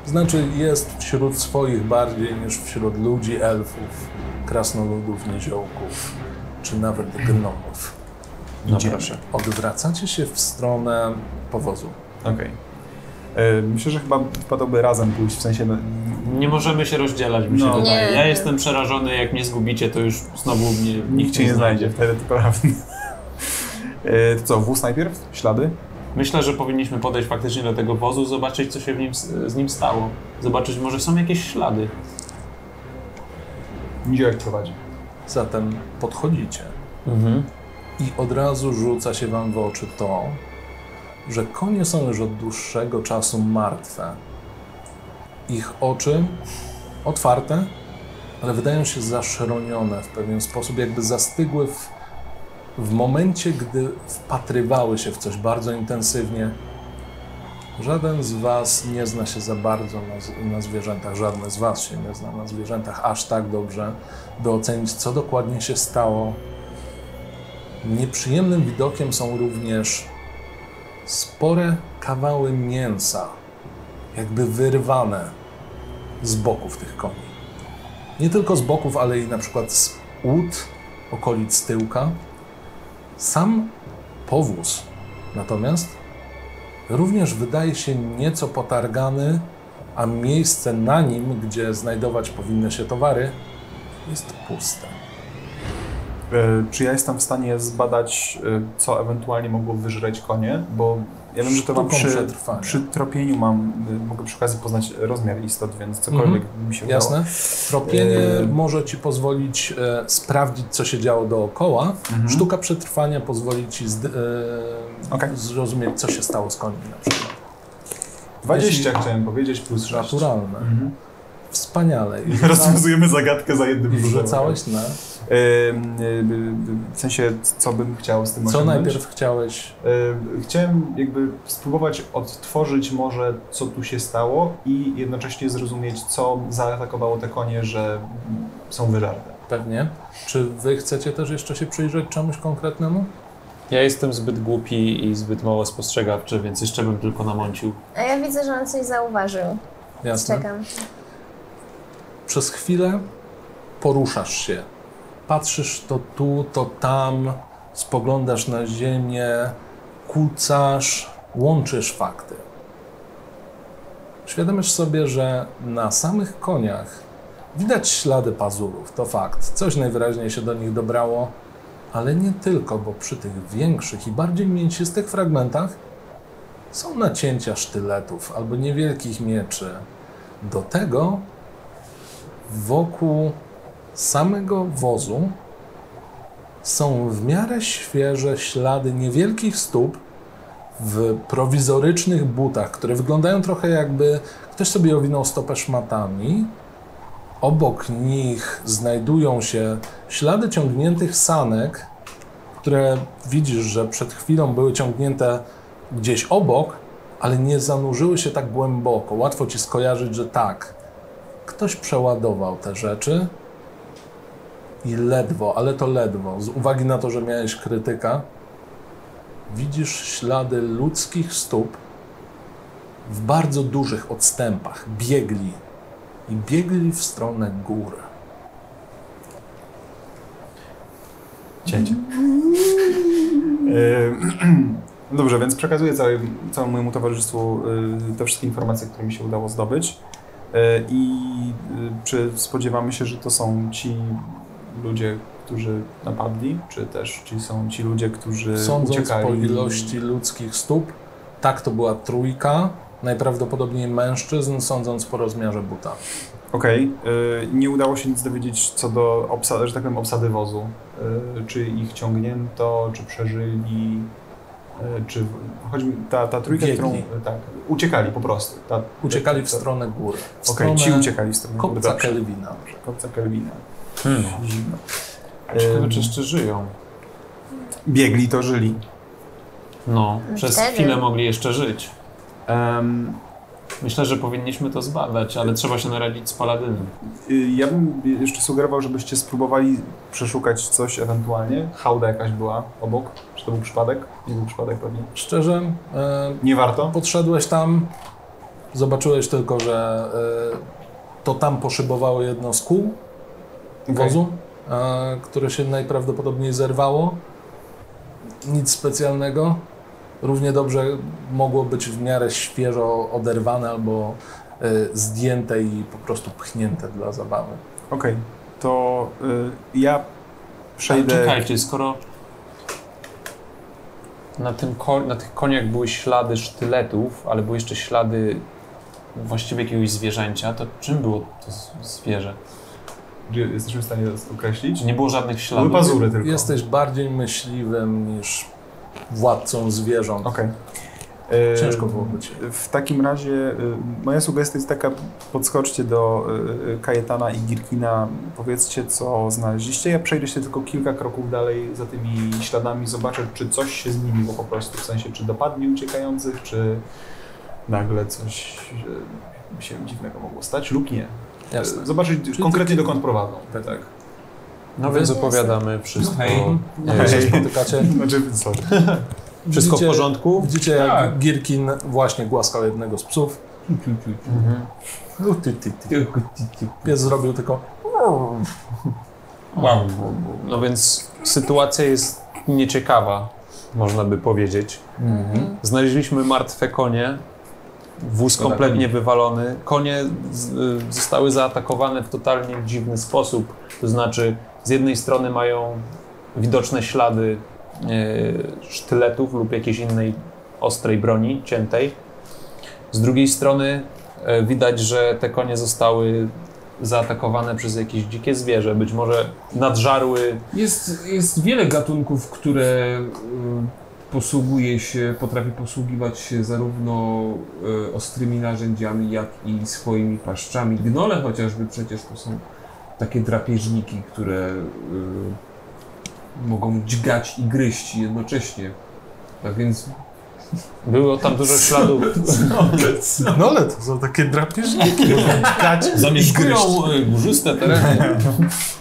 Speaker 2: Znaczy jest wśród swoich bardziej niż wśród ludzi, elfów, krasnoludów, niziołków, czy nawet gnomów.
Speaker 3: No
Speaker 2: Idziemy.
Speaker 3: proszę.
Speaker 2: Odwracacie się w stronę powozu.
Speaker 3: Okej. E, Myślę, że chyba wpadłoby razem pójść, w sensie... No,
Speaker 4: Nie możemy się rozdzielać, mi się
Speaker 3: No.
Speaker 4: wydaje.
Speaker 5: Nie.
Speaker 4: Ja jestem przerażony, jak mnie zgubicie, to już znowu mnie
Speaker 3: nikt cię nie znajdzie, wtedy to prawda. E, to co, wóz najpierw? Ślady?
Speaker 4: Myślę, że powinniśmy podejść faktycznie do tego wozu, zobaczyć co się w nim, z nim stało. Zobaczyć, może są jakieś ślady.
Speaker 3: Niziołek prowadzi.
Speaker 2: Zatem podchodzicie.
Speaker 4: Mhm.
Speaker 2: I od razu rzuca się wam w oczy to, że konie są już od dłuższego czasu martwe. Ich oczy otwarte, ale wydają się zaszronione w pewien sposób, jakby zastygły w, w momencie, gdy wpatrywały się w coś bardzo intensywnie. Żaden z was nie zna się za bardzo na, z- na zwierzętach, żadne z was się nie zna na zwierzętach aż tak dobrze, by ocenić, co dokładnie się stało, Nieprzyjemnym widokiem są również spore kawały mięsa, jakby wyrwane z boków tych koni. Nie tylko z boków, ale i na przykład z łód, okolic tyłka. Sam powóz natomiast również wydaje się nieco potargany a miejsce na nim, gdzie znajdować powinny się towary, jest puste.
Speaker 3: E, Czy ja jestem w stanie zbadać, e, co ewentualnie mogło wyżreć konie? Bo ja wiem, że to mam
Speaker 2: Sztuką
Speaker 3: przy,
Speaker 2: przetrwania.
Speaker 3: przy tropieniu mam, e, mogę przy okazji poznać rozmiar istot, więc cokolwiek mi się udało.
Speaker 2: Mhm. Jasne? Tropienie
Speaker 3: Eee.
Speaker 2: może ci pozwolić e, sprawdzić, co się działo dookoła. Sztuka przetrwania pozwoli ci zd- e,
Speaker 3: Okej.
Speaker 2: zrozumieć, co się stało z koniem na przykład.
Speaker 3: 20 chciałem powiedzieć, plus 6.
Speaker 2: Naturalne.
Speaker 3: Mhm.
Speaker 2: Wspaniale. I
Speaker 3: Rozwiązujemy zagadkę za jednym
Speaker 2: i
Speaker 3: wzorem.
Speaker 2: rzucałeś na...
Speaker 3: E, e, e, W sensie, co bym chciał z tym
Speaker 2: Co
Speaker 3: osiągnąć?
Speaker 2: najpierw chciałeś
Speaker 3: E, Chciałem jakby spróbować odtworzyć może, co tu się stało i jednocześnie zrozumieć, co zaatakowało te konie, że są wyżarte.
Speaker 2: Pewnie. Czy wy chcecie też jeszcze się przyjrzeć czemuś konkretnemu?
Speaker 4: Ja jestem zbyt głupi i zbyt mało spostrzegawczy, więc jeszcze bym tylko namącił.
Speaker 5: A ja widzę, że on coś zauważył.
Speaker 2: Jasne.
Speaker 5: Czekam.
Speaker 2: Przez chwilę poruszasz się. Patrzysz to tu, to tam, spoglądasz na ziemię, kucasz, łączysz fakty. Świadomisz sobie, że na samych koniach widać ślady pazurów, to fakt. Coś najwyraźniej się do nich dobrało, ale nie tylko, bo przy tych większych i bardziej mięsistych fragmentach są nacięcia sztyletów albo niewielkich mieczy. Do tego wokół samego wozu są w miarę świeże ślady niewielkich stóp w prowizorycznych butach, które wyglądają trochę jakby ktoś sobie owinął stopę szmatami. Obok nich znajdują się ślady ciągniętych sanek, które widzisz, że przed chwilą były ciągnięte gdzieś obok, ale nie zanurzyły się tak głęboko. Łatwo ci skojarzyć, że tak, Ktoś przeładował te rzeczy i ledwo, ale to ledwo, z uwagi na to, że miałeś krytyka, widzisz ślady ludzkich stóp w bardzo dużych odstępach. Biegli i biegli w stronę gór.
Speaker 3: Cięcie. Yy, Dobrze, więc przekazuję całym, całemu mojemu towarzystwu y, te wszystkie informacje, które mi się udało zdobyć. Y, I y, czy spodziewamy się, że to są ci ludzie, którzy napadli, czy też ci są ci ludzie, którzy
Speaker 2: Sądząc
Speaker 3: uciekali?
Speaker 2: po ilości ludzkich stóp, tak to była trójka, najprawdopodobniej mężczyzn, sądząc po rozmiarze buta.
Speaker 3: Okej, y, nie udało się nic dowiedzieć co do, obsa- że tak powiem, obsady wozu. Y, Czy ich ciągnięto, czy przeżyli, y, czy chodzi mi, ta, ta trójka,
Speaker 2: Biegli.
Speaker 3: którą, tak, uciekali po prostu. Ta,
Speaker 2: Uciekali w
Speaker 3: ta-
Speaker 2: stronę gór. W
Speaker 3: Okej, ci
Speaker 2: stronę
Speaker 3: uciekali w stronę
Speaker 2: Kopca
Speaker 3: Dobrze,
Speaker 2: Kelwina.
Speaker 3: Kopca Kelwina. Zimno.
Speaker 4: Hmm. Ciekawe,
Speaker 3: Ym,
Speaker 4: czy jeszcze żyją.
Speaker 3: biegli to żyli.
Speaker 4: No, przez
Speaker 5: Wtedy.
Speaker 4: chwilę mogli jeszcze żyć.
Speaker 3: Em,
Speaker 4: Myślę, że powinniśmy to zbadać, ale trzeba się naradzić z Paladynem.
Speaker 3: y, ja bym jeszcze sugerował, żebyście spróbowali przeszukać coś ewentualnie. Hałda jakaś była obok. Czy to był przypadek? Nie był przypadek pewnie.
Speaker 2: Szczerze, e,
Speaker 3: Nie warto?
Speaker 2: Podszedłeś tam, zobaczyłeś tylko, że y, to tam poszybowało jedno z kół wozu, y, które się najprawdopodobniej zerwało. Nic specjalnego. Równie dobrze mogło być w miarę świeżo oderwane albo y, zdjęte i po prostu pchnięte dla zabawy.
Speaker 3: Okej, to y, ja przejdę.
Speaker 4: Ale czekajcie, skoro na, tym ko- na tych koniach były ślady sztyletów, ale były jeszcze ślady właściwie jakiegoś zwierzęcia, to czym było to z- zwierzę?
Speaker 3: Czy jesteśmy w stanie to określić?
Speaker 4: Czy nie było żadnych śladów?
Speaker 3: Były pazury tak. tylko.
Speaker 2: Jesteś bardziej myśliwym niż władcą zwierząt.
Speaker 3: Okej. Y,
Speaker 2: Ciężko było być.
Speaker 3: W takim razie y, moja sugestia jest taka, podskoczcie do y, y, Kajetana i Girkina, powiedzcie co znaleźliście. Ja przejdę się tylko kilka kroków dalej za tymi śladami, zobaczę czy coś się zmieniło po prostu, w sensie czy dopadli uciekających, czy nagle coś y, się dziwnego mogło stać lub nie.
Speaker 2: Jasne.
Speaker 3: Y, Zobaczyć konkretnie dokąd prowadzą.
Speaker 2: Tak, tak.
Speaker 4: No więc opowiadamy wszystko.
Speaker 2: Hej.
Speaker 4: Hej.
Speaker 2: Hej. Spotykacie.
Speaker 3: Znaczy, sorry.
Speaker 4: Wszystko w
Speaker 2: Widzicie-
Speaker 4: porządku?
Speaker 2: Widzicie, jak Girkin właśnie głaskał jednego z psów. No, ty, ty, ty. Pies zrobił tylko.
Speaker 4: Wow. No więc sytuacja jest nieciekawa, można by powiedzieć. Znaleźliśmy martwe konie, Wóz kompletnie wywalony. Konie z, y, zostały zaatakowane w totalnie dziwny sposób. To znaczy, z jednej strony mają widoczne ślady y, sztyletów lub jakiejś innej ostrej broni ciętej. Z drugiej strony y, widać, że te konie zostały zaatakowane przez jakieś dzikie zwierzę. Być może nadżarły
Speaker 6: Jest, jest wiele gatunków, które y, posługuje się, potrafi posługiwać się zarówno y, ostrymi narzędziami, jak i swoimi paszczami. Gnole chociażby przecież to są takie drapieżniki, które y, mogą dźgać i gryźć jednocześnie. Tak więc
Speaker 4: Było tam dużo śladów.
Speaker 2: Gnole No, to są takie drapieżniki.
Speaker 4: Zamieszkują y, górzyste tereny.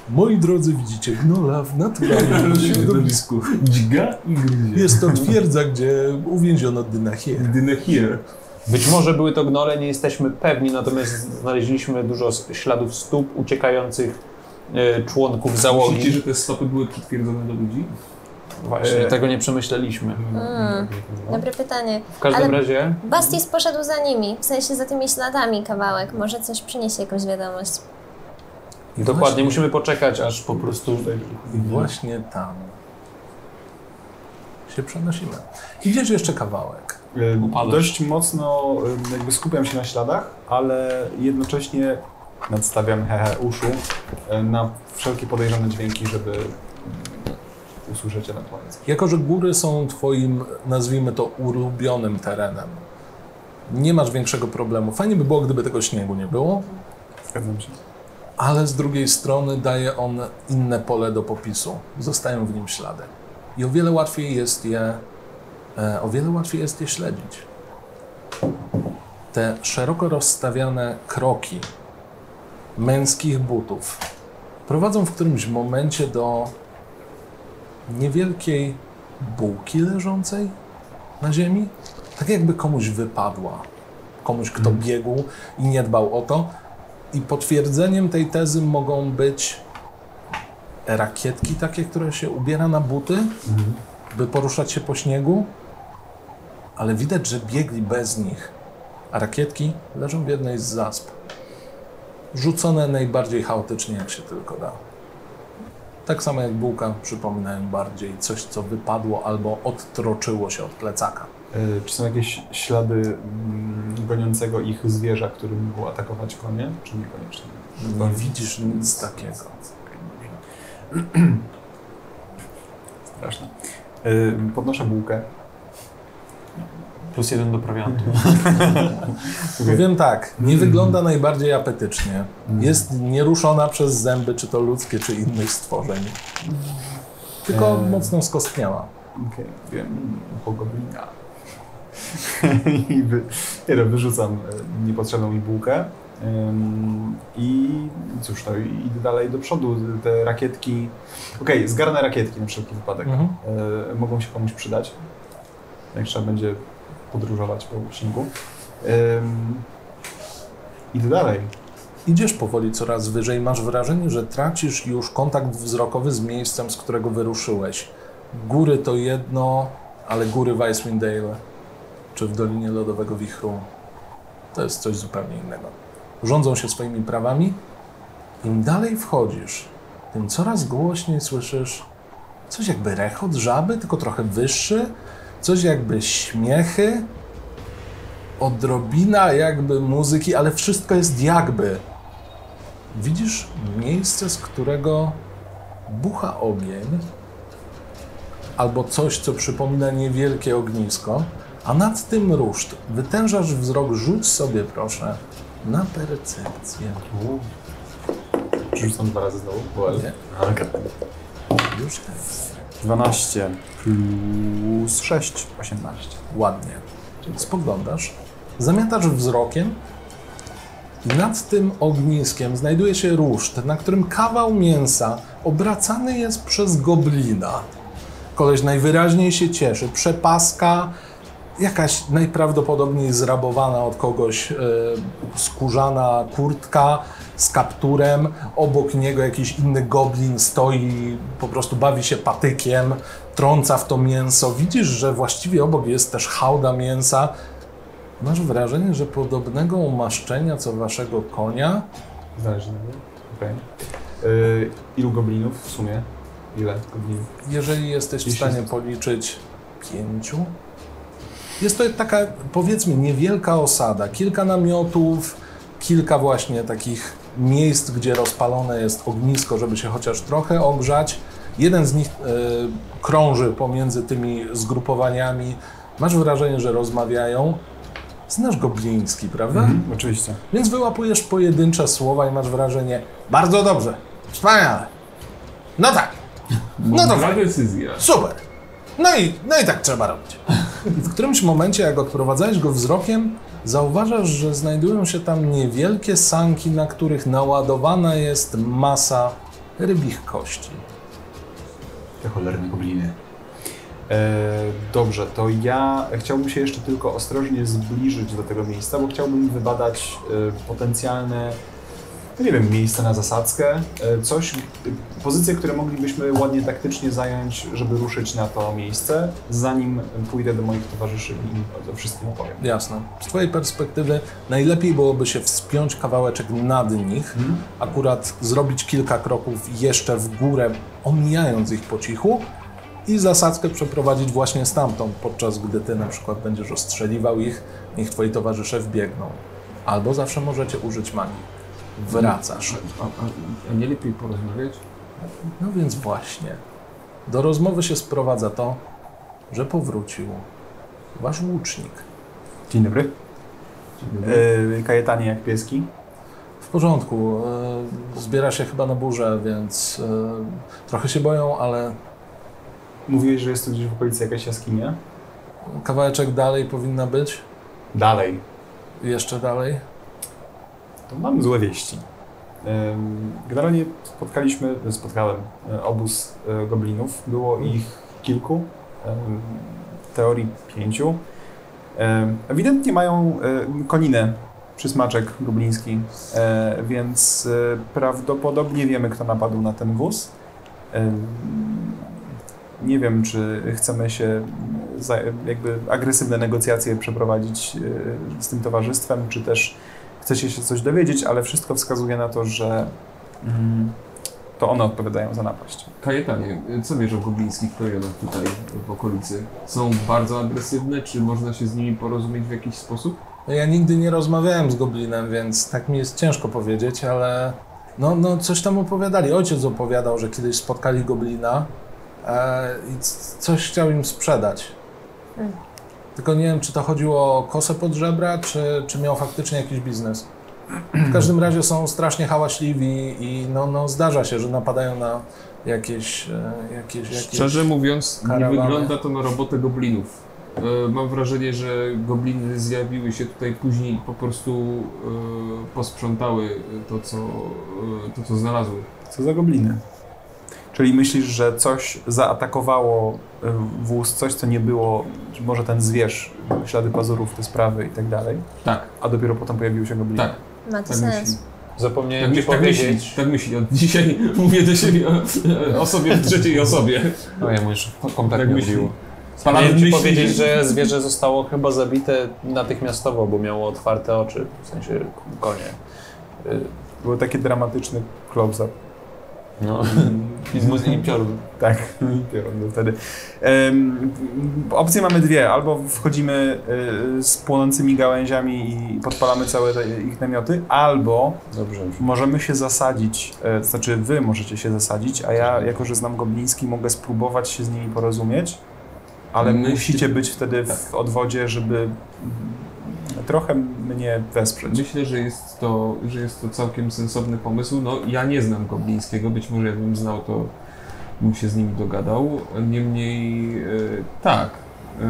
Speaker 2: Moi drodzy, widzicie no, gnola w naturalnym środowisku.
Speaker 6: dźga i gryzie.
Speaker 2: Jest to twierdza, gdzie uwięziono Dynachie.
Speaker 6: Jedyne here.
Speaker 4: Być może były to gnole, nie jesteśmy pewni, natomiast znaleźliśmy dużo s- śladów stóp uciekających y, członków
Speaker 6: Myślicie, że
Speaker 4: załogi.
Speaker 6: te stopy były przytwierdzone do ludzi? E.
Speaker 4: Właśnie, tego nie przemyśleliśmy.
Speaker 5: Mm, dobre pytanie.
Speaker 4: W każdym
Speaker 5: Ale-
Speaker 4: razie
Speaker 5: Bastis poszedł za nimi, w sensie za tymi śladami kawałek. Może coś przyniesie jakąś wiadomość.
Speaker 4: dokładnie musimy poczekać, aż po prostu
Speaker 2: I właśnie tam się przenosimy. Idziesz jeszcze kawałek.
Speaker 3: E,
Speaker 4: Upadłeś.
Speaker 3: Dość mocno e, jakby skupiam się na śladach, ale jednocześnie nadstawiam hehe uszu e, na wszelkie podejrzane dźwięki, żeby mm, usłyszeć ewentualnie. coś.
Speaker 2: Jako, że góry są twoim, nazwijmy to, ulubionym terenem, nie masz większego problemu. Fajnie by było, gdyby tego śniegu nie było,
Speaker 3: Zgadzam się.
Speaker 2: ale z drugiej strony daje on inne pole do popisu. Zostają w nim ślady. I o wiele łatwiej jest je, e, o wiele łatwiej jest je śledzić. Te szeroko rozstawiane kroki męskich butów prowadzą w którymś momencie do niewielkiej bułki leżącej na ziemi. Tak jakby komuś wypadła. Komuś, kto biegł i nie dbał o to. I potwierdzeniem tej tezy mogą być rakietki takie, które się ubiera na buty, by poruszać się po śniegu, ale widać, że biegli bez nich, a rakietki leżą w jednej z zasp, rzucone najbardziej chaotycznie, jak się tylko da. Tak samo jak bułka, przypominają bardziej coś, co wypadło albo odtroczyło się od plecaka.
Speaker 3: E, Czy są jakieś ślady mm, goniącego ich zwierza, którym było atakować konie, czy niekoniecznie?
Speaker 2: Nie widzisz nic takiego.
Speaker 3: Straszne. E, Podnoszę bułkę.
Speaker 4: plus jeden do prowiantu.
Speaker 2: Powiem tak, nie wygląda najbardziej apetycznie. Jest nieruszona przez zęby, czy to ludzkie, czy innych stworzeń. E, Tylko
Speaker 3: Eee.
Speaker 2: mocno skostniała.
Speaker 3: Okej, wiem, pogoblina. I wy, nie no, wyrzucam e, niepotrzebną mi bułkę. Ym, I cóż, no i idę dalej do przodu. Te rakietki. Okej, zgarnę rakietki na wszelki wypadek.
Speaker 8: Mhm.
Speaker 3: E, mogą się komuś przydać. Jak trzeba będzie podróżować po śniegu. Ym, idę dalej.
Speaker 2: Idziesz powoli coraz wyżej, masz wrażenie, że tracisz już kontakt wzrokowy z miejscem, z którego wyruszyłeś. Góry to jedno, ale góry w Icewind Dale czy w Dolinie Lodowego Wichru to jest coś zupełnie innego. Rządzą się swoimi prawami. Im dalej wchodzisz, tym coraz głośniej słyszysz coś jakby rechot żaby, tylko trochę wyższy, coś jakby śmiechy, odrobina jakby muzyki, ale wszystko jest jakby. Widzisz miejsce, z którego bucha ogień, albo coś, co przypomina niewielkie ognisko, a nad tym ruszt. Wytężasz wzrok, rzuć sobie proszę na percepcję.
Speaker 3: Rzucam dwa razy znowu. bo L.
Speaker 2: Nie. Już teraz.
Speaker 3: 12 plus 6, 18.
Speaker 2: Ładnie. Spoglądasz, zamiatasz wzrokiem i nad tym ogniskiem znajduje się ruszt, na którym kawał mięsa obracany jest przez goblina. Koleś najwyraźniej się cieszy. Przepaska, jakaś najprawdopodobniej zrabowana od kogoś e, skórzana kurtka z kapturem. Obok niego jakiś inny goblin stoi, po prostu bawi się patykiem, trąca w to mięso. Widzisz, że właściwie obok jest też hałda mięsa. Masz wrażenie, że podobnego umaszczenia co waszego konia
Speaker 3: Zależy na mnie. Okej. Y, Ilu goblinów w sumie? Ile goblinów?
Speaker 2: jeżeli jesteś w
Speaker 3: Jeśli-
Speaker 2: stanie policzyć pięciu. Jest to taka, powiedzmy, niewielka osada. Kilka namiotów, kilka właśnie takich miejsc, gdzie rozpalone jest ognisko, żeby się chociaż trochę ogrzać. Jeden z nich e, krąży pomiędzy tymi zgrupowaniami. Masz wrażenie, że rozmawiają. Znasz gobliński, prawda?
Speaker 3: Mhm. Oczywiście.
Speaker 2: Więc wyłapujesz pojedyncze słowa i masz wrażenie, bardzo dobrze, wspaniale. No tak, no to
Speaker 6: Mądra
Speaker 2: fajnie.
Speaker 6: decyzja.
Speaker 2: Super. No i, no i tak trzeba robić. I w którymś momencie, jak odprowadzałeś go wzrokiem, zauważasz, że znajdują się tam niewielkie sanki, na których naładowana jest masa rybich kości.
Speaker 3: Te cholerne gobliny. E, dobrze, to ja chciałbym się jeszcze tylko ostrożnie zbliżyć do tego miejsca, bo chciałbym wybadać e, potencjalne, no nie wiem, miejsca na zasadzkę, e, coś, e, pozycje, które moglibyśmy ładnie taktycznie zająć, żeby ruszyć na to miejsce, zanim pójdę do moich towarzyszy i im o wszystkim opowiem.
Speaker 2: Jasne. Z Twojej perspektywy najlepiej byłoby się wspiąć kawałeczek nad nich,
Speaker 6: Mhm.
Speaker 2: akurat zrobić kilka kroków jeszcze w górę, omijając ich po cichu i zasadzkę przeprowadzić właśnie stamtąd, podczas gdy Ty na przykład będziesz ostrzeliwał ich, niech Twoi towarzysze wbiegną. Albo zawsze możecie użyć magii. Wracasz.
Speaker 6: A, a, a nie lepiej porozmawiać?
Speaker 2: No więc właśnie. Do rozmowy się sprowadza to, że powrócił Wasz łucznik.
Speaker 3: Dzień dobry. E, kajetanie jak pieski.
Speaker 2: W porządku. e, Zbiera się chyba na burzę, więc e, trochę się boją, ale
Speaker 3: Mówiłeś, że jest tu gdzieś w okolicy jakaś jaskinia?
Speaker 2: kawałeczek dalej powinna być.
Speaker 3: Dalej.
Speaker 2: Jeszcze dalej.
Speaker 3: To mam złe wieści. Ym, Generalnie spotkaliśmy, spotkałem e, obóz e, goblinów. Było ich kilku, ym, w teorii pięciu. Ym, Ewidentnie mają e, koninę, przysmaczek gobliński, e, więc e, prawdopodobnie wiemy, kto napadł na ten wóz. Ym, Nie wiem, czy chcemy się za, jakby agresywne negocjacje przeprowadzić e, z tym towarzystwem, czy też chcecie się coś dowiedzieć, ale wszystko wskazuje na to, że mm, to one odpowiadają za napaść.
Speaker 6: Kajetanie, co wiesz o goblińskich rejonach tutaj w okolicy? Są bardzo agresywne, czy można się z nimi porozumieć w jakiś sposób?
Speaker 2: No Ja nigdy nie rozmawiałem z goblinem, więc tak mi jest ciężko powiedzieć, ale no, no coś tam opowiadali. Ojciec opowiadał, że kiedyś spotkali goblina e, i c- coś chciał im sprzedać. Tylko nie wiem, czy to chodziło o kosę pod żebra, czy, czy miał faktycznie jakiś biznes. W każdym razie są strasznie hałaśliwi i no, no zdarza się, że napadają na jakieś... e, jakieś, jakieś...
Speaker 6: Szczerze mówiąc, nie
Speaker 2: karawany.
Speaker 6: wygląda to na robotę goblinów. E, Mam wrażenie, że gobliny zjawiły się tutaj później i po prostu e, posprzątały to co, e, to, co znalazły.
Speaker 3: Co za gobliny? Czyli myślisz, że coś zaatakowało y, wóz, coś co nie było, czy może ten zwierz, ślady pazurów, te sprawy i tak dalej,
Speaker 6: Tak,
Speaker 3: a dopiero potem pojawiły się gobliny?
Speaker 6: tak,
Speaker 5: Ma to
Speaker 6: tak myśli.
Speaker 5: sens.
Speaker 4: Zapomniałem
Speaker 6: Tak,
Speaker 4: ci
Speaker 6: myśli, tak
Speaker 4: powiedzieć.
Speaker 6: myśli, tak myśli. Od dzisiaj mówię do siebie o, o sobie w trzeciej osobie.
Speaker 4: No ja mu już
Speaker 6: Tak
Speaker 4: kompletnie
Speaker 6: myśli.
Speaker 4: odbiło.
Speaker 6: Paladyn
Speaker 4: Miałem ci
Speaker 6: myśli-
Speaker 4: powiedzieć, że zwierzę zostało chyba zabite natychmiastowo, bo miało otwarte oczy, w sensie konie.
Speaker 3: Był taki dramatyczny close-up.
Speaker 4: No. I z mózgiem piorun.
Speaker 3: Tak, piorun wtedy. Em, opcje mamy dwie. Albo wchodzimy y, z płonącymi gałęziami i podpalamy całe te, ich namioty, albo
Speaker 4: Dobrze.
Speaker 3: Możemy się zasadzić, e, to znaczy wy możecie się zasadzić, a ja, jako że znam gobliński, mogę spróbować się z nimi porozumieć, ale
Speaker 6: Myśli-
Speaker 3: musicie być wtedy w odwodzie, żeby mm, trochę mnie wesprzeć.
Speaker 6: Myślę, że jest, to, że jest to całkiem sensowny pomysł. No, ja nie znam goblińskiego, być może jakbym znał, to bym się z nim dogadał. Niemniej e, tak. E,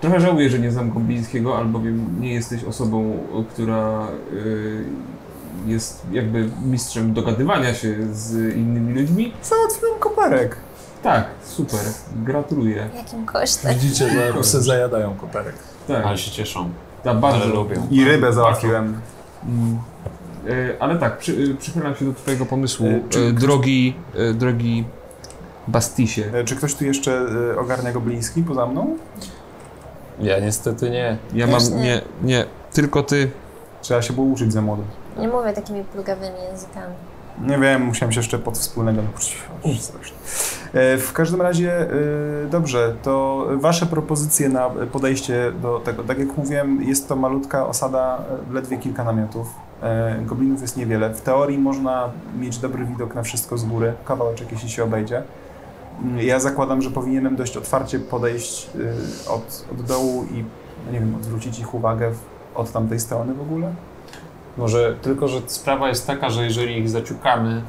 Speaker 6: trochę żałuję, że nie znam goblińskiego, albowiem nie jesteś osobą, która e, jest jakby mistrzem dogadywania się z innymi ludźmi.
Speaker 3: Załatwiłem koperek.
Speaker 6: Tak, super. Gratuluję.
Speaker 5: Jakim kosztem?
Speaker 2: Widzicie, że psy zajadają koperek.
Speaker 6: Tak,
Speaker 4: Ale się cieszą.
Speaker 6: ja bardzo
Speaker 4: Ale lubią.
Speaker 3: I rybę załatwiłem.
Speaker 6: Mm. E, Ale tak, przy, e, przychylam się do Twojego pomysłu.
Speaker 3: E, czy-
Speaker 6: E, drogi, e, drogi Bastisie.
Speaker 3: E, Czy ktoś tu jeszcze e, ogarnia gobliński poza mną?
Speaker 4: Ja niestety nie.
Speaker 6: Ja
Speaker 5: Też
Speaker 6: mam.
Speaker 5: nie.
Speaker 6: Nie, nie. Tylko ty.
Speaker 3: Trzeba się było uczyć za młodym.
Speaker 5: Nie mówię takimi plugawymi językami.
Speaker 3: Nie wiem, musiałem się jeszcze pod wspólnego nauczyć. Strasznie. E, W każdym razie, e, dobrze, to wasze propozycje na podejście do tego. Tak jak mówiłem, jest to malutka osada, e, ledwie kilka namiotów. E, Goblinów jest niewiele. W teorii można mieć dobry widok na wszystko z góry, kawałeczek jeśli się obejdzie. Mm, Ja zakładam, że powinienem dość otwarcie podejść e, od, od dołu i, no nie wiem, odwrócić ich uwagę w- od tamtej strony w ogóle.
Speaker 4: Może tylko, że sprawa jest taka, że jeżeli ich zaciukamy,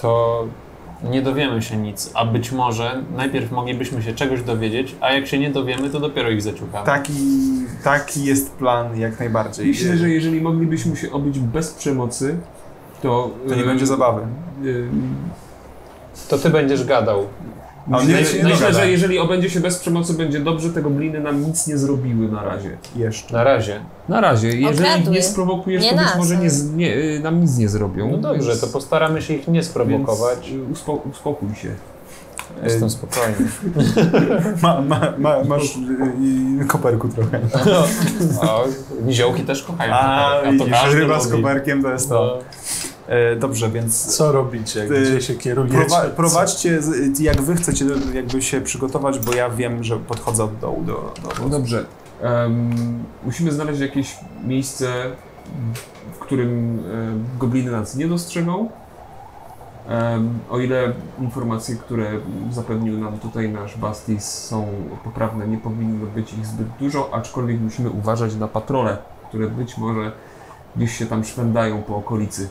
Speaker 4: to nie dowiemy się nic, a być może najpierw moglibyśmy się czegoś dowiedzieć, a jak się nie dowiemy, to dopiero ich zaciukamy.
Speaker 3: Taki, taki jest plan jak najbardziej.
Speaker 6: Myślę, że jeżeli moglibyśmy się obić bez przemocy, to.
Speaker 3: To nie
Speaker 6: e,
Speaker 3: będzie zabawy.
Speaker 6: e,
Speaker 4: To ty będziesz gadał.
Speaker 3: A on nie, się
Speaker 4: no
Speaker 3: nie
Speaker 6: Myślę,
Speaker 3: dogada.
Speaker 6: że jeżeli obędzie się bez przemocy, będzie dobrze, tego bliny nam nic nie zrobiły na razie.
Speaker 3: Jeszcze.
Speaker 4: Na razie.
Speaker 6: Na razie, jeżeli
Speaker 5: Okradły.
Speaker 6: nie sprowokujesz,
Speaker 5: Nie
Speaker 6: to być
Speaker 5: nas,
Speaker 6: może
Speaker 5: ale-
Speaker 6: nie, z- nie, y, nam nic nie zrobią.
Speaker 4: No dobrze,
Speaker 6: więc-
Speaker 4: to postaramy się ich nie sprowokować.
Speaker 6: Więc, y, uspo, uspokój się. Y,
Speaker 4: Jestem spokojny.
Speaker 3: Ma, ma, ma, masz y, y, koperku trochę.
Speaker 6: no.
Speaker 4: A niziołki też kochają.
Speaker 3: A,
Speaker 4: koperek,
Speaker 3: widzisz,
Speaker 4: każdy
Speaker 3: ryba z
Speaker 4: lubi.
Speaker 3: koperkiem to jest to.
Speaker 4: No.
Speaker 3: E, dobrze, więc
Speaker 2: Co robicie?
Speaker 3: Ty-
Speaker 2: Gdzie się kierujecie?
Speaker 3: prowa
Speaker 2: Co-
Speaker 3: prowadźcie, z- jak wy chcecie jakby się przygotować, bo ja wiem, że podchodzę od dołu do... do,
Speaker 6: No dobrze. Em, musimy znaleźć jakieś miejsce, w którym em, gobliny nas nie dostrzegą. Em, o ile informacje, które zapewnił nam tutaj nasz Bastis są poprawne, nie powinno być ich zbyt dużo, aczkolwiek musimy uważać na patrole, które być może gdzieś się tam szwędają po okolicy.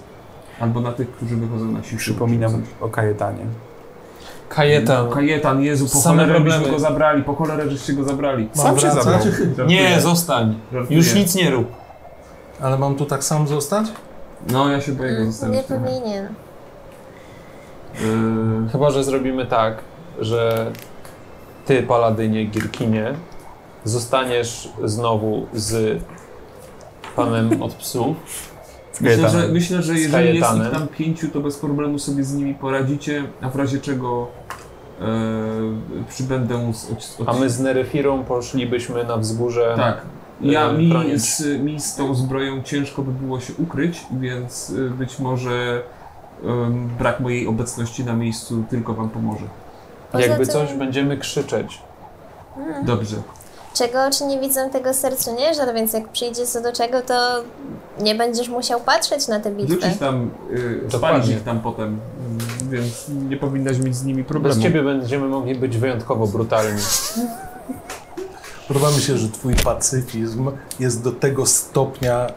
Speaker 6: Albo na tych, którzy wychodzą na siłę.
Speaker 3: przypominam o Kajetanie.
Speaker 4: Kajetan.
Speaker 6: Kajetan, Jezu, po
Speaker 4: Same
Speaker 6: cholerę byśmy
Speaker 4: problemy.
Speaker 6: go zabrali, po cholerę żeście go zabrali.
Speaker 2: Mam
Speaker 3: Sam się
Speaker 2: wracać?
Speaker 3: zabrał.
Speaker 4: Nie, zostań.
Speaker 6: Żartuję.
Speaker 4: Już nic nie rób.
Speaker 2: Ale mam tu tak sam zostać?
Speaker 6: No, ja się boję go
Speaker 5: Mm, nie
Speaker 6: zostawić. trochę.
Speaker 5: powinien.
Speaker 6: Yy,
Speaker 4: Chyba, że zrobimy tak, że ty, Paladynie Gierkinie, zostaniesz znowu z panem od psów.
Speaker 6: Myślę, że, myślę, że
Speaker 4: Z
Speaker 6: jeżeli jest ich
Speaker 4: Kajetanem.
Speaker 6: tam pięciu, to bez problemu sobie z nimi poradzicie, a w razie czego e, przybędę z od, od,
Speaker 4: A my z Neryfirą poszlibyśmy na wzgórze.
Speaker 6: Tak. Ja
Speaker 4: e,
Speaker 6: mi
Speaker 4: bronić.
Speaker 6: z, mi z tą zbroją ciężko by było się ukryć, więc y, być może em, brak mojej obecności na miejscu tylko wam pomoże.
Speaker 5: Poza
Speaker 4: Jakby
Speaker 5: tym-
Speaker 4: coś, będziemy krzyczeć.
Speaker 5: Hmm.
Speaker 6: Dobrze.
Speaker 5: Czego oczy nie widzą, tego sercu nie żal, więc jak przyjdzie co do czego, to nie będziesz musiał patrzeć na te bitwy.
Speaker 6: Wrzucić tam, y, spalić
Speaker 4: Dokładnie.
Speaker 6: ich tam potem, mm, więc nie powinnaś mieć z nimi problemu.
Speaker 4: Bez ciebie będziemy mogli być wyjątkowo brutalni.
Speaker 2: Podoba mi się, że twój pacyfizm jest do tego stopnia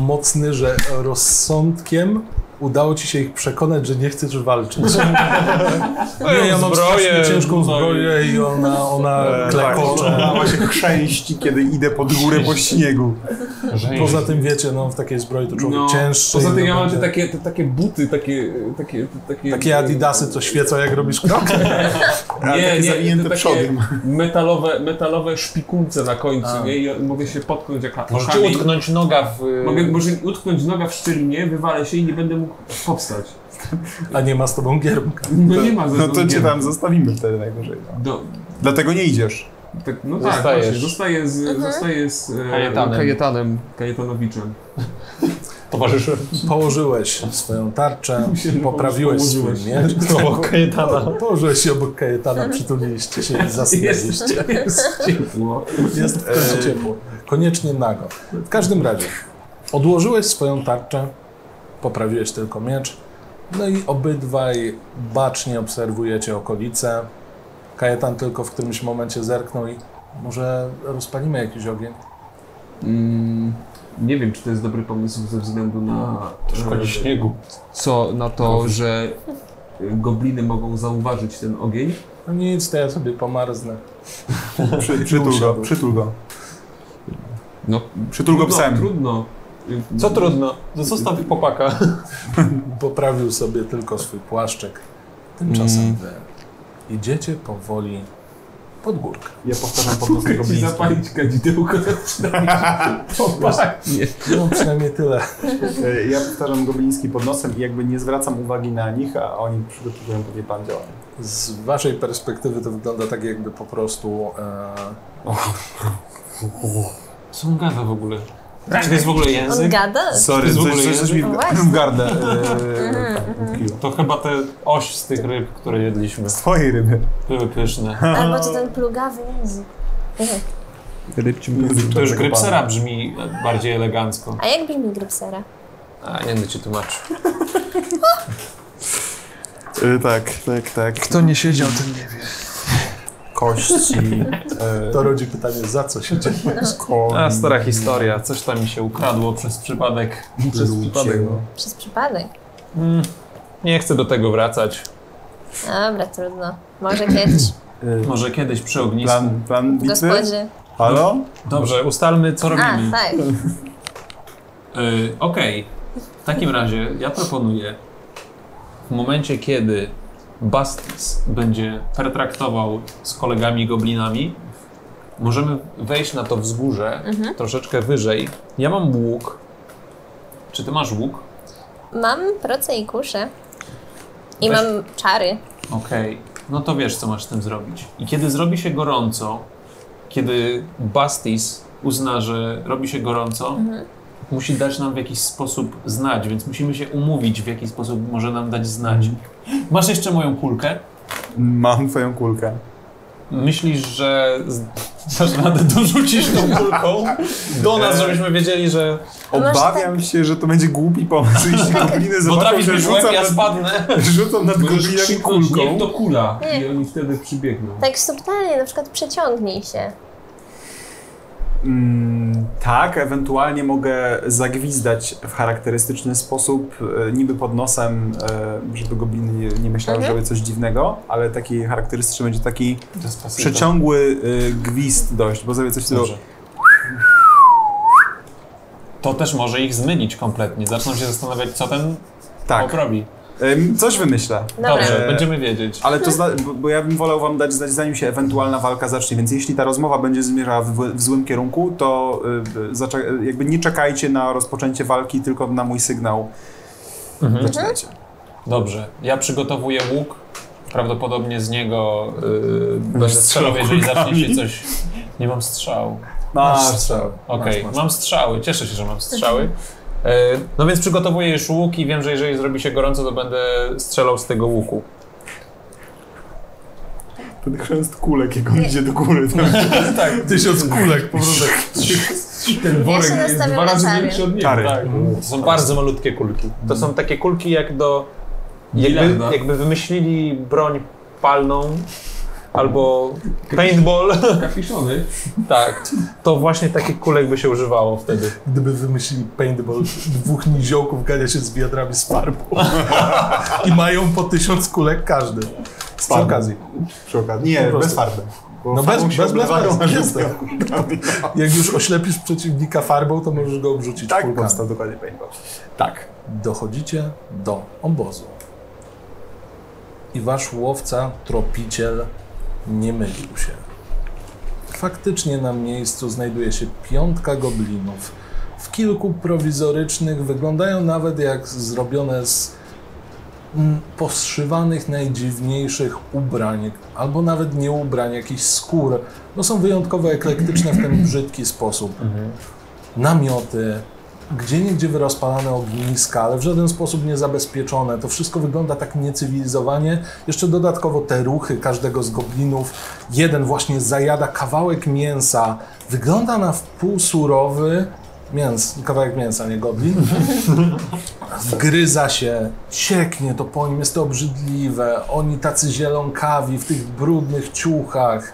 Speaker 2: mocny, że rozsądkiem udało ci się ich przekonać, że nie chcesz walczyć. Nie, ja mam
Speaker 4: Zbroję, no E,
Speaker 2: strasznie ciężką
Speaker 4: tutaj.
Speaker 2: zbroję i ona, ona
Speaker 4: tak,
Speaker 2: klekocze.
Speaker 3: Mała się chrzęści, kiedy idę pod górę po śniegu.
Speaker 2: Poza tym wiecie, no w takiej zbroi to człowiek
Speaker 6: No,
Speaker 2: cięższy.
Speaker 6: Poza tym
Speaker 2: i
Speaker 6: ja mam tak- te
Speaker 2: będzie-
Speaker 6: takie, te, takie buty, takie, takie, te, takie...
Speaker 2: Takie adidasy, co świecą jak robisz krok.
Speaker 3: A
Speaker 6: Nie,
Speaker 3: takie
Speaker 6: nie,
Speaker 3: zawinięte
Speaker 6: to takie
Speaker 3: przodem.
Speaker 6: metalowe, metalowe szpikulce na końcu,
Speaker 2: A.
Speaker 6: nie? I mogę się potknąć jak
Speaker 4: Może ci
Speaker 6: kamień.
Speaker 4: utknąć noga w.
Speaker 6: Mogę może utknąć noga w szczelinie, wywalę się i nie będę mógł powstać.
Speaker 2: A nie ma z tobą giermka.
Speaker 6: No nie ma ze
Speaker 3: No
Speaker 6: mną
Speaker 3: to cię
Speaker 6: gier.
Speaker 3: tam zostawimy wtedy najwyżej. no.
Speaker 6: Do,
Speaker 3: Dlatego nie idziesz.
Speaker 6: tak, no tak,
Speaker 4: Zostajesz.
Speaker 6: właśnie, zostaję z, zostaję z e,
Speaker 4: Kajetanem.
Speaker 6: Kajetanem. Kajetanowiczem.
Speaker 4: towarzyszy.
Speaker 2: Położyłeś swoją tarczę,
Speaker 6: Musiałem
Speaker 2: poprawiłeś
Speaker 6: położyć.
Speaker 2: swój miecz.
Speaker 4: Kajetana.
Speaker 2: Położyłeś się obok Kajetana, przytuliliście się i zasnęliście.
Speaker 6: Jest, jest ciepło.
Speaker 2: Jest w końcu ciepło. E, Koniecznie nago. W każdym razie, odłożyłeś swoją tarczę, poprawiłeś tylko miecz, no i obydwaj bacznie obserwujecie okolice. Kajetan tylko w którymś momencie zerknął i może rozpalimy jakiś ogień.
Speaker 6: Mm, nie wiem, czy to jest dobry pomysł ze względu na...
Speaker 4: Szkodzi
Speaker 6: e,
Speaker 4: śniegu.
Speaker 6: co na to, że y, gobliny mogą zauważyć ten ogień.
Speaker 2: No nic, to ja sobie pomarznę.
Speaker 3: Przy, przytul go,
Speaker 2: Usiadł.
Speaker 3: przytul go.
Speaker 6: No,
Speaker 3: Przytul go psem.
Speaker 6: Trudno. Y,
Speaker 4: Co trudno? No Zostaw popaka.
Speaker 2: Poprawił sobie tylko swój płaszczek. Tymczasem wy idziecie powoli pod górkę.
Speaker 3: Ja powtarzam po prostu
Speaker 6: Mogę ci
Speaker 3: gobliński.
Speaker 6: zapalić kadzidełko, to przynajmniej się popachnie.
Speaker 2: No przynajmniej tyle.
Speaker 3: E, Ja powtarzam gobliński pod nosem i jakby nie zwracam uwagi na nich, a oni przygotowują pewnie plan działania.
Speaker 2: Z waszej perspektywy to wygląda tak, jakby po prostu. E,
Speaker 4: Co on gada w ogóle? Czy to jest w ogóle
Speaker 5: On
Speaker 4: język?
Speaker 5: gada? No
Speaker 4: To
Speaker 3: Sorry,
Speaker 4: jest w
Speaker 3: coś,
Speaker 4: ogóle Mhm.
Speaker 3: coś, coś mi
Speaker 5: język?
Speaker 3: w gardę e, tak, utkwiło.
Speaker 4: To chyba te oś z tych ryb, które jedliśmy.
Speaker 3: Twoje ryby.
Speaker 4: Były pyszne.
Speaker 5: Albo to ten plugawy język. Mhm.
Speaker 10: Rybci mi
Speaker 4: To już grypsera brzmi bardziej elegancko.
Speaker 5: A jak brzmi Grypsera?
Speaker 4: A, nie będę ci tłumaczył.
Speaker 3: E, tak, tak, tak.
Speaker 10: Kto nie siedział, ten nie wie.
Speaker 3: Kości, e,
Speaker 2: to rodzi pytanie, za co się dzieje?
Speaker 3: koń,
Speaker 4: A, stara historia. Coś tam mi się ukradło przez przypadek.
Speaker 6: Przez
Speaker 3: ludzie.
Speaker 6: przypadek, no.
Speaker 5: Przez przypadek.
Speaker 4: Mm, nie chcę do tego wracać.
Speaker 5: Dobra, trudno. Może kiedyś
Speaker 3: E,
Speaker 4: Może kiedyś przy ognisku.
Speaker 3: Plan, plan
Speaker 5: w
Speaker 3: bitwy?
Speaker 5: gospodzie.
Speaker 3: Halo?
Speaker 4: Dobrze, ustalmy co
Speaker 5: A,
Speaker 4: robimy.
Speaker 5: tak.
Speaker 4: Y, Okej, w takim razie ja proponuję w momencie, kiedy Bastis będzie pertraktował z kolegami goblinami, możemy wejść na to wzgórze troszeczkę wyżej. Ja mam łuk. Czy ty masz łuk?
Speaker 5: Mam proce i kuszę. I
Speaker 4: Weź-
Speaker 5: mam czary.
Speaker 4: Okej, no to wiesz, co masz z tym zrobić. I kiedy zrobi się gorąco, kiedy Bastis uzna, że robi się gorąco, musi dać nam w jakiś sposób znać, więc musimy się umówić, w jaki sposób może nam dać znać. Masz jeszcze moją kulkę?
Speaker 3: Mam twoją kulkę.
Speaker 4: Myślisz, że z- dasz radę dorzucić tą kulką do nas, żebyśmy wiedzieli, że
Speaker 5: Masz
Speaker 3: Obawiam się, że to będzie głupi pomysł, jeśli gobliny zobaczą,
Speaker 4: potrafisz
Speaker 3: że
Speaker 4: być łeb,
Speaker 3: rzucam
Speaker 4: ja
Speaker 3: nad,
Speaker 4: spadnę.
Speaker 3: rzucam nad goblinami kulką.
Speaker 4: niech to kula.
Speaker 5: Nie.
Speaker 4: I oni wtedy przybiegną.
Speaker 5: Tak subtelnie, na przykład przeciągnij się.
Speaker 3: Mm, tak, ewentualnie mogę zagwizdać w charakterystyczny sposób, e, niby pod nosem, e, żeby gobliny nie, nie myślały,
Speaker 5: Mhm.
Speaker 3: żeby coś dziwnego, ale taki charakterystyczny będzie taki
Speaker 4: To jest pasyjne.
Speaker 3: przeciągły e, gwizd dość, bo zrobię coś takiego.
Speaker 4: Dobrze. To też może ich zmylić kompletnie. Zaczną się zastanawiać, co ten
Speaker 3: Tak,
Speaker 4: robi.
Speaker 3: Em, coś wymyślę.
Speaker 5: Dobra.
Speaker 4: Dobrze,
Speaker 3: E,
Speaker 4: będziemy wiedzieć.
Speaker 3: Ale to, zna, bo, bo ja bym wolał wam dać znać, zanim się ewentualna walka zacznie, więc jeśli ta rozmowa będzie zmierzała w, w złym kierunku, to y, zaczek- jakby nie czekajcie na rozpoczęcie walki, tylko na mój sygnał.
Speaker 2: Mhm.
Speaker 3: Zaczynajcie.
Speaker 4: Dobrze, ja przygotowuję łuk. Prawdopodobnie z niego yy, będę strzelał, jeżeli zacznie się coś... Nie mam strzału.
Speaker 3: Masz,
Speaker 2: strzały.
Speaker 4: Okej, mam strzały. Cieszę się, że mam strzały. E, No więc przygotowuję już łuk i wiem, że jeżeli zrobi się gorąco, to będę strzelał z tego łuku.
Speaker 3: ten chrzęst kulek, jak on idzie do góry.
Speaker 2: Tak, tysiąc kulek po prostu.
Speaker 4: Ten
Speaker 5: worek się jest nastawiam dwa na razy czary. większy
Speaker 4: od niego.
Speaker 3: Czary.
Speaker 4: Tak. To są bardzo malutkie kulki. Mhm. To są takie kulki jak do... Jakby,
Speaker 6: Bilarda.
Speaker 4: jakby wymyślili broń palną albo paintball,
Speaker 6: Kapiszony.
Speaker 4: tak, to właśnie takich kulek by się używało wtedy.
Speaker 2: Gdyby wymyślili paintball, dwóch niziołków gania się z wiadrami z farbą. I mają po tysiąc kulek każdy. Z przy
Speaker 3: farbą.
Speaker 2: okazji.
Speaker 3: Przy okazji. Nie,
Speaker 2: Po prostu.
Speaker 3: bez farby. Bo
Speaker 2: No
Speaker 3: farbą
Speaker 2: bez,
Speaker 3: się
Speaker 2: bez
Speaker 3: oblewają.
Speaker 2: blefaru. Jestem. Jak już oślepisz przeciwnika farbą, to możesz go obrzucić
Speaker 3: Tak
Speaker 2: kulkami.
Speaker 3: powstał dokładnie paintball. Tak.
Speaker 2: Dochodzicie do obozu. I wasz łowca, tropiciel, nie mylił się. Faktycznie na miejscu znajduje się piątka goblinów. W kilku prowizorycznych wyglądają nawet jak zrobione z mm, poszywanych najdziwniejszych ubrań, albo nawet nie ubrań, jakichś skór, bo są wyjątkowo eklektyczne w ten brzydki sposób. Namioty, gdzie niegdzie wyrozpalane ogniska, ale w żaden sposób nie zabezpieczone. To wszystko wygląda tak niecywilizowanie. Jeszcze dodatkowo te ruchy każdego z goblinów. Jeden właśnie zajada kawałek mięsa. Wygląda na wpół surowy mięs, kawałek mięsa, nie goblin. Wgryza się, cieknie to po nim, jest to obrzydliwe. Oni tacy zielonkawi w tych brudnych ciuchach.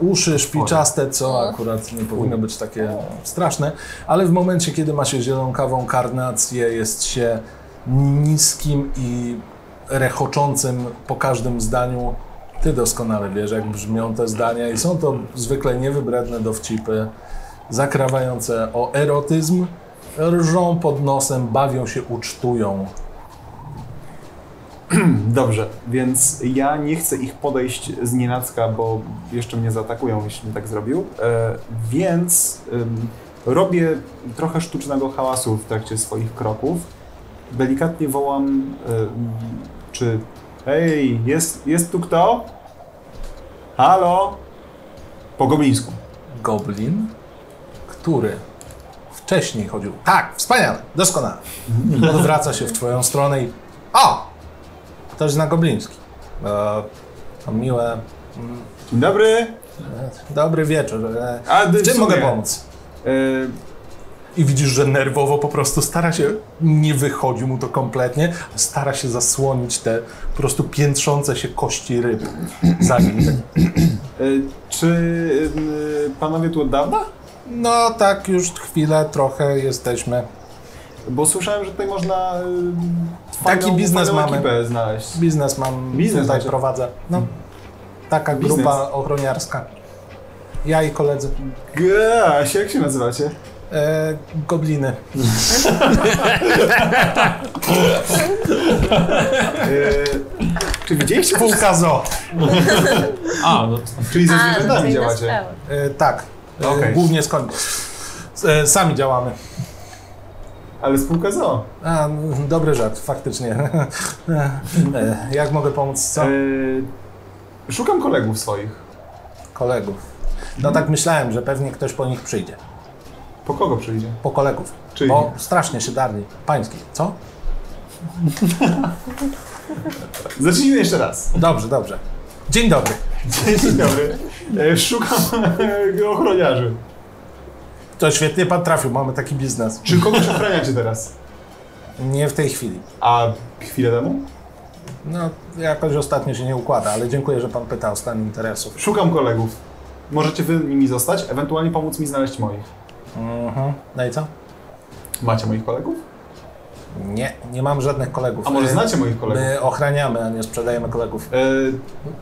Speaker 2: Uszy szpiczaste, co akurat nie powinno być takie straszne, ale w momencie, kiedy ma się zielonkawą karnację, jest się niskim i rechoczącym po każdym zdaniu. Ty doskonale wiesz, jak brzmią te zdania i są to zwykle niewybredne dowcipy, zakrawające o erotyzm, rżą pod nosem, bawią się, ucztują.
Speaker 3: Dobrze, więc ja nie chcę ich podejść z nienacka, bo jeszcze mnie zaatakują, jeśli bym tak zrobił. E, więc ym, robię trochę sztucznego hałasu w trakcie swoich kroków. Delikatnie wołam, ym, czy Ej, jest, jest tu kto? Halo? Po goblińsku.
Speaker 2: Goblin, który wcześniej chodził. Tak, wspaniale, doskonale. Odwraca się w twoją stronę i. O! Ktoś zna gobliński. E, to miłe.
Speaker 3: Dzień dobry.
Speaker 2: Dobry wieczór. E,
Speaker 3: A,
Speaker 2: w czym mogę pomóc?
Speaker 3: Y,
Speaker 2: I widzisz, że nerwowo po prostu stara się, nie wychodzi mu to kompletnie, stara się zasłonić te po prostu piętrzące się kości ryb. Zanim.
Speaker 3: y, czy y, panowie tu od dawna?
Speaker 2: No tak, już chwilę, trochę jesteśmy.
Speaker 3: Bo słyszałem, że tutaj można y,
Speaker 2: Taki
Speaker 3: fajną-
Speaker 2: biznes
Speaker 3: fajną
Speaker 2: mamy.
Speaker 3: ekipę znaleźć.
Speaker 2: Biznes mam
Speaker 3: Biznes
Speaker 2: tutaj
Speaker 3: macie?
Speaker 2: prowadzę. No, taka
Speaker 3: Biznes.
Speaker 2: grupa ochroniarska. Ja i koledzy.
Speaker 3: Gaś, jak się nazywacie?
Speaker 2: E, gobliny.
Speaker 3: Y, czy widzieliście?
Speaker 2: Półka zo.
Speaker 4: A, no to
Speaker 3: Czyli ze
Speaker 5: A, no to
Speaker 3: zwierzętami
Speaker 5: inna
Speaker 3: działacie.
Speaker 5: sprawa.
Speaker 2: E, tak. E,
Speaker 3: Okej.
Speaker 2: Głównie skąd. E, sami działamy.
Speaker 3: Ale spółka zoo.
Speaker 2: A, m, dobry żart, faktycznie. E, jak mogę pomóc? Co?
Speaker 3: Y, szukam kolegów swoich.
Speaker 2: Kolegów. No tak myślałem, że pewnie ktoś po nich przyjdzie.
Speaker 3: Po kogo przyjdzie?
Speaker 2: Po kolegów.
Speaker 3: Czyli?
Speaker 2: Bo strasznie się darli. Pański, co?
Speaker 3: Zacznijmy jeszcze raz.
Speaker 2: Dobrze, dobrze. Dzień dobry.
Speaker 3: Dzień dobry. Y, Szukam y, ochroniarzy.
Speaker 2: To świetnie pan trafił, mamy taki biznes.
Speaker 3: Czy kogoś ochraniacie teraz?
Speaker 2: Nie w tej chwili.
Speaker 3: A chwilę temu?
Speaker 2: No, jakoś ostatnio się nie układa, ale dziękuję, że pan pyta o stan interesów.
Speaker 3: Szukam kolegów. Możecie wy nimi zostać, ewentualnie pomóc mi znaleźć moich.
Speaker 2: Mhm. No i co?
Speaker 3: Macie moich kolegów?
Speaker 2: Nie, nie mam żadnych kolegów.
Speaker 3: A może
Speaker 2: E,
Speaker 3: znacie moich kolegów?
Speaker 2: My ochraniamy, a nie sprzedajemy kolegów.
Speaker 3: E,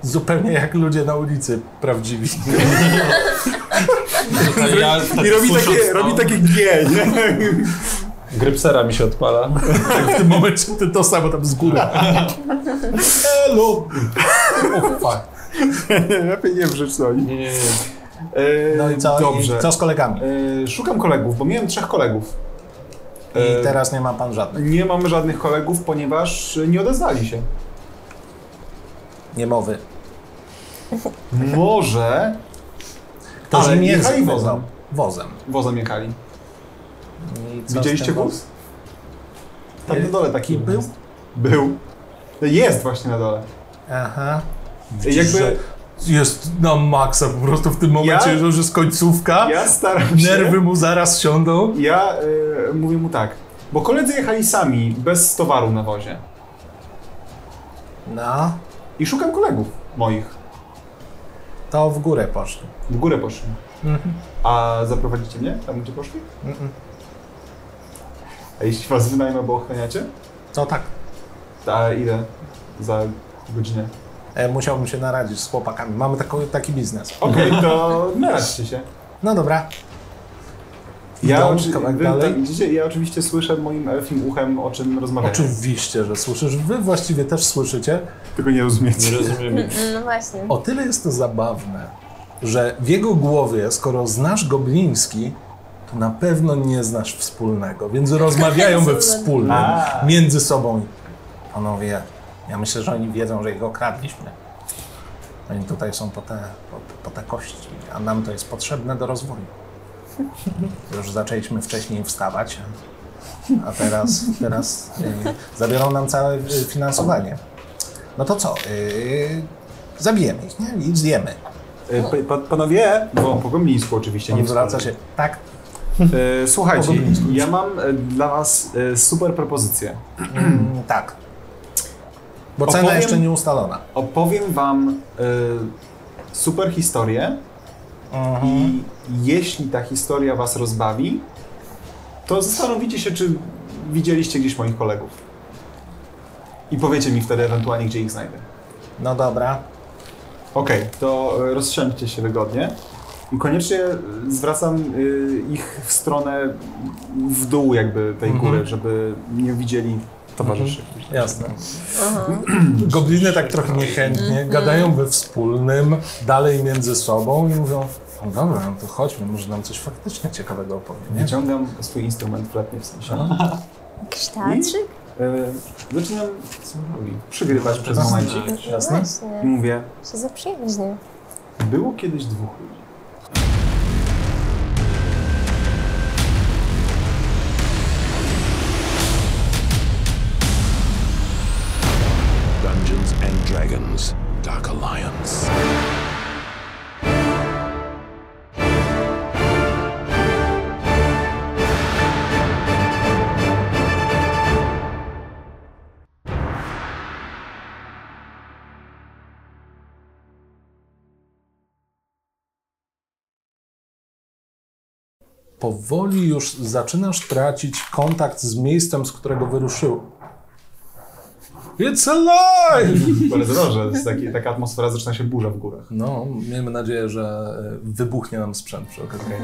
Speaker 2: Zupełnie jak ludzie na ulicy prawdziwi.
Speaker 4: tutaj ja tak
Speaker 3: I robi
Speaker 4: słysząc,
Speaker 3: takie,
Speaker 4: no,
Speaker 3: robi takie G, nie?
Speaker 4: Grypsera mi się odpala.
Speaker 2: Tak, W tym momencie ty to samo tam z góry. Elu! Ufa.
Speaker 3: Lepiej nie wrzeć soli.
Speaker 4: Nie, nie, nie.
Speaker 3: E,
Speaker 2: No i co?
Speaker 3: Dobrze.
Speaker 2: I co z kolegami?
Speaker 3: E, szukam kolegów, bo miałem trzech kolegów. E,
Speaker 2: I teraz nie ma pan żadnych.
Speaker 3: Nie mam żadnych kolegów, ponieważ nie odezwali się.
Speaker 2: Nie mowy.
Speaker 4: Mhm.
Speaker 3: Może
Speaker 2: Ktoś
Speaker 3: Ale
Speaker 2: im
Speaker 3: jechali
Speaker 2: język
Speaker 3: wozem.
Speaker 2: wyznał. Wozem.
Speaker 3: wozem jechali.
Speaker 2: I co z
Speaker 3: Widzieliście
Speaker 2: tym
Speaker 3: wóz?
Speaker 2: wozem?
Speaker 3: Tam na dole taki
Speaker 2: Taki był?
Speaker 3: jest. Był. Jest właśnie na dole.
Speaker 2: Aha.
Speaker 3: Jakby
Speaker 2: Jest na maksa po prostu w tym momencie,
Speaker 3: Ja-
Speaker 2: że już jest końcówka.
Speaker 3: ja staram się...
Speaker 2: Nerwy mu zaraz siądą.
Speaker 3: Ja y, mówię mu tak, bo koledzy jechali sami, bez towaru na wozie.
Speaker 2: No,
Speaker 3: I szukam kolegów moich.
Speaker 2: to w górę poszli.
Speaker 3: W górę poszli. A zaprowadzicie mnie tam, gdzie poszli? A jeśli was wynajmę, bo ochraniacie?
Speaker 2: To tak.
Speaker 3: A ile za godzinę?
Speaker 2: E, musiałbym się naradzić z chłopakami. Mamy taką, taki biznes.
Speaker 3: Okej, to naradźcie się.
Speaker 2: No dobra.
Speaker 3: Ja,
Speaker 2: Idą
Speaker 3: oczy-
Speaker 2: kawałek
Speaker 3: wy
Speaker 2: tak dalej.
Speaker 3: tam idziecie, ja oczywiście słyszę moim elfim uchem, o czym rozmawiają.
Speaker 2: Oczywiście, że słyszysz. Wy właściwie też słyszycie.
Speaker 3: Tylko nie rozumiecie.
Speaker 4: Nie rozumiem.
Speaker 5: No właśnie.
Speaker 2: O tyle jest to zabawne, że w jego głowie, skoro znasz gobliński, to na pewno nie znasz wspólnego, więc rozmawiają we wspólnym
Speaker 3: A.
Speaker 2: między sobą. Panowie, ja myślę, że oni wiedzą, że ich okradliśmy. Oni tutaj są po te, po, po te kości, a nam to jest potrzebne do rozwoju. Już zaczęliśmy wcześniej wstawać, a teraz, teraz y, zabiorą nam całe y, finansowanie. No to co? Y, zabijemy ich, nie? I zjemy.
Speaker 3: E, pa- pa- panowie, bo po goblińsku oczywiście,
Speaker 2: Nie
Speaker 3: nie
Speaker 2: zwraca
Speaker 3: wspólnie.
Speaker 2: się. Tak,
Speaker 3: E, Słuchajcie,
Speaker 2: Podobnie.
Speaker 3: ja mam e, dla was e, super propozycję.
Speaker 2: mm, tak. Bo cena
Speaker 3: Opowiem-
Speaker 2: jeszcze nie ustalona.
Speaker 3: Opowiem wam e, super historię
Speaker 2: Mhm.
Speaker 3: i jeśli ta historia was rozbawi, to zastanowicie się, czy widzieliście gdzieś moich kolegów. I powiecie mi wtedy ewentualnie, gdzie ich znajdę.
Speaker 2: No dobra.
Speaker 3: Okej, to e, rozsiądźcie się wygodnie. I koniecznie e, zwracam e, ich w stronę w dół jakby tej
Speaker 2: Mhm.
Speaker 3: góry, żeby nie widzieli towarzyszy.
Speaker 2: Jasne. Gobliny tak trochę niechętnie gadają we wspólnym, dalej między sobą i mówią no dobra, no to chodźmy, może nam coś faktycznie ciekawego opowie. Nie?
Speaker 3: Wyciągam swój instrument w letnie w sensie.
Speaker 5: Kształtrzyk?
Speaker 3: E, zaczynam przygrywać przez
Speaker 2: Zasadnie.
Speaker 3: momencik. Jasne? I
Speaker 5: Właśnie,
Speaker 3: mówię,
Speaker 5: się zaprzyjaźnił.
Speaker 3: było kiedyś dwóch ludzi.
Speaker 1: Dungeons and Dragons Dark Alliance.
Speaker 2: Powoli już zaczynasz tracić kontakt z miejscem, z którego wyruszył. It's alive!
Speaker 3: Bardzo dobrze, to jest taki, taka atmosfera, zaczyna się burza w górach.
Speaker 2: No, miejmy nadzieję, że e, wybuchnie nam sprzęt przy okazji.
Speaker 3: Okej.